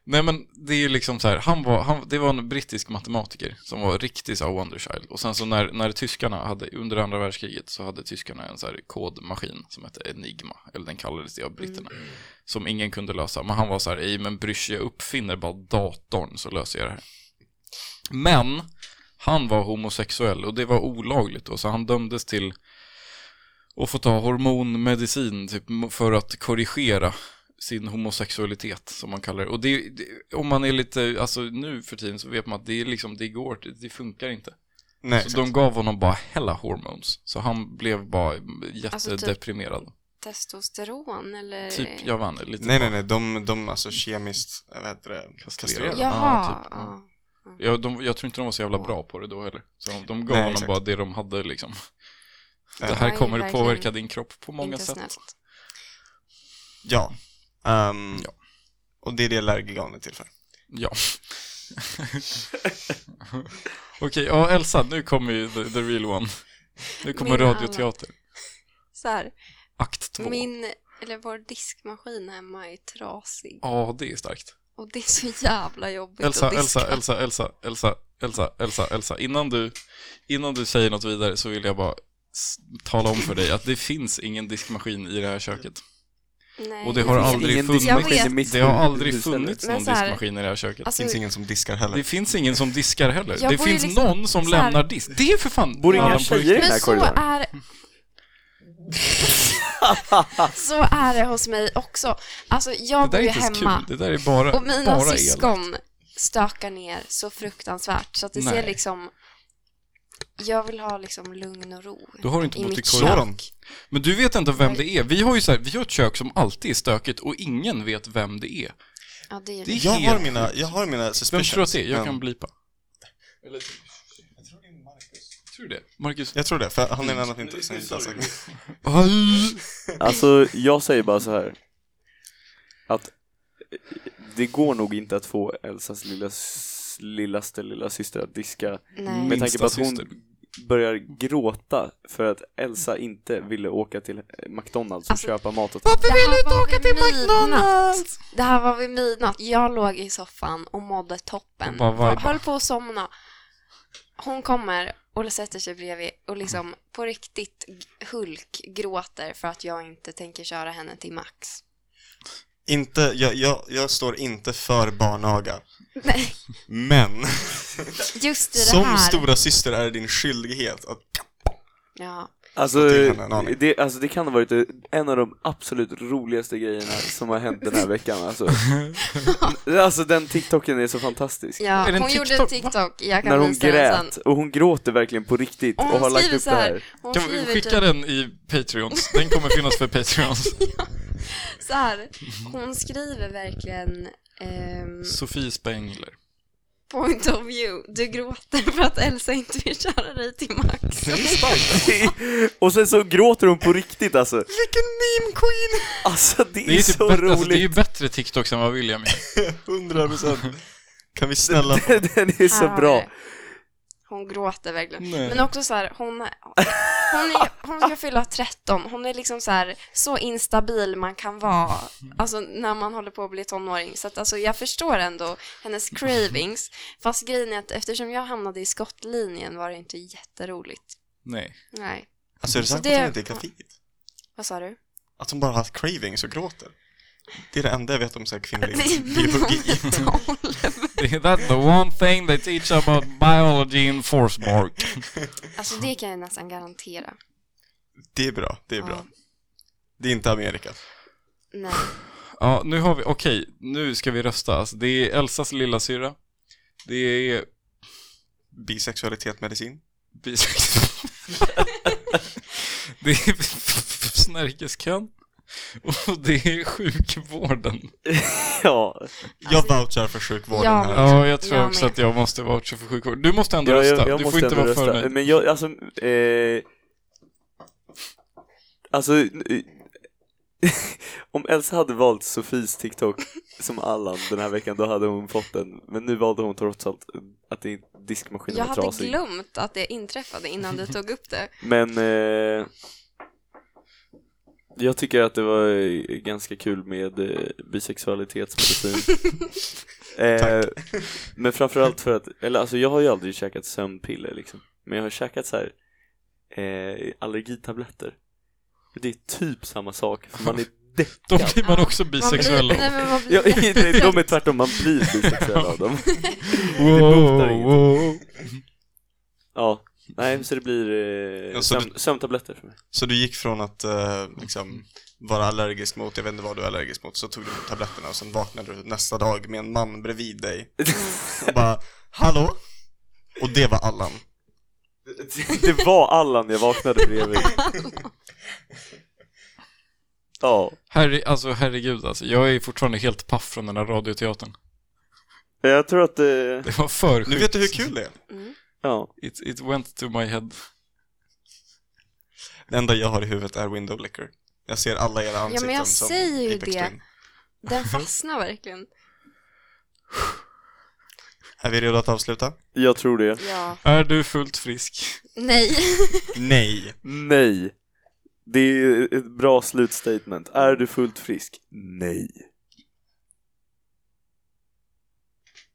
Speaker 1: Nej men det är ju liksom så här, han var, han, det var en brittisk matematiker som var riktig så här wonderchild. Och sen så när, när tyskarna hade, under andra världskriget så hade tyskarna en så här kodmaskin som hette Enigma, eller den kallades det av britterna, som ingen kunde lösa. Men han var så här, ej men bryr sig, jag uppfinner bara datorn så löser jag det här. Men han var homosexuell och det var olagligt då, så han dömdes till att få ta hormonmedicin typ, för att korrigera sin homosexualitet som man kallar det. Och det, det, om man är lite, alltså nu för tiden så vet man att det är liksom, det går, det, det funkar inte.
Speaker 2: Nej,
Speaker 1: Så
Speaker 2: exakt.
Speaker 1: de gav honom bara hella hormones. Så han blev bara
Speaker 3: Alltså typ- Eh.
Speaker 1: jättedeprimerad.
Speaker 3: Testosteron eller?
Speaker 1: typ, jag vann lite.
Speaker 2: nej, nej, nej, de, de alltså kemiskt, vad heter det, kastrerade.
Speaker 1: Ja.
Speaker 3: Jaha.
Speaker 1: Ah, typ, ja.
Speaker 3: ja.
Speaker 1: Ja, de, jag tror inte de var så jävla bra på det då heller. Så de, de gav
Speaker 2: Nej,
Speaker 1: honom
Speaker 2: exakt.
Speaker 1: bara det de hade liksom. Det
Speaker 2: Ja.
Speaker 1: här
Speaker 3: Ja,
Speaker 1: kommer att
Speaker 3: verkligen.
Speaker 1: påverka din kropp på många
Speaker 3: Inte
Speaker 1: sätt.
Speaker 3: snällt.
Speaker 2: Ja. Ehm,
Speaker 1: Ja.
Speaker 2: Och det är det Lärgigan är till för.
Speaker 1: Ja. Okej, ja Elsa, nu kommer ju the, the real one. Nu kommer
Speaker 3: Min
Speaker 1: radioteater.
Speaker 3: Så här,
Speaker 1: Akt två.
Speaker 3: min, eller vår diskmaskin hemma är trasig.
Speaker 1: Ja, det är starkt.
Speaker 3: Och det är så jävla jobbigt
Speaker 1: Elsa,
Speaker 3: att diska.
Speaker 1: Elsa, Elsa, Elsa, Elsa, Elsa, Elsa, Elsa. Innan du, innan du säger något vidare så vill jag bara s- tala om för dig att det finns ingen diskmaskin i det här köket.
Speaker 3: Nej,
Speaker 1: Och det har
Speaker 9: finns
Speaker 1: aldrig
Speaker 9: ingen
Speaker 3: diskmaskin i
Speaker 1: funnits,
Speaker 9: mitt
Speaker 1: det har
Speaker 9: hus-
Speaker 1: aldrig
Speaker 9: hus heller.
Speaker 1: funnits
Speaker 3: Men
Speaker 1: någon
Speaker 3: så här-
Speaker 1: diskmaskin i det här köket.
Speaker 3: Alltså,
Speaker 2: Det finns ingen som diskar
Speaker 1: Det
Speaker 2: heller.
Speaker 1: finns ingen som diskar heller.
Speaker 3: Jag
Speaker 1: Det
Speaker 3: bor ju
Speaker 1: finns
Speaker 3: liksom
Speaker 1: någon som
Speaker 3: så här-
Speaker 1: lämnar disk. Det är för fan
Speaker 9: Bor inga
Speaker 1: Allan
Speaker 9: tjejer i den
Speaker 3: Men
Speaker 9: här
Speaker 3: så
Speaker 9: korridoren?
Speaker 3: är... så är det hos mig också. Alltså, jag
Speaker 1: Det
Speaker 3: bor
Speaker 1: där är
Speaker 3: ju
Speaker 1: inte ens
Speaker 3: hemma
Speaker 1: kul. Det där är bara,
Speaker 3: och mina
Speaker 1: bara elakt.
Speaker 3: syskon stökar ner så fruktansvärt så att det
Speaker 1: Nej.
Speaker 3: ser liksom... Jag vill ha liksom lugn och ro
Speaker 1: Då har du inte
Speaker 3: i
Speaker 1: bott i
Speaker 3: mitt
Speaker 1: korridor.
Speaker 2: Slår
Speaker 3: kök.
Speaker 2: de?
Speaker 1: Men du vet inte vem det är. Vi har ju så här, vi har ett kök som alltid är stökigt och ingen vet vem det är.
Speaker 3: Ja, det är
Speaker 1: Det är
Speaker 2: Jag har
Speaker 1: helt
Speaker 2: mina, jag har mina Ehm,
Speaker 1: Vem
Speaker 2: suspicions.
Speaker 1: tror du att det är? Jag
Speaker 2: men-
Speaker 1: kan blipa. Eller... Tror du det? Marcus?
Speaker 2: Jag tror det, för han är en annan inte som inte har sagt.
Speaker 9: Alltså, jag säger bara så här. Att det går nog inte att få Elsas lilla, s- lillaste lilla syster att diska
Speaker 3: Nej.
Speaker 9: med tanke på att hon
Speaker 1: syster.
Speaker 9: börjar gråta för att Elsa inte ville åka till McDonalds och
Speaker 3: Alltså-
Speaker 9: köpa mat åt
Speaker 3: Det
Speaker 1: Varför
Speaker 3: här var vid midnatt. Det här var vid midnatt. Jag låg i soffan och mådde toppen.
Speaker 1: Och bara viba.
Speaker 3: Jag höll på att somna. Hon kommer och sätter sig bredvid och liksom på riktigt g- Hulk gråter för att jag inte tänker köra henne till Max.
Speaker 2: Inte, jag, jag, jag står inte för barnaga.
Speaker 3: Nej,
Speaker 2: Men,
Speaker 3: just i det
Speaker 2: som
Speaker 3: här.
Speaker 2: stora syster är det din skyldighet att
Speaker 3: Ja.
Speaker 9: Alltså,
Speaker 2: till henne, en aning.
Speaker 9: det, alltså det kan ha varit en av de absolut roligaste grejerna som har hänt den här veckan alltså. alltså den TikToken är så fantastisk.
Speaker 1: Är det
Speaker 3: ja.
Speaker 1: en
Speaker 3: Hon gjorde en
Speaker 1: TikTok, va?
Speaker 3: TikTok. Jag kan
Speaker 9: När hon
Speaker 3: visa den
Speaker 9: grät,
Speaker 3: sen.
Speaker 9: och hon gråter verkligen på riktigt och,
Speaker 3: Och hon
Speaker 9: har lagt
Speaker 3: skriver
Speaker 9: upp
Speaker 3: så
Speaker 9: det här.
Speaker 3: här. Hon
Speaker 1: Kan vi
Speaker 3: skriver
Speaker 1: skicka
Speaker 3: typ
Speaker 1: den i Patreons? Den kommer finnas för Patreons.
Speaker 3: så här. Hon skriver verkligen ehm,
Speaker 1: Sofie Spengler.
Speaker 3: Point of view. Du gråter för att Elsa inte vill köra dig till Max.
Speaker 9: och sen så gråter hon på riktigt alltså. Vilken meme queen! Alltså det,
Speaker 1: Det
Speaker 9: är,
Speaker 1: är, typ
Speaker 9: så
Speaker 1: bättre, alltså, det är ju
Speaker 9: roligt.
Speaker 1: bättre TikToks än vad William är.
Speaker 2: 100 procent. Kan vi snälla få...
Speaker 9: den är så
Speaker 3: Här har vi
Speaker 9: bra.
Speaker 3: det. Hon gråter verkligen.
Speaker 1: Nej.
Speaker 3: Men också så här, hon, hon, är, hon ska fylla 13. Hon är liksom så här, så instabil man kan vara, alltså när man håller på att bli tonåring. Så att alltså, jag förstår ändå hennes cravings. Fast grejen är att eftersom jag hamnade i skottlinjen var det inte jätteroligt.
Speaker 1: Nej.
Speaker 3: Nej.
Speaker 2: Alltså är det
Speaker 3: Så
Speaker 2: sant
Speaker 3: det-
Speaker 2: att hon inte är kaféet?
Speaker 3: Vad sa du?
Speaker 2: Att hon bara har haft cravings och gråter? Det är det enda jag vet om så här kvinnlig
Speaker 3: Det är
Speaker 2: biologi.
Speaker 1: That's the one thing they teach about biology in Forsmark.
Speaker 3: Alltså det kan jag nästan garantera.
Speaker 2: Det är bra, det är bra.
Speaker 3: Ja.
Speaker 2: Det är inte Amerika.
Speaker 3: Nej.
Speaker 1: Ja, nu har vi, okej, nu ska vi rösta. Alltså, det är Elsas lilla syra. Det är
Speaker 2: Bisexualitet medicin.
Speaker 1: bisexuell. det är Snärkeskön. Och det är sjukvården.
Speaker 9: Ja,
Speaker 2: Jag vouchar för sjukvården
Speaker 3: Alltså- Ja,
Speaker 2: här.
Speaker 1: Ja, jag tror
Speaker 3: Jag
Speaker 1: också
Speaker 3: med.
Speaker 1: att jag måste vara också för sjukvården. Du måste ändå
Speaker 9: jag,
Speaker 1: rösta.
Speaker 9: jag, jag
Speaker 1: du
Speaker 9: måste
Speaker 1: får inte
Speaker 9: ändå
Speaker 1: vara för
Speaker 9: rösta.
Speaker 1: nöjd.
Speaker 9: Men jag, alltså, eh, alltså eh, om Elsa hade valt Sofies TikTok som Allan den här veckan, då hade hon fått den. Men nu valde hon trots allt att det är diskmaskinen
Speaker 3: Jag
Speaker 9: var
Speaker 3: hade
Speaker 9: trasig.
Speaker 3: glömt att det inträffade innan du tog upp det.
Speaker 9: Men eh, jag tycker att det var eh, ganska kul med eh, bisexualitetsmedicin. eh, men framförallt för att, eller alltså jag har ju aldrig käkat sömnpiller liksom. Men jag har käkat så här eh, allergitabletter. Det är typ samma sak, för man är
Speaker 1: Då
Speaker 9: däckad.
Speaker 1: blir man också bisexuell.
Speaker 3: Man blir, nej, men man
Speaker 9: Ja,
Speaker 3: blir
Speaker 9: nej, de är tvärtom, man blir bisexuell av dem. botar
Speaker 1: wow,
Speaker 9: inget.
Speaker 1: wow.
Speaker 9: Ja, nej så det blir eh,
Speaker 2: Ja, så
Speaker 9: sömn, sömntabletter för mig.
Speaker 2: Så du gick från att eh, liksom, vara allergisk mot, jag vet inte vad du är allergisk mot, så tog du tabletterna och sen vaknade du nästa dag med en man bredvid dig och bara ”Hallå?” Och det var Allan.
Speaker 9: Det var Allan jag vaknade bredvid. Ja,
Speaker 1: Herre, alltså herregud alltså, jag är fortfarande helt paff från den där radioteatern.
Speaker 9: jag tror att det...
Speaker 1: Det var för
Speaker 2: Nu
Speaker 1: sjukt.
Speaker 2: vet du hur kul det är.
Speaker 9: Ja.
Speaker 1: It, it went to my head.
Speaker 2: Det enda jag har i huvudet är window licker. Jag ser alla era ansikten
Speaker 3: jag
Speaker 2: som
Speaker 3: säger ju
Speaker 2: Apex
Speaker 3: det.
Speaker 2: Twin.
Speaker 3: Den fastnar verkligen.
Speaker 2: Är vi redo att avsluta?
Speaker 9: Jag tror det.
Speaker 3: Ja.
Speaker 1: Är du fullt frisk?
Speaker 3: Nej.
Speaker 2: Nej.
Speaker 9: Nej. Det är ett bra slutstatement. Är du fullt frisk? Nej.